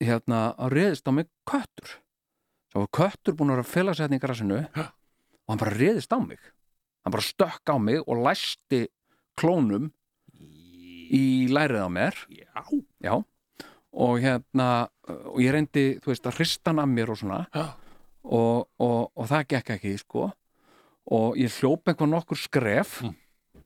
hérna, að reyðist á mig köttur þá var köttur búin að vera að fela sig hérna í grasinu
Ha?
og hann bara reyðist á mig hann bara stökk á mig og læsti klónum í lærið á mér
já.
og hérna, og ég reyndi þú veist, að hrista hann af mér og svona
Já.
og, og, og það gekk ekki sko, og ég hljóp eitthvað nokkur skref
Mm.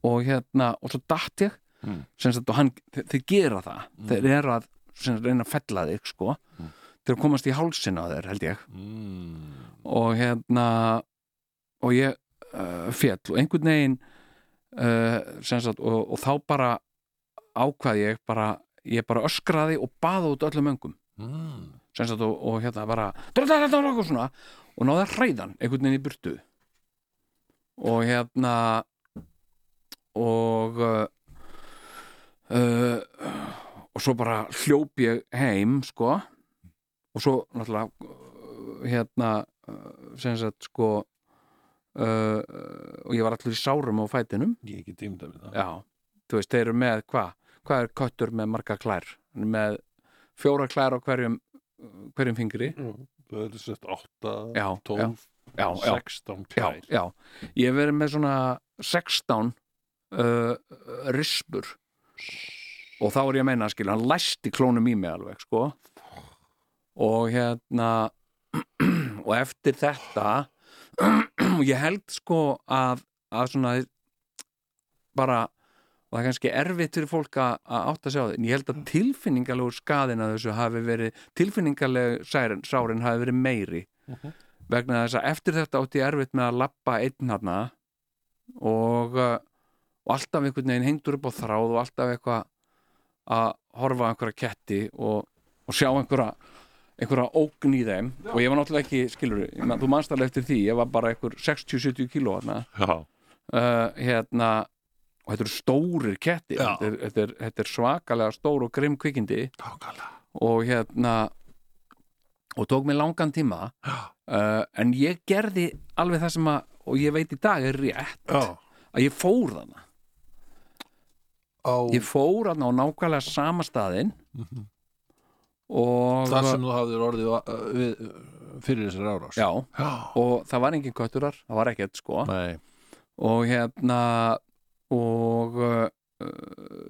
og hérna, og svo datt ég
Mm.
sem sagt, og hann, þe- þeir gera það þeir eru að, sem sagt, reyna að fella þig sko,
Mm.
þeir komast í hálsin á þeir held ég,
Mm.
og hérna og ég uh, féll og einhvern veginn uh, sem sagt, og, og þá bara ákvað ég bara, ég bara öskraði og baða út öllum öngum
Mm.
sem sagt og, og hérna bara og svona og náði að hræðan einhvern veginn í burtu og hérna og uh, uh, og svo bara hljóp ég heim sko og svo náttúrulega uh, hérna uh, sem sagt sko uh, uh, og ég var allur í sárum á fætinum
Ég get tímda við það
já, þú veist, þeir eru með hvað hvað er köttur með marga klær Hann er með fjóra klær á hverjum hverjum fingri
Það er sett 8,
já,
12,
já, já,
16
já,
klær
já, ég hef verið með svona 16 uh, rispur og þá er ég að meina skil, hann læsti klónum í mig alveg sko og hérna [CLEARS THROAT] og eftir þetta [CLEARS THROAT] og ég held sko að, að svona bara og það er kannski erfitt fyrir fólk að, að átta sig á því, en ég held að tilfinningalegu skaðin að þessu hafi verið tilfinningalegu særin, sárin hafi verið meiri vegna þess að eftir þetta átti ég erfitt með að lappa einn hana og, uh, og alltaf einhvern veginn hengdur upp á þráð og alltaf eitthvað að horfa á einhverja ketti og, og sjá einhverja einhverja ógn í þeim og ég var náttúrulega ekki, skilur, man, þú manst alveg eftir því ég var bara einhver 60-70 kíló hana
já.
uh, hérna og þetta eru stórir kettir
Já.
þetta er, þetta, er, þetta er svakalega stór og grimm kvikindi
Nákvæmlega.
og hérna og tók mig langan tíma
Já.
uh, en ég gerði alveg það sem að og ég veit í dag er rétt
Já.
að ég fór þarna
Á
ég fór þarna á nákvæmlega sama staðinn og
þar Mhm. sem þú hafðir orðið uh, við, uh, fyrir þessari árás
já,
já.
og það var engin kötturar það var ekkert sko
Nei.
og hérna og uh,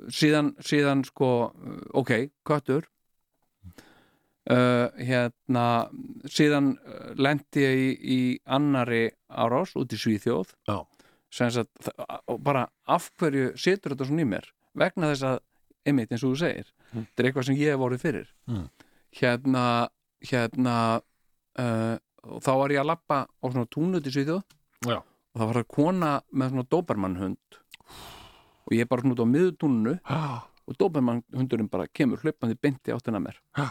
síðan, síðan sko uh, ok, köttur uh, hérna síðan uh, lendi ég í, í annari árás út í Svíþjóð
Já.
sem sagt, þa- og bara af hverju situr þetta svona í mér vegna þess að, einmitt eins og þú segir þetta er eitthvað sem ég hef orðið fyrir
Mm.
hérna hérna uh, og þá var ég að labba á svona túnut í Svíþjóð
Já.
og það var það kona með svona dobermannhund og ég er bara svona út á miðutúnunu og dobermannhundurinn bara kemur hlaupandi beinti áttina að mér
Ha.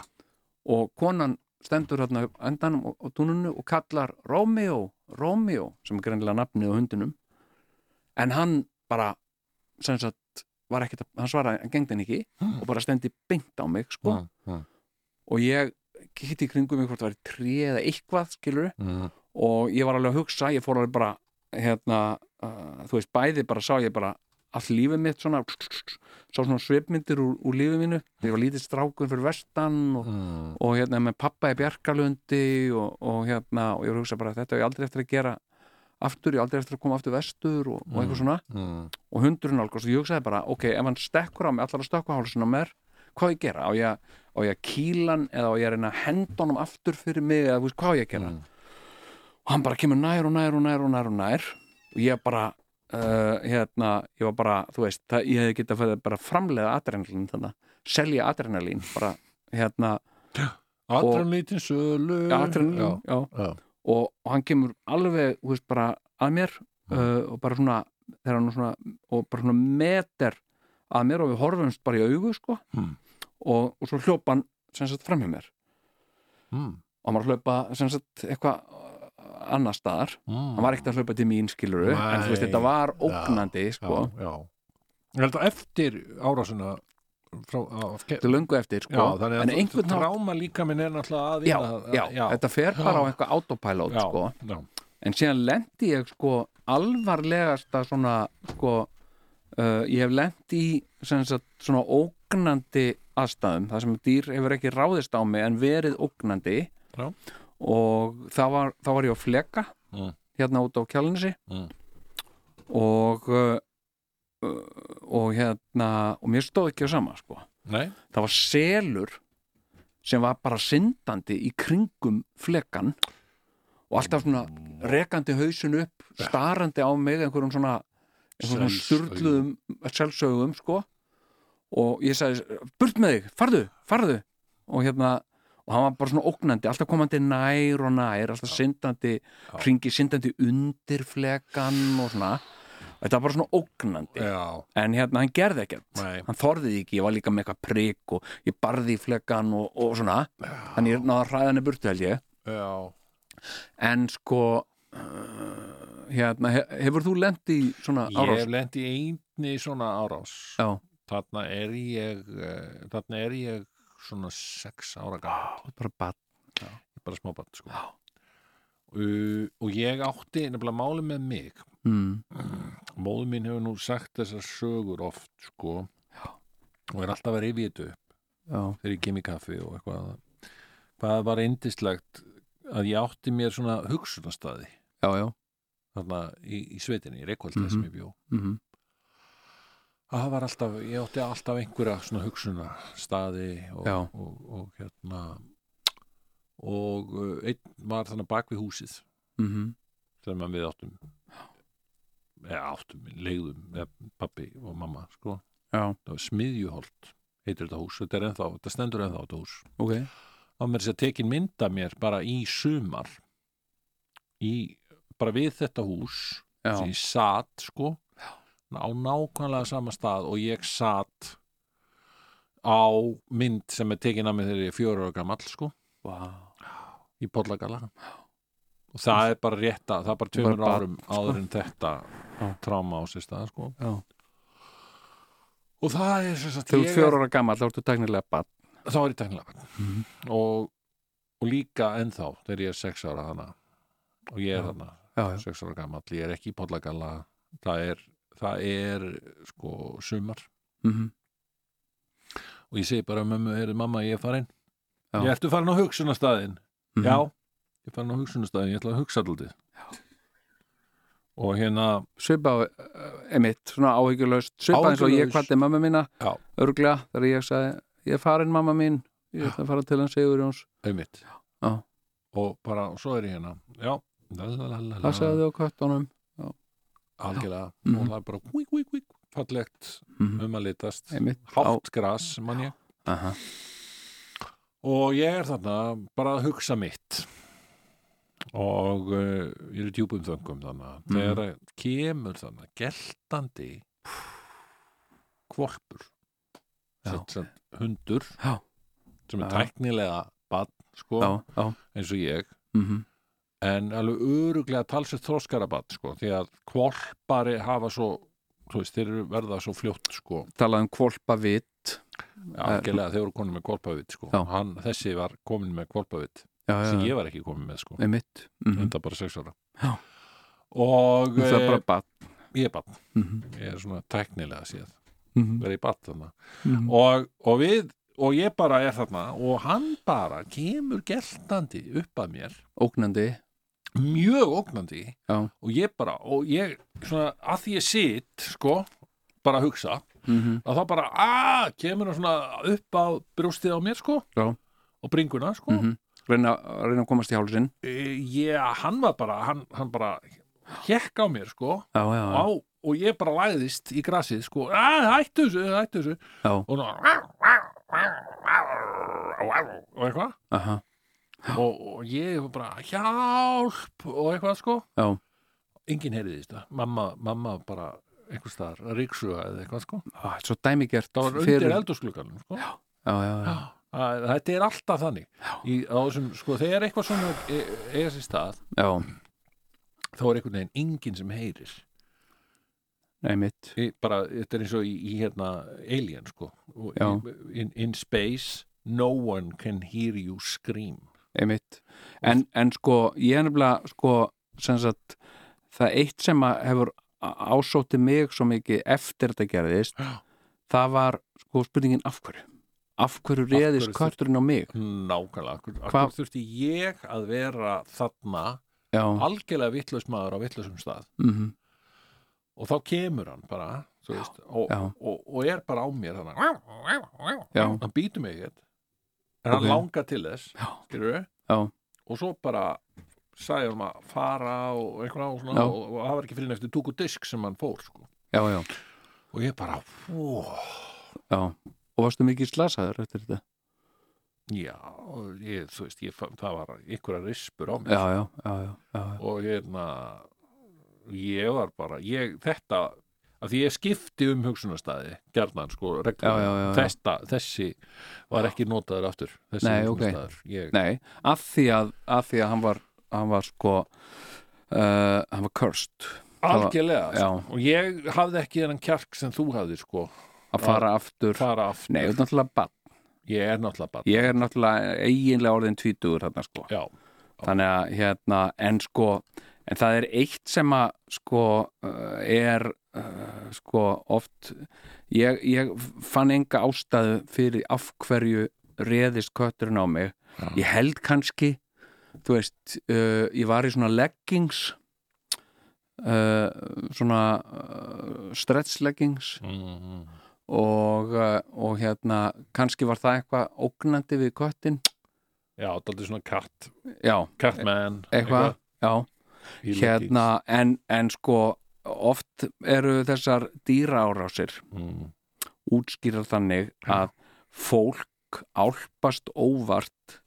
og konan stendur hérna á endanum á á túninu og kallar Romeo, Romeo sem er greinilega nafnið á hundinum en hann bara sem sagt, var ekkert að, hann svaraði hann gengdi hann ekki og bara stendi beint á mig sko, og ég hitti í kringum mig hvort það væri tré eða eitthvað skilur
mm,
og ég var alveg að hugsa, ég fór alveg bara hérna, uh, þú veist, bæði bara sá ég bara allt lífið mitt svona sá svona svipmyndir úr, úr lífið mínu ég var lítið strákun fyrir vestan og
mm,
og hérna með pappa í Bjarkalundi og, og hérna og ég var að hugsa bara þetta er ég aldrei eftir að gera aftur, ég á aldrei eftir að koma aftur vestur og, og eitthvað svona
mm.
og hundurinn álgast og ég hugsaði bara ok, ef hann stekkur á mig, allar að stökkva hálsinn á mér hvað á ég að gera, á ég, að- á ég að kýla hann eða á ég að reyna að henda honum aftur fyrir mig eða þú veist, hvað á ég að gera og hann bara kemur nær og nær og nær og nær og nær og ég bara uh, hérna, ég var bara, þú veist það, ég hefði getað fyrir bara framleiða adrenalín þannig, selja adrenalín bara, hérna,
Adrenalítin sölu
já, adrenalín, já.
já.
Og, og hann kemur alveg þú veist, bara að mér uh, og bara svona, þegar hann er svona og bara svona meter að mér og við horfumst bara í augu sko
Hmm.
og, og svo hljópa hann sem sagt framhjá mér
Mm.
og hann var að hljópa sem sagt eitthvað uh, annar staðar,
mm.
hann var ekkert að hljópa til mín skiluru, en þú veist
Nei.
þetta var ógnandi sko,
já, já. Ég held að eftir árásuna frá, af, já,
þetta er löngu eftir sko,
þannig
en
að þú-
einhvern hátt
tráma líka minn er náttúrulega að
já,
vinna-
já, þetta fer bara á
Já.
eitthvað autopilot
já,
sko
já.
en síðan lendi ég sko alvarlegasta svona sko, uh, ég hef lendi í sem sagt, svona ógnandi aðstæðum, það sem dýr hefur ekki ráðist á mig en verið ógnandi
Já.
og þá var, þá var ég á fleka
Mm.
hérna út á kjálnesi
Mm.
og uh, uh, og hérna og mér stóð ekki á sama sko
Nei,
það var selur sem var bara syndandi í kringum flekan og alltaf svona rekandi hausin upp starandi á mig einhverjum svona, einhverjum svona
Selsaugu.
styrluðum selsögum sko og ég sagði, burt með þig, farðu, farðu og hérna, og hann var bara svona ógnandi, alltaf komandi nær og nær alltaf syndandi, hringi syndandi undir flekan og svona þetta var bara svona ógnandi
já,
en hérna hann gerði ekkert
Nei.
hann þorðið ekki, ég var líka með eitthvað prik og ég barði í flekan og, og svona þannig ég náða að hræða hann í burtu held ég
já
en sko uh, hérna, he, hefur þú lent í svona
Ég hef
árás?
lendi einni svona árás
Já,
Þarna er ég eh, Þarna er ég svona sex ára gamall
þú ert bara bat
Ég er bara smábarn sko Uh, og ég átti nefnilega máli með mig
mm,
móður mín hefur nú sagt þessar sögur oft sko og er alltaf að rifja þetta upp
já,
þegar ég kem í kaffi og eitthvað annað. hvað var indislegt að ég átti mér svona hugsunastæði
já, já
þarna í, í sveitinni, í reikvöldi
Mhm.
sem ég bjó
mm
að það var alltaf, ég átti alltaf einhverja svona hugsunastæði og,
Já.
og, og, hérna og uh, einn var þannig bak við húsið
mhm,
sem að við áttum eða áttum, leiðum eða pappi og mamma sko
Já.
það var smiðjuholt heitir þetta hús, þetta er ennþá, þetta stendur ennþá þetta hús
ok
að mér sé að tekin mynda mér bara í sumar í, bara við þetta hús
já,
sem ég satt sko á nákvæmlega sama stað og ég satt á mynd sem er tekin af mér þegar ég er fjögur ára gamall sko
vá,
í Pollagala og það er bara rétta, það er bara tveimur
Bara barn,
árum áður en þetta
Já.
tráma á sér stað sko
já
og það er sem sagt
þú
ég
ert
er-
fjóra ára gammal, þá ertu tæknilega bat
þá er ég tæknilega barn
Mhm.
og, og líka ennþá þegar ég er sex ára hana og ég er hana
já, já,
sex ára gamall, ég er ekki í pollagalla það er, það er sko sumar
mm
og ég segi bara mömmu, heyrðu mamma, ég er farin
Já.
ég ertu farin á hugsunastæðin
mhm.
já, ég er farin á hugsunastæðin ég ætla að hugsa alltaf og hérna
svipa á, eh, emitt, svona áhyggjulaust svipa eins og ég
Áhyggjulaus.
kvatti mamma mína
Já.
örglega þegar ég sagði ég er farin mamma mín, ég ætla að fara til hann Sigur Jóns
einmitt
Já.
og bara, svo er ég hérna já, la, la, la, la, la.
það sagði þau á köttunum
algjörlega og
Mhm.
það er bara kvík, kvík, kvík, fallegt um að litast,
Einmitt.
hátt gras mann ég
Aha.
og ég er þarna bara að hugsa mitt og uh, ég er í djúpum þöngum þarna
Mhm.
þegar að kemur þarna geltandi kvolpur
Já.
Sett, sett, hundur
Já.
sem er
Já.
tæknilega bann sko,
já, já,
eins og ég
mhm,
en alveg öruglega talsett þróskarabatt sko, því að kvolpari hafa svo, þú veist, þeir eru verða svo fljótt sko,
talað um kvolpa vitt
algjörlega þeir eru komin með kvolpavit sko,
Já.
hann, þessi var komin með kvolpavit,
já,
sem
já,
ég var ekki komin með sko,
er mitt mhm.
enda bara sex ára
Já.
og
það er bara bat
eh, ég er bann,
mhm,
ég er svona tæknilega séð,
mhm,
verið í bann þarna
mhm.
og, og við, og ég bara er þarna og hann bara kemur geltandi upp að mér
ógnandi
mjög ógnandi
Já.
og ég bara, og ég svona, að því ég sit, sko bara að hugsa,
mhm,
að þá bara að, kemur hann svona upp á brjóstið á mér, sko
Já.
og bringuna, sko
mhm. reyna reyna að komast í hálsinn
e, ég, hann var bara, hann, hann bara hekk á mér, sko
já, já,
á,
já,
og ég bara læðist í grasið, sko að, hættu þessu, hættu þessu
já,
og svona og eitthvað
aha,
og, og ég var bara hjálp og eitthvað, sko
já
enginn heyrði þetta mamma, mamma bara einhvers staðar að ríksuga eða eitthvað sko
Á, þetta er svo dæmigert
það var undir
fyrir-
eldurskluganum sko.
já, já, já,
Að þetta er alltaf þannig í, á þessum, sko, þegar eitthvað svona e- eiga sér stað,
já,
þá er einhvern veginn enginn sem heyrir
nei mitt
í, bara, þetta er eins og í, í hérna alien sko Og
Já.
í- in, in space no one can hear you scream
einmitt en, en sko, ég er nefnilega sko, sem sagt, það eitt sem að hefur á- ásótið mig svo mikið eftir þetta gerðist
Já.
það var sko spurningin af hverju af hverju reðist
hverju þurfti-
kötturinn á mig
nákvæmlega, akkur,
Hva-
akkur þurfti ég að vera þarna
já,
algjörlega vittlaus maður á vittlausum stað
mhm,
og þá kemur hann bara þú veist, og,
já.
Og, og er bara á mér þannig,
Já.
hann býtur mig ekkert en hann
Ok.
langar til þess
Já.
skilurðu?
Já.
og svo bara sagði hann að fara og eitthvað og,
Já.
svona, og, og það var ekki fyrir nefnir túku disk sem hann fór sko.
já, já,
og ég bara ó,
já og varstu mikið slasaður eftir þetta
já, og ég, þú veist ég, fann- það var einhverja rispur á mér
já, já, já, já, já, já.
og hérna ég var bara, ég, þetta að því ég skipti um hugsunarstaði gjarnan sko,
Já, já, já, já.
reglulega Þesta, þessi var ekki notaður aftur þessi
Nei, ok.
hugsunarstaður ég,
nei, af því að, af því að hann var hann var sko uh, hann var cursed
algjörlega,
Já.
sko. og ég hafði ekki þennan kjark sem þú hafði sko,
að fara aftur
fara aftur
nei, þú ert náttúrulega bann
ég er náttúrulega bara
ég er náttúrulega eiginlega orðin tvítugur þarna sko
já,
þannig að hérna en sko en það er eitt sem að sko uh, er uh, sko oft ég, ég fann enga ástæðu fyrir af hverju reðist kötturinn á mig
Já.
ég held kannski þú veist, uh, ég var í svona leggings uh, svona uh, stretch leggings
mm,
og, uh, og hérna kannski var það eitthvað ógnandi við köttin
já þetta er svona cat,
já,
catman
eitthvað, já
He looks-
hérna, en, en sko oft eru þessar dýra árásir
mm,
útskýrar þannig að fólk álpast óvart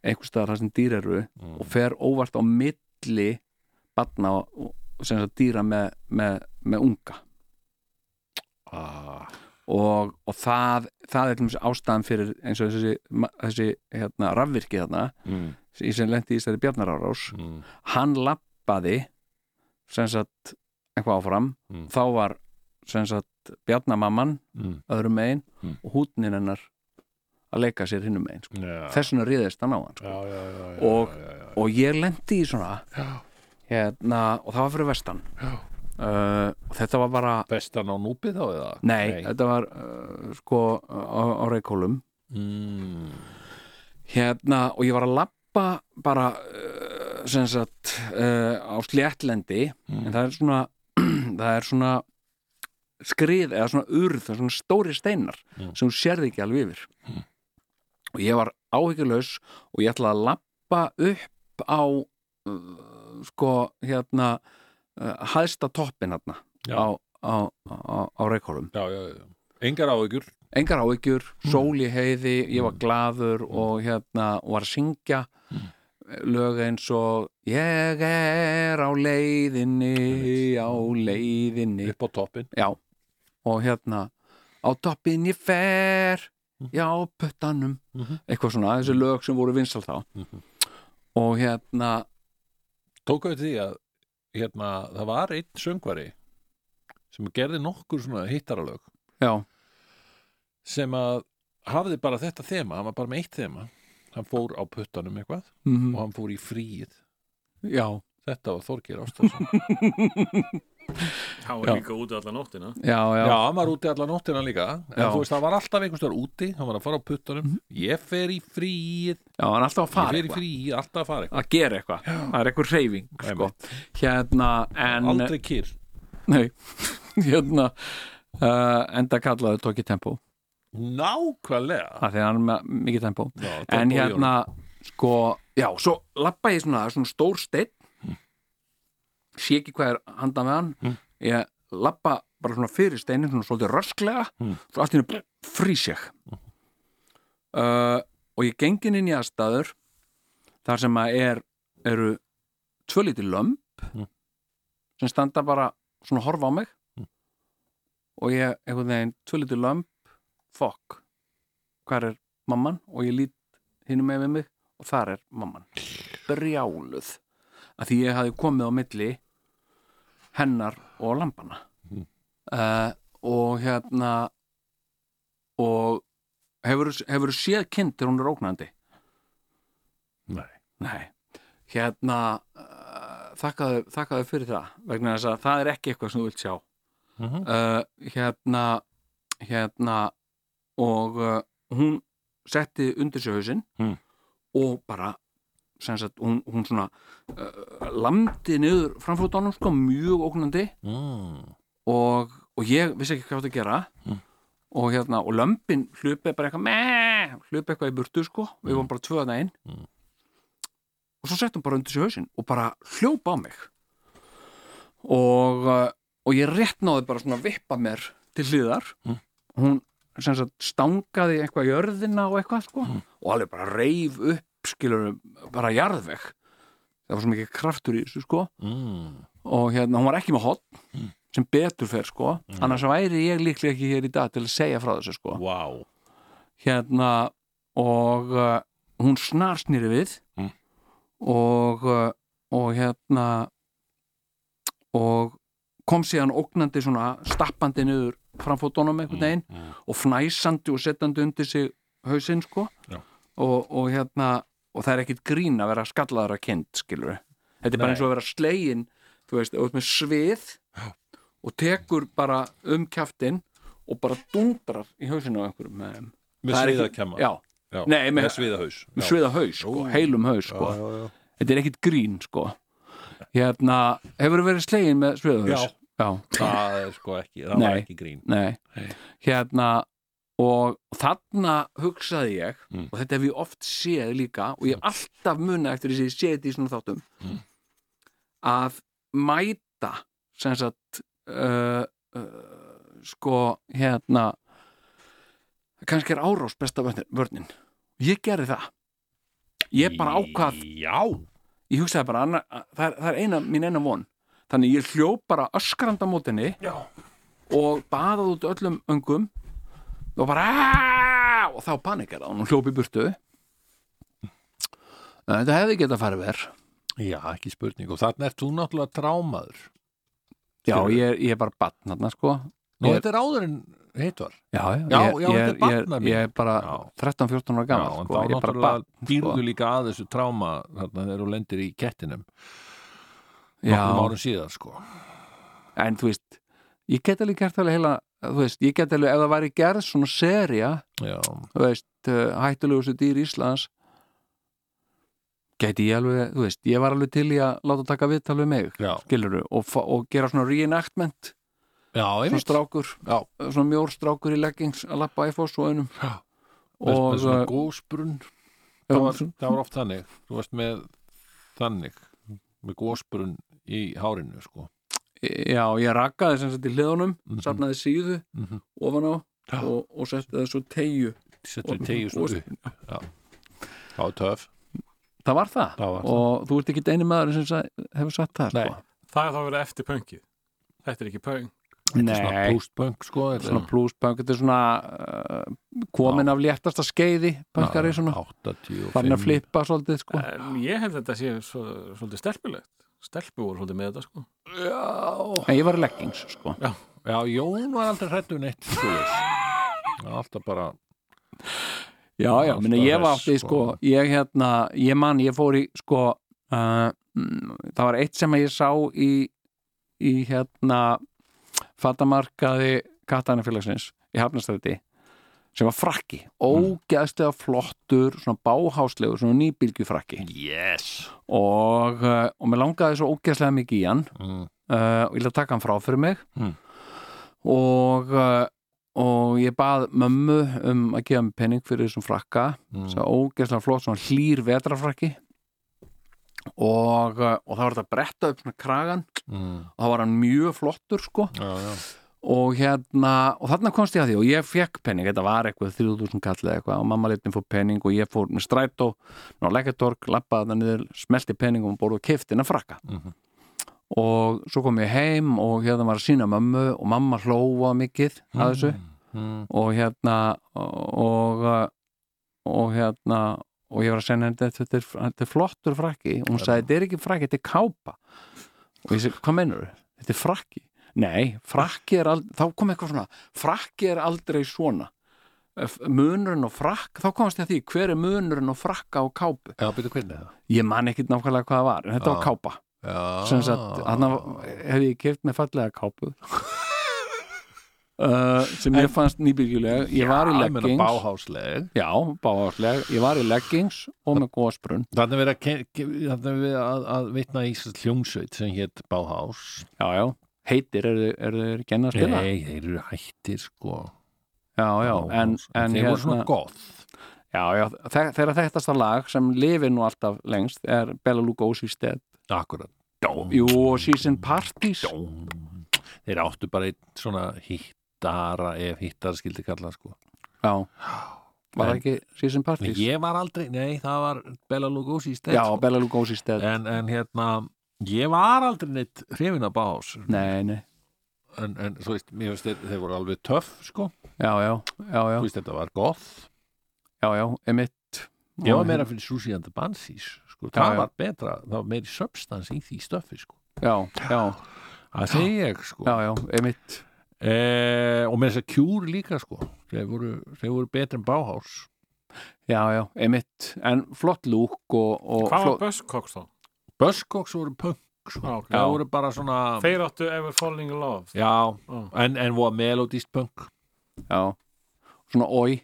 einhvers staðar þar sem dýr eru
mm,
og fer óvart á milli batna og sem sagt dýra með, með, með unga
ah,
og, og það, það er til dæmis ástæðan fyrir eins og þessi, ma- þessi hérna, rafvirki þarna
mm,
í sem lendi í stæði Bjarnarárás
mm,
hann lappaði sem sagt eitthvað áfram
Mm.
þá var sem sagt Bjarnamamman
mm,
öðrum megin
Mm.
og hútnin hennar að leika sér hinnum megin sko.
já,
þess vegna riðist hann á hann sko.
já, já, já, já,
Og-
já, já,
og ég lendi í svona
já.
hérna, og það var fyrir vestan
Já.
uh, og þetta var bara
Vestan á núpið þá eða?
nei, þetta var uh, sko á, á reikólum
Mm.
hérna og ég var að lappa bara uh, sem sagt uh, á sléttlendi en það er svona [CLEARS THROAT] það er svona skrið eða svona urð, það er svona stóri steinar
Mm.
sem þú sérði ekki alveg yfir og ég var áhyggjulaus og ég ætlaði að lappa upp á uh, sko eh, hérna uh, hæðsta toppin hérna
Já.
á, á, á, á reikólum
já, já, já. Engar áhyggjur
engar áhyggjur,
Mm.
sól í heiði ég var glaður og hérna og var að syngja
Mm.
lög eins og ég er á leiðinni á
Mm.
leiðinni
upp á toppin
já, og hérna á toppin ég fer já, puttanum
Mm. Mhm.
eitthvað svona, þessi lög sem voru vinsal þá
Mhm.
og hérna
tók auðvitað því að hérna, það var einn söngvari sem gerði nokkur svona hittaralög
já,
sem að hafði bara þetta þema, hann var bara með eitt þema hann fór á puttanum eitthvað
mhm,
og hann fór í fríið
já,
þetta var Þorgeir Ástafsson
Há er
Já.
líka úti alla nóttina
já,
já,
já,
hann var úti allan nóttina líka en
Já.
þú veist, hann var alltaf einhvers þar úti hann var að fara á puttanum, ég fer í fríið
já, hann er alltaf að
ég
fara
fer í
eitthvað
fríið, alltaf að fara eitthvað
að gera eitthvað, það er eitthvað reyfing sko. hérna, en
aldrei kýr
Nei, [LAUGHS] hérna uh, enda kallaði Tóki Tempo
nákvæmlega
af því að hann er með mikið tempo
Já,
en
Debbo í honum.
hérna, sko já, svo lappa ég svona, það er svona stór steinn sé ekki hvað er handan með hann ég lappa bara svona fyrir steinin svona svolítið rösklega svo allt í henni frýs ég uh, og ég gengin inn í aðstæður þar sem að er eru tvö lítið lömb sem standa bara svona að horfa á mig og ég einhvern veginn tvö lítið lömb fokk, hvar er mamman og ég lít hinum með mig og þar er mamman brjáluð að því ég hafði komið á milli hennar og lampana
Mhm.
uh, og hérna og hefur, hefur séð kind þegar hún er ógnandi
Nei.
Nei. hérna uh, þakkaðu, þakkaðu fyrir það vegna þess að það er ekki eitthvað sem þú vilt sjá
Mhm.
uh, hérna hérna og uh, hún setti undir sig hausinn
Mm.
og bara sem sagt, hún, hún svona uh, lamdi niður framfótunum sko, mjög ógnandi
mm.
og, og ég vissi ekki hvað það að gera
Mm.
og hérna, og lömbin hlupi bara eitthvað, meh, hlupi eitthvað í burtu sko, við vorum bara tvöðna inn
Mm.
og svo sett hún bara undir sér hausinn og bara hljópa á mig og uh, og ég rétt náði bara svona að vippa mér til hliðar
Mm.
hún sem sagt stangaði eitthvað jörðina og eitthvað sko
Mm.
og alveg bara reif upp skilur bara jarðveg það var svo mikið kraftur í þessu sko
Mm.
og hérna, hún var ekki með hot sem betur fer sko annars væri ég líklega ekki hér í dag til að segja frá þessu sko
Wow.
hérna og uh, hún snarsnýri við
Mm.
og uh, og hérna og kom síðan ógnandi svona stappandi niður framfótunum einhvern veginn
Mm.
og fnæsandi og setjandi undir sig hausinn sko
Já.
og, og hérna og það er ekkit grín að vera skallaðara kind skilur þetta er bara
Nei.
eins og að vera slegin þú veist, auðvitað með svið og tekur bara um kjaftin og bara dundrar í hausinu á einhverjum ehm, með þeim.
með
Það er ekki-
sviðakemma
já,
Já.
Nei, með-
með sviðahaus
með sviða haus sko,
Ú.
heilum haus sko.
já, já.
þetta er ekkit grín sko hérna, hefur verið slegin með sviða haus?
Já. [LAUGHS] það er sko ekki, það var
Nei.
ekki grín
Nei.
Nei.
Hérna og þarna hugsaði ég
Mm.
og þetta hef ég oft séð líka og ég hef alltaf munið eftir þess að ég séð þetta í svona þáttum
Mm.
að mæta sem sagt uh, uh, sko hérna kannski er árás besta vörnin- vörnin ég gerði það ég bara ákvað,
já,
ég hugsaði bara anna, það, er, það er eina, mín eina von þannig ég hljóp bara öskranda á mótinni
já.
og baðað út öllum öngum og bara "Aah!" og þá panikar hann og hljóp í burtu En þetta hefði getað farið verð
já, ekki spurning og þarna ert þú náttúrulega trámaður
já,
Skilurðu?
ég, ég er bara batn hérna sko
nú,
Ég-
þetta er áður en hitt var
já, já,
Já,
ég,
já,
ég,
þetta er
er- ég,
barna
er-
mín.
ég er bara
Já.
13-14 ára
já,
gammal
en
sko.
þá
ég er bara
náttúrulega
batn
býrðu
sko.
líka að þessu tráma þarna þegar þú lendir í kettinum nokkrum
já,
árum síðar sko
en þú veist ég get alveg gert alveg heila þú veist, ég get alveg, ef það væri gerð svona seria
já,
þú veist, uh, hættulegustu dýr Íslands gæti ég alveg, þú veist, ég var alveg til í að láta taka viðtal við mig
já,
skilurðu, og, fa- og gera svona reenactment
já,
svona
einmitt
strákur,
já,
svona mjór strákur í leggings að lappa í fósvöðunum
Já. og
og
svona
uh,
gósbrunn
já,
það var,
svona-
það var oft þannig þú varst með þannig með gósbrunn í hárinu sko
já, ég rakaði sem sagt í hliðunum safnaði síðu
Mhm.
ofan á
Já.
og, og setti það svo tegju
Settur tegju
og-
svona upp. Já. Það var töf.
það var það,
Það var það.
og þú ert ekki einu maður sem sa- hefur sagt það
Nei.
sko.
það er þá verið eftir pöngið þetta er ekki pöng
Svona
Nei,
postpunk sko. þetta er
svona plúspunk þetta er svona uh, komin af léttasta skeiði punkari svona,
85.
farin að flippa svolítið sko.
en ég held að þetta sé svo, svolítið stelpilegt stelpu voru svolítið með þetta sko
Já.
en ég var í leggings sko.
Já, Jón var aldrei hrættu neitt skoðis. Alltaf bara,
já, já,
Alltaf
minna ég var
hress,
átti sko,
sko.
ég hérna, ég man, ég fór í sko, uh, mm, það var eitt sem ég sá í í hérna fatamarkaði kattanafélagsins í Hafnastræti sem var frakki, ógeðslega flottur svona báháslegur, svona nýbylgjufrakki
yes.
og, uh, og mér langaði svo ógeðslega mikið í hann
Mm.
uh, og ég ætla að taka hann frá fyrir mig
Mm.
og uh, og ég bað mömmu um að gefa mig penning fyrir þessum frakka
Mm.
svo ógeðslega flott, svona hlýr vetrafrakki og, uh, og það var þetta að bretta upp svona kragan
Mm.
og það var hann mjög flottur sko
Já, já.
og hérna, og þarna komst ég að því og ég fekk penning, þetta var eitthvað 3000 kall eða eitthvað og mamma leitin fór penning og ég fór með strætó, ná leikatork lappaði það niður, smelti penning og borðu keftina frakka
Mhm.
og svo kom ég heim og hérna var að sína mömmu og mamma hlóa mikið að þessu
Mm.
og hérna og, og hérna og ég var að segja henni þetta, þetta, er- þetta er flottur frakki og hún sagði, þetta er ekki frakki, þetta er kápa og ég segi, hvað meinur þau? Þetta er frakki? Nei, frakki er aldrei þá kom eitthvað svona, frakki er aldrei svona F- munurinn og frakk, þá komast ég að því hver er munurinn og frakka og kápu
Já, byrju hvernig er það?
ég man ekkit nákvæmlega hvað það var, en þetta var
Já.
kápa
Já.
sem sagt,
Ah.
hann hef ég keft með fallega kápu uh, sem ég fannst nýbyrgjulega ég var í
Já, ég meina
leggings
báhásleg.
já, báhásleg, ég var í leggings og með góðsbrunn
Þannig er verið að, ken- ge- þarna er verið að, að vitna í þessar hljómsveit sem hétt Bauhaus.
já, já, heitir eru er þeir genn að spila
Nei, þeir eru hættir sko.
já, já, en,
Bauhaus.
en hérna-
þeir voru svona goth.
já, já, þe- þegar þetta lag sem lifir nú alltaf lengst er Bela Lugosi's Dead
Akkurat.
jú, og Season Parties
Þeir áttu bara einn svona hittara ef hittara skildi kalla sko.
já, var það
En-
ekki Season
En
Parties
ég var aldrei, nei, það var Bela Lugosi í stedd.
já, Bela Lugosi's Dead
En, en hérna, ég var aldrei neitt hrifin af Bauhaus.
nei, nei,
En, en þú veist, mér veist, þeir, þeir voru alveg töff sko.
já, já, já, já
Þú veist, þetta var goth.
já, já, emitt
Ég var meira fyrir Susie and the Banshees sko.
Já,
það
já.
var betra, það var meiri substans í því stöffi sko.
já, já,
það segi ég sko.
já, já, emitt
eh, og með þess að Cure líka sko. þeir, voru, þeir voru betri en Bauhaus
já, já, emitt, en flott lúk og, og
hvað var
flott,
Buzzcocks þá?
Buzzcocks voru punk sko.
Ah, ok.
það voru bara svona
þeir áttu Ever Falling in Love
já, en, en voru melodist punk
já svona oi,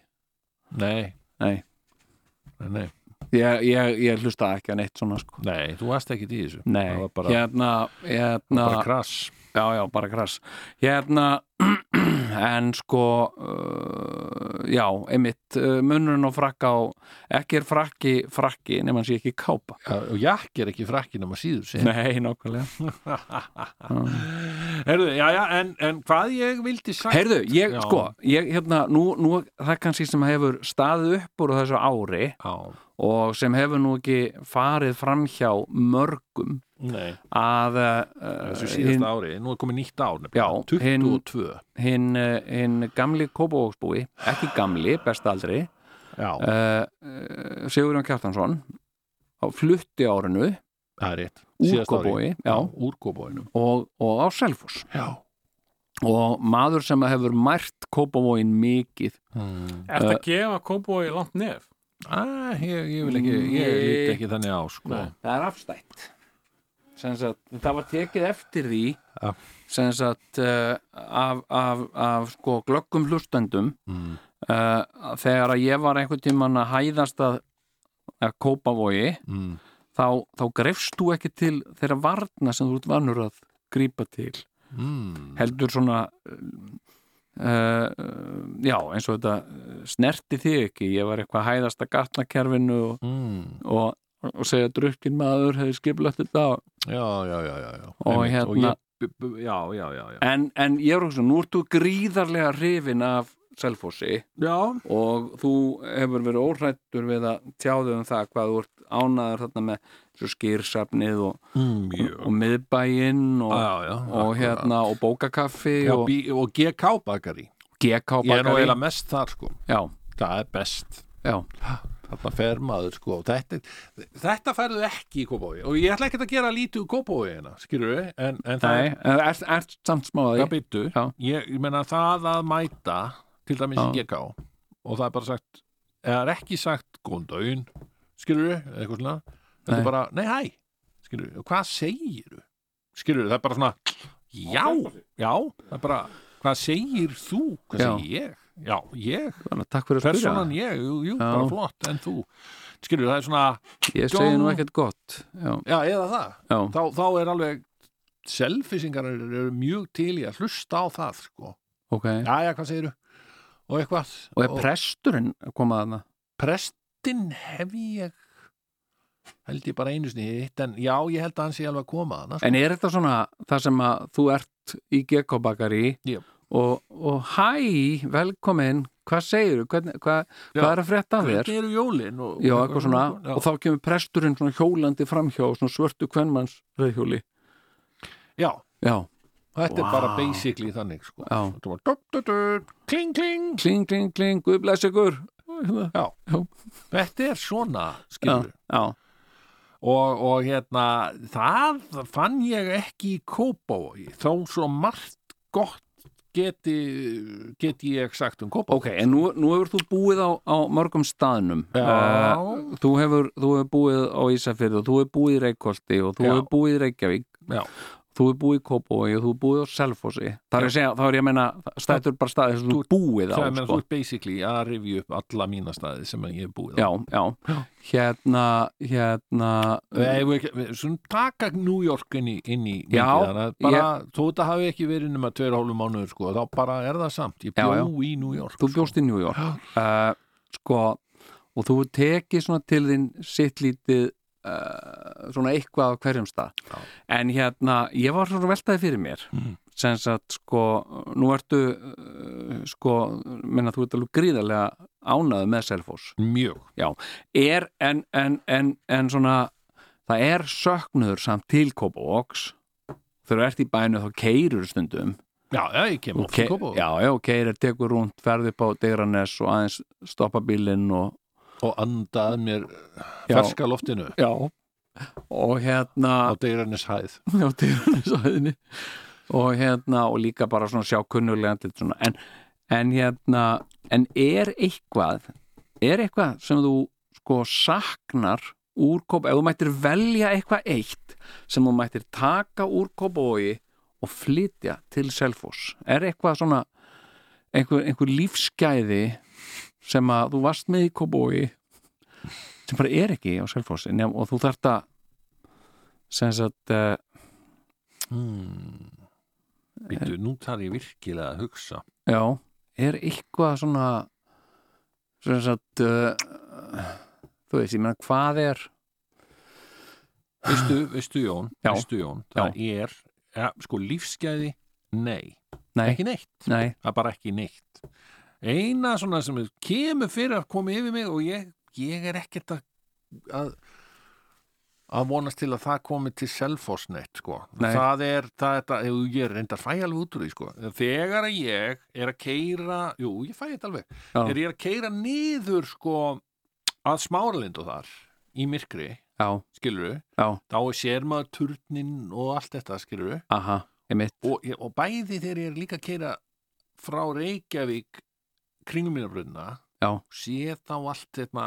nei
Nei.
Nei, nei,
ég, ég, ég hlusta ekki að neitt svona sko
nei, þú varst ekki í þessu
Nei,
það var bara,
hérna, hérna
bara krass
já, já, bara krass hérna, [CLEARS THROAT] en sko uh, já, emitt uh, munurinn og frakka og ekki er frakki, frakki, nema hann sé ekki kápa
Já, og jakk er ekki frakkin um að síður sig
[LAUGHS] nei, nákvæmlega
Herðu, já, já, en, en hvað ég vildi sagt
heyrðu, ég,
Já.
sko, ég, hérna, nú, nú það er kannski sem hefur staðið upp úr þessu ári
Já,
og sem hefur nú ekki farið framhjá mörgum
nei
að eh,
þessu
hinn
síðasta ári, nú er komið nýtt ár
Já,
nefnilega,
hinn-
22
hin, eh, hin gamli Kópavóksbúi, ekki gamli, besta aldri,
já,
uh, Sigurjón Kjartansson, á flutti árinu,
það er rétt Síðasta ári.
úrkóbói, já,
úrkóbóinum
og, og á Selfoss.
já,
Og maður sem hefur mært Kópavóin mikið,
hmm.
er þetta að gefa kópói langt nef?
ah, ég, ég vil
Hmm,
ekki ég
Nei.
lít ekki þannig á sko.
Nei.
það er afstætt. Sem Sagt, það var tekið eftir því
Já.
sem sagt, uh, af, af, af sko, glöggum hlustendum
mm.
uh, þegar að ég var einhvern tímann að hæðast að, að kópavogi
Mm.
þá, þá greifst þú ekki til þeirra varna sem þú ert vanur að grípa til
Mm.
heldur svona uh, uh, já eins og þetta uh, snerti þig ekki, ég var eitthvað að hæðast að gatnakerfinu og,
Mm.
og, og segja drukkin maður hefði skipulagt þetta og-
já, já, já, já, já.
Og
Einmitt.
hérna-
og ég b- b- já, já, já, já.
en, en ég er okkur nú ertu gríðarlega hrifin af Selfossi
Já,
og þú hefur verið óhrættur við að tjáðu um það hvað þú ert ánaður þarna með svo skýrsafnið og,
mjög.
og miðbæinn og,
Já, já,
Hmm,
Ah,
og,
akkurat.
hérna, og bókakaffi
Og,
og,
bí- og GK bakari.
GK
Ég er nú
bakari
eiginlega mest þar, sko.
já,
Það er best.
já,
Þarna fer maður, sko. Þetta, þetta færðu ekki í Kópói. Og ég ætla ekki að gera lítið úr Kópói hérna, skilur við? En, en það
nei, en ert, ert samt smáði
Já, byttu.
Já.
Ég, ég meina það að mæta til dæmis í
Já.
GK og það er bara sagt, eða er ekki sagt góðan daginn, skilur við, eitthvað svona þetta
Nei.
er bara, nei hæ skilur við, hvað segir þú skilur við, það er bara svona, já já, það er bara, hvað segir þú hvað
Já.
segir ég, já, ég
takk fyrir að spyrja,
personan ég, jú, jú,
Já.
bara flott en þú, skilur við, það er svona
ég segi nú
Dong.
ekkert gott já,
já, eða það,
já,
þá, þá er alveg selfisingar eru eru mjög til í að hlusta á það, sko
ok
Jæja, hvað segirðu? Og eitthvað.
og er presturinn að koma þarna
prestin hef ég held ég bara einu sinni hitt en já, ég held að hann sé alveg að koma sko. hana.
en er þetta svona það sem að þú ert í GK bakari
Jú.
og, og hæ, velkomin hvað segirðu, Hvern- hvað, hvað
Já.
er að frétta af þér
Hvernig eru jólin? Og,
Já, eitthvað svona,
Já,
og þá kemur presturinn svona hjólandi framhjá, svona svörtu kvenmanns reyðhjóli.
já
Já,
þetta
Vá.
er bara basically þannig sko.
já.
Þetta var dup, dup, dup, kling, kling
Kling, kling, kling, guð bless ykkur.
hérna, Þetta er svona,
Já,
skilur
já,
og, og hérna, það fann ég ekki í Kópavogi þó svo margt gott geti, geti ég sagt um Kópavogi
ok, en nú, nú hefur þú búið á, á mörgum staðnum.
Já.
Eh, þú, hefur, þú hefur búið á Ísafirði og þú hefur búið í Reykholti og þú
Já.
hefur búið í Reykjavík.
Já.
Þú hefur búið í Kópói og þú hefur búið á Selfossi. Það er að segja, þá er ég að meina, stættur bara staðið sem þú hefur búið á,
Það er með þú
sko.
ert basically að rifja upp alla mína staði sem ég hef búið
Já, já. Hérna, hérna,
Við, við, við, svona taka New York inn í, inn í
Já,
mikið, þannig að bara, þó þetta hafi ekki verið nema tveir og hálfum mánuður sko, þá bara er það samt ég
Já,
bjó
já.
í New York sko.
þú bjóst í New York uh, sko og þú tekið svona til þín sitt lítið uh, svona eitthvað á hverjum stað
Já.
en hérna, ég var svona veltaði fyrir mér
Mhm.
sem sagt sko nú ertu uh, sko, minna þú ert alveg gríðarlega ánaðu með Selfoss
mjög
er en, en, en, en svona það er söknuður samt til Kópavogs þegar þú ert í bænu þá keirur stundum
Já, já, ég kem
og
oft í
ke-
Kópavog
já, já, og keirir tekur rúnt, ferði upp á Degranes og aðeins stoppa bílinn og,
og andað mér
Já.
ferska loftinu
já. og
á
hérna
deyrarnis hæð
á Degranesæðinni og hérna, og líka bara svona sjá kunnulega andlit svona, en, en hérna en er eitthvað er eitthvað sem þú sko saknar úr Kóp ef þú mættir velja eitthvað eitt sem þú mættir taka úr Kópavogi og flytja til Selfoss er eitthvað svona einhver, einhver lífsgæði sem að þú varst með í Kópavogi sem bara er ekki á Selfossi nefn, og þú þarft að sem sagt uh,
hmm. Býtu, nú þarf ég virkilega að hugsa
já, er eitthvað svona sem sagt uh, þú veist, ég meina hvað er
Veistu, veistu Jón,
Já.
veistu Jón það er, ja, sko lífsgæði nei,
nei,
ekki neitt sko.
nei,
það er bara ekki neitt eina svona sem er- kemur fyrir að koma yfir mig og ég, ég er ekkert að, að að vonast til að það komi til Selfoss neitt sko.
Nei.
það er, það er það, jú, ég er reyndar fæ alveg út úr því sko. þegar að ég er að keira jú, ég fæ þetta alveg
Já.
þegar ég er að keira niður sko, að smáralind og þar í myrkri,
já,
skilur
Já.
þá sér maður turnin og allt þetta, skilur
aha, ég mitt
og, ég- og bæði þegar ég er líka að keira frá Reykjavík kringum minna brunna
Já.
sé þá allt hérna,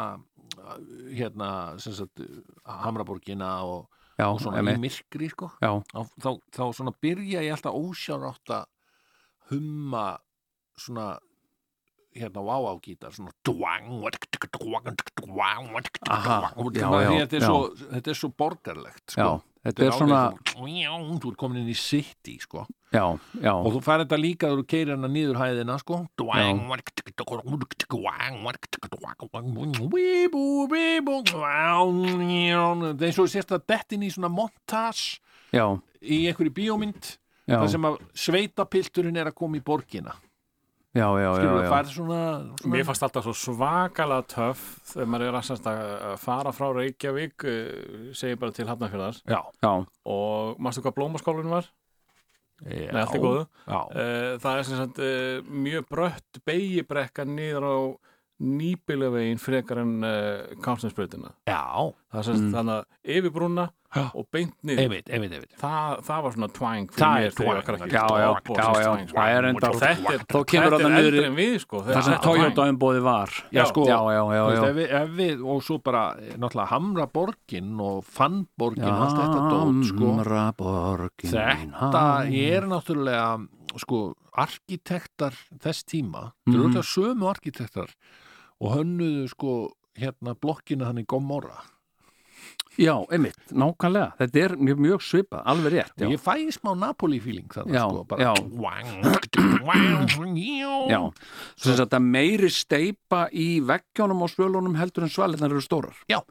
hérna sem sagt, Hamraborgina og,
já,
og svona í
ég mitt,
myrkri sko.
já,
þá, þá, þá svona byrja ég alltaf ósjárátt að humma svona hérna wow á gítar svona dvang dvang, dvang
Aha,
dvang
já,
Því
já,
þetta er
já.
svo- þetta er svo borgarlegt
já
sko.
þetta er svona,
svona þú er komin inn í city sko
já, já
og þú fær þetta líka þegar þú keirir hana nýður hæðina sko
Já.
Víbú, víbú Það er eins og sérst að dettin í svona montage
já,
í einhverju bíómynd
já,
það sem að sveitapilturinn er að koma í borgina
já, já, já,
skilur það
já.
færð svona,
Mér
svona
fannst alltaf svo svakalega töff þegar maður er að, semst að að fara frá Reykjavík, eh, segi bara til Hafnafjörðar
já,
já,
og manstu hvað blómaskólinn var?
já,
Nei, allt er góðu.
já,
Eh, Það er sem sagt eh, mjög brött beigibrekka niður á nýbílavegin frekar en kámsinsbreytina.
já,
Það er sem sagt þannig að yfir brúna
Já.
og beint niður.
einmitt, einmitt, einmitt
Það, það var svona twang fyrir
Það er
mér þegar ég var
twang,
krakki.
já, já,
Dropbox
já, já,
twang,
það er enda-
Og þetta er,
Þá kemur
þetta
þarna
er
niður í-
eldri en við, sko.
það sem Toyota umbóði var
Já,
sko, já, já, já,
Þú veist,
já.
ef, við, ef við, og svo bara eh, náttúrulega hamra borgin og fann borgin og allt þetta dót, sko
Hamraborgin mín,
þetta er náttúrulega sko, arkitektar þess tíma, mm.
Mhm.
þetta eru örugglega sömu arkitektar og hönnuðu sko hérna blokkina hann í Gomorra
Já, einmitt, nákvæmlega Þetta er mjög, mjög svipað, alveg rétt
og
já.
ég fæði smá Napoli-fíling þannig
Já,
sko,
já.
bara wang, wang,
Já, sem sagt að meiri steipa í veggjónum og svölunum heldur en svalinnar eru stórar
Já.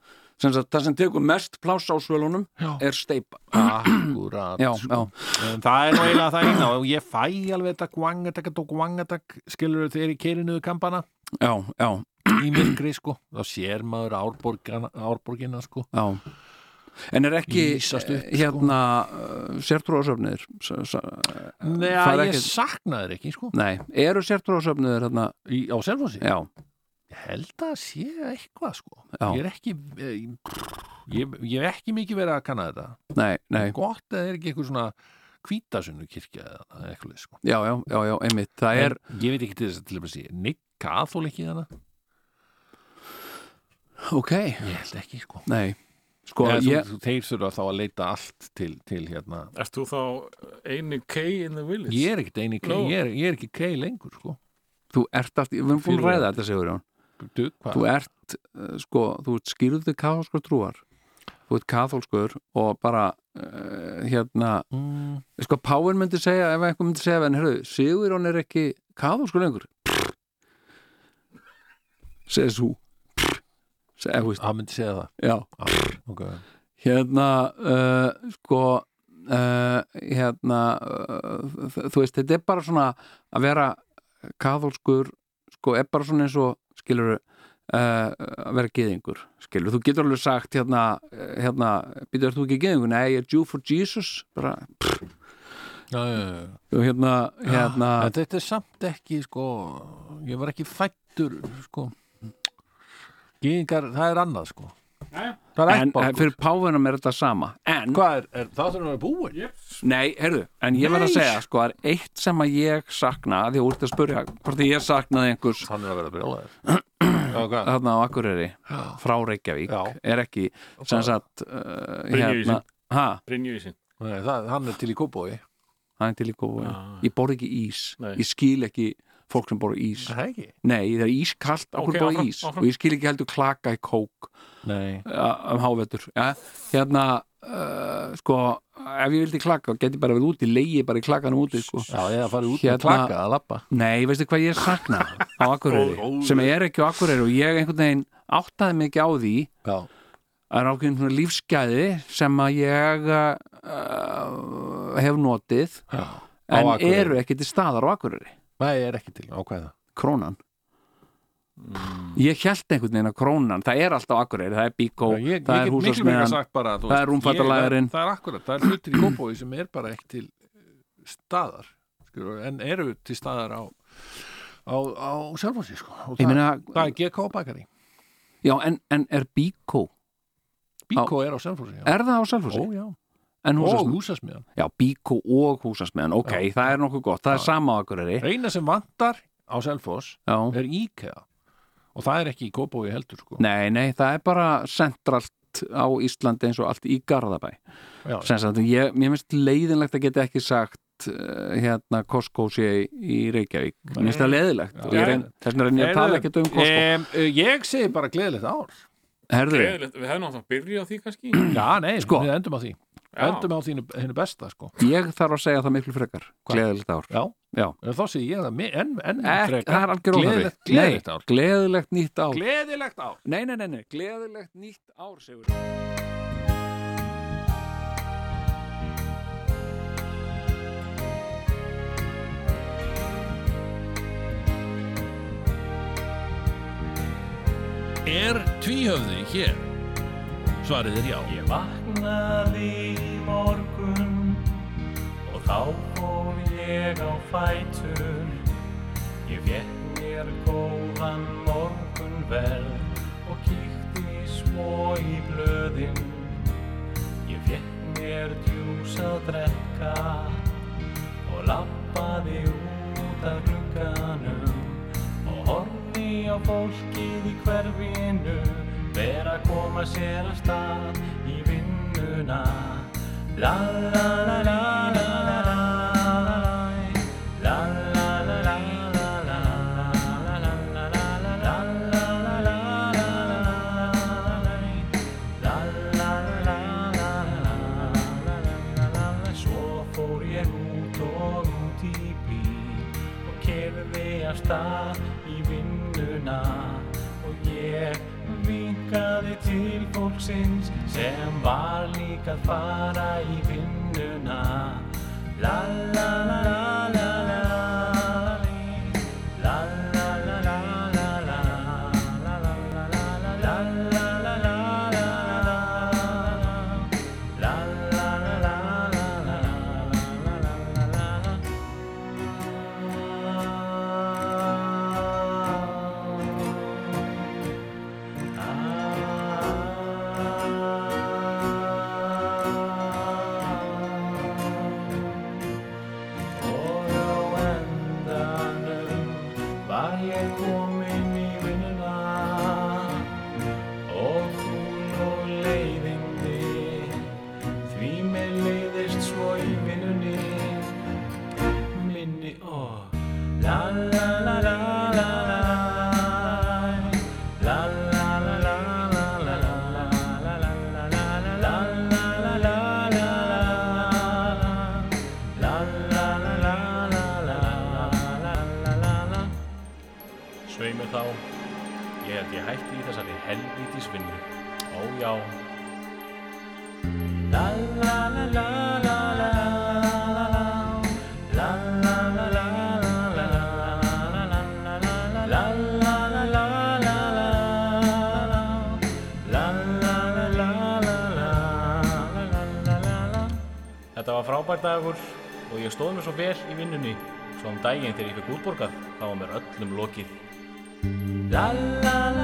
sem sagt það sem tekur mest pláss á svölunum
Já.
er steipa
Akkurat
Já,
sko.
já,
En það er nú eiginlega það eina og ég fæ alveg þetta guangatak og guangatak skilur þeir í keirinuðu kampana
já, já,
í myrkri sko þá sér maður árborgina, árborgina sko
já. En er ekki
Lýsast upp,
eh, hérna uh, sértrúasöfniðir
Nei,
Það
ég
er ekkert-
sakna þeir ekki sko
Nei, eru sértrúasöfniðir hérna,
í, á selfósi
já,
ég held að sé eitthvað sko
Já.
ég er ekki ég, ég, ég er ekki mikið verið að kanna þetta
nei, nei
gott að það er ekki eitthvað svona hvítasunnu kirkja eða eitthvað leið, sko.
Já, já, já, já, einmitt, það er
en, ég veit ekki til þess að til að sé neitt kathól ekki þarna
Ok,
ég held ekki sko
nei Sko,
Eða,
ég,
þú, þeir þurfa þá að leita allt til, til hérna
Erst þú þá einu K in the village?
ég er ekkit eini kei,
Nú.
ég, er, ég er ekki kei lengur sko
þú ert allt, við erum búin að
Fyrir-
ræða þetta, Sigurjón
du, hvað?
Þú ert, uh, sko, þú ert skýrðu kathólskur trúar Þú ert kathólskur og bara, uh, hérna
mm,
Sko, Páin myndi segja, ef eitthvað myndi segja En, heyrðu, Sigurjón er ekki kathólskur lengur Segir þú Segir þú, veist,
hann myndi segja það
já
okay.
hérna uh, sko uh, hérna uh, þ- þú veist, þetta er bara svona að vera kathólskur sko, er bara svona eins og skilur uh, að vera geðingur skilur, þú getur alveg sagt hérna, eh, hérna, býtur þú ekki geðingur nei, ég er Jew for Jesus bara,
já, já, já, já.
og hérna, hérna
En Ah, þetta er samt ekki sko, ég var ekki fættur sko Gýðingar, það er annað sko Það er
en eh,
ættbálkur
fyrir páfunum er þetta sama en,
Hvað er, er það þurfum að vera búin? Yep.
nei, heyrðu, en ég verð að segja sko, það er eitt sem að ég sakna af því að úr þetta spurja, hvort ég saknaði einhvers
Hann er að vera [CLEARS THROAT] brjólaður Já, hvað?
þarna á Akureyri frá Reykjavík
Já.
er ekki sem sagt uh,
Brynju í
hérna, ha,
Brynju í sín.
Nei, það, hann er til í kópói
hann er til í góðu ég borð ekki ís,
Ah. Nei.
ég skil ekki fólk sem borð ís,
Það er ekki
nei það er ískalt okkur
Ok,
okay, borð
áfram,
ís
áfram.
og ég skil ekki heldur klaka í kók
Nei
uh, um hávetur ja, hérna uh, sko, ef ég vildi klaka geti bara verið úti, leiði bara í klakanum úti sko.
Já, ég er að fara út
Hérna-
með klaka að lappa
Nei, veistu hvað ég sakna á Akureyri sem er ekki á Akureyri og ég einhvern veginn áttaði mig ekki á því
Já,
það er ákveðin svona lífsgæði sem að ég uh, hef notið
Já. Á
en
Akureyri.
eru ekki til staðar á Akureyri
Nei, ég er ekki til, á hvað er það?
krónan
Mm.
ég held einhvern veginn að krónan það er alltaf á Akureyri, það er bíkó
Já, ég,
það
ég
er
get miklu meira
húsasmiðan
sagt bara, þú
það
veist,
er rúmfattalæðurinn.
ég- Það það er akkurat, það er hlutir í kópói sem er bara ekki til eh, staðar skur, en eru til staðar á á, á sjálfansi sko. og
ég
það,
meina,
það er GK bakari
já en, en er bíkó
Bíkó er á sjálfansi
er það á Selfossi?
Ó, já.
en
og
húsasmiðan?
húsasmiðan
já, bíkó og húsasmiðan, ok,
Já.
það er nokkuð gott það er sama á Akureyri
eina sem vantar á Selfoss
já.
er IKEA og það er ekki í kópói heldur sko.
nei, nei, það er bara sentralt á Íslandi eins og allt í Garðabæ
já,
sem sagt, ég, mér finnst leiðinlegt að geta ekki sagt uh, hérna Costco sé í Reykjavík mér finnst það leiðinlegt og ég reyn, þess vegna reyn ég að tala ekkert um Costco
Em, eh, ég segi bara gleðilegt ár
herðu,
Gleðilegt, Við hefum náttúrulega byrjað á því kannski.
[CLEARS THROAT] já, nei,
Sko.
við endum á því endum á því hennu besta sko.
ég þarf að segja það miklu frekar gleðilegt ár
já,
Já.
þá segi ég það mi- enn en,
Ek, það er algjör óþarfi.
Gleðilegt- gleðilegt
Nei,
ár.
gleðilegt nýtt ár
gleðilegt ár
nei, nei, nei, nei, gleðilegt nýtt ár segur
Er tvíhöfði hér? Svarið er já.
Ég vaknaði í morgun og þá fór ég á fætur. Ég fekk mér góðan morgunverð og kíkti svo í blöðin. Ég fekk mér djús að drekka og lappaði út af glugganum og horfi á fólkið í hverfinu vera að koma sér af stað í vinnuna. La la la la la la la La la la la la la la la la la la la la la la la la La la la la la la la la la la Svo fór ég út og út í bíl og kerði af stað í vinnuna og ég vinkaði til fólksins sem var líka að fara í vinnuna La la la la la la La la la la la la la la la la la la la la la La la la la la la la la la la la Og á endanum var ég kominn í vinnuna og hún og leiðindi því mér leiðist svo í vinnunni minni og oh. la la la la la la la la la la la la la la la la la la la la la la la la Svei mér þá Ég held ég hætti í þessari helvítis vinnu. Ó já. La la la la la la La la la la la la la la la la la La la la la la La la la la la la la la la Þetta var frábær dagur og ég stóð mér svo vel í vinnunni svo um daginn þegar ég fekk útborgað þá var mér öllum lokið La la la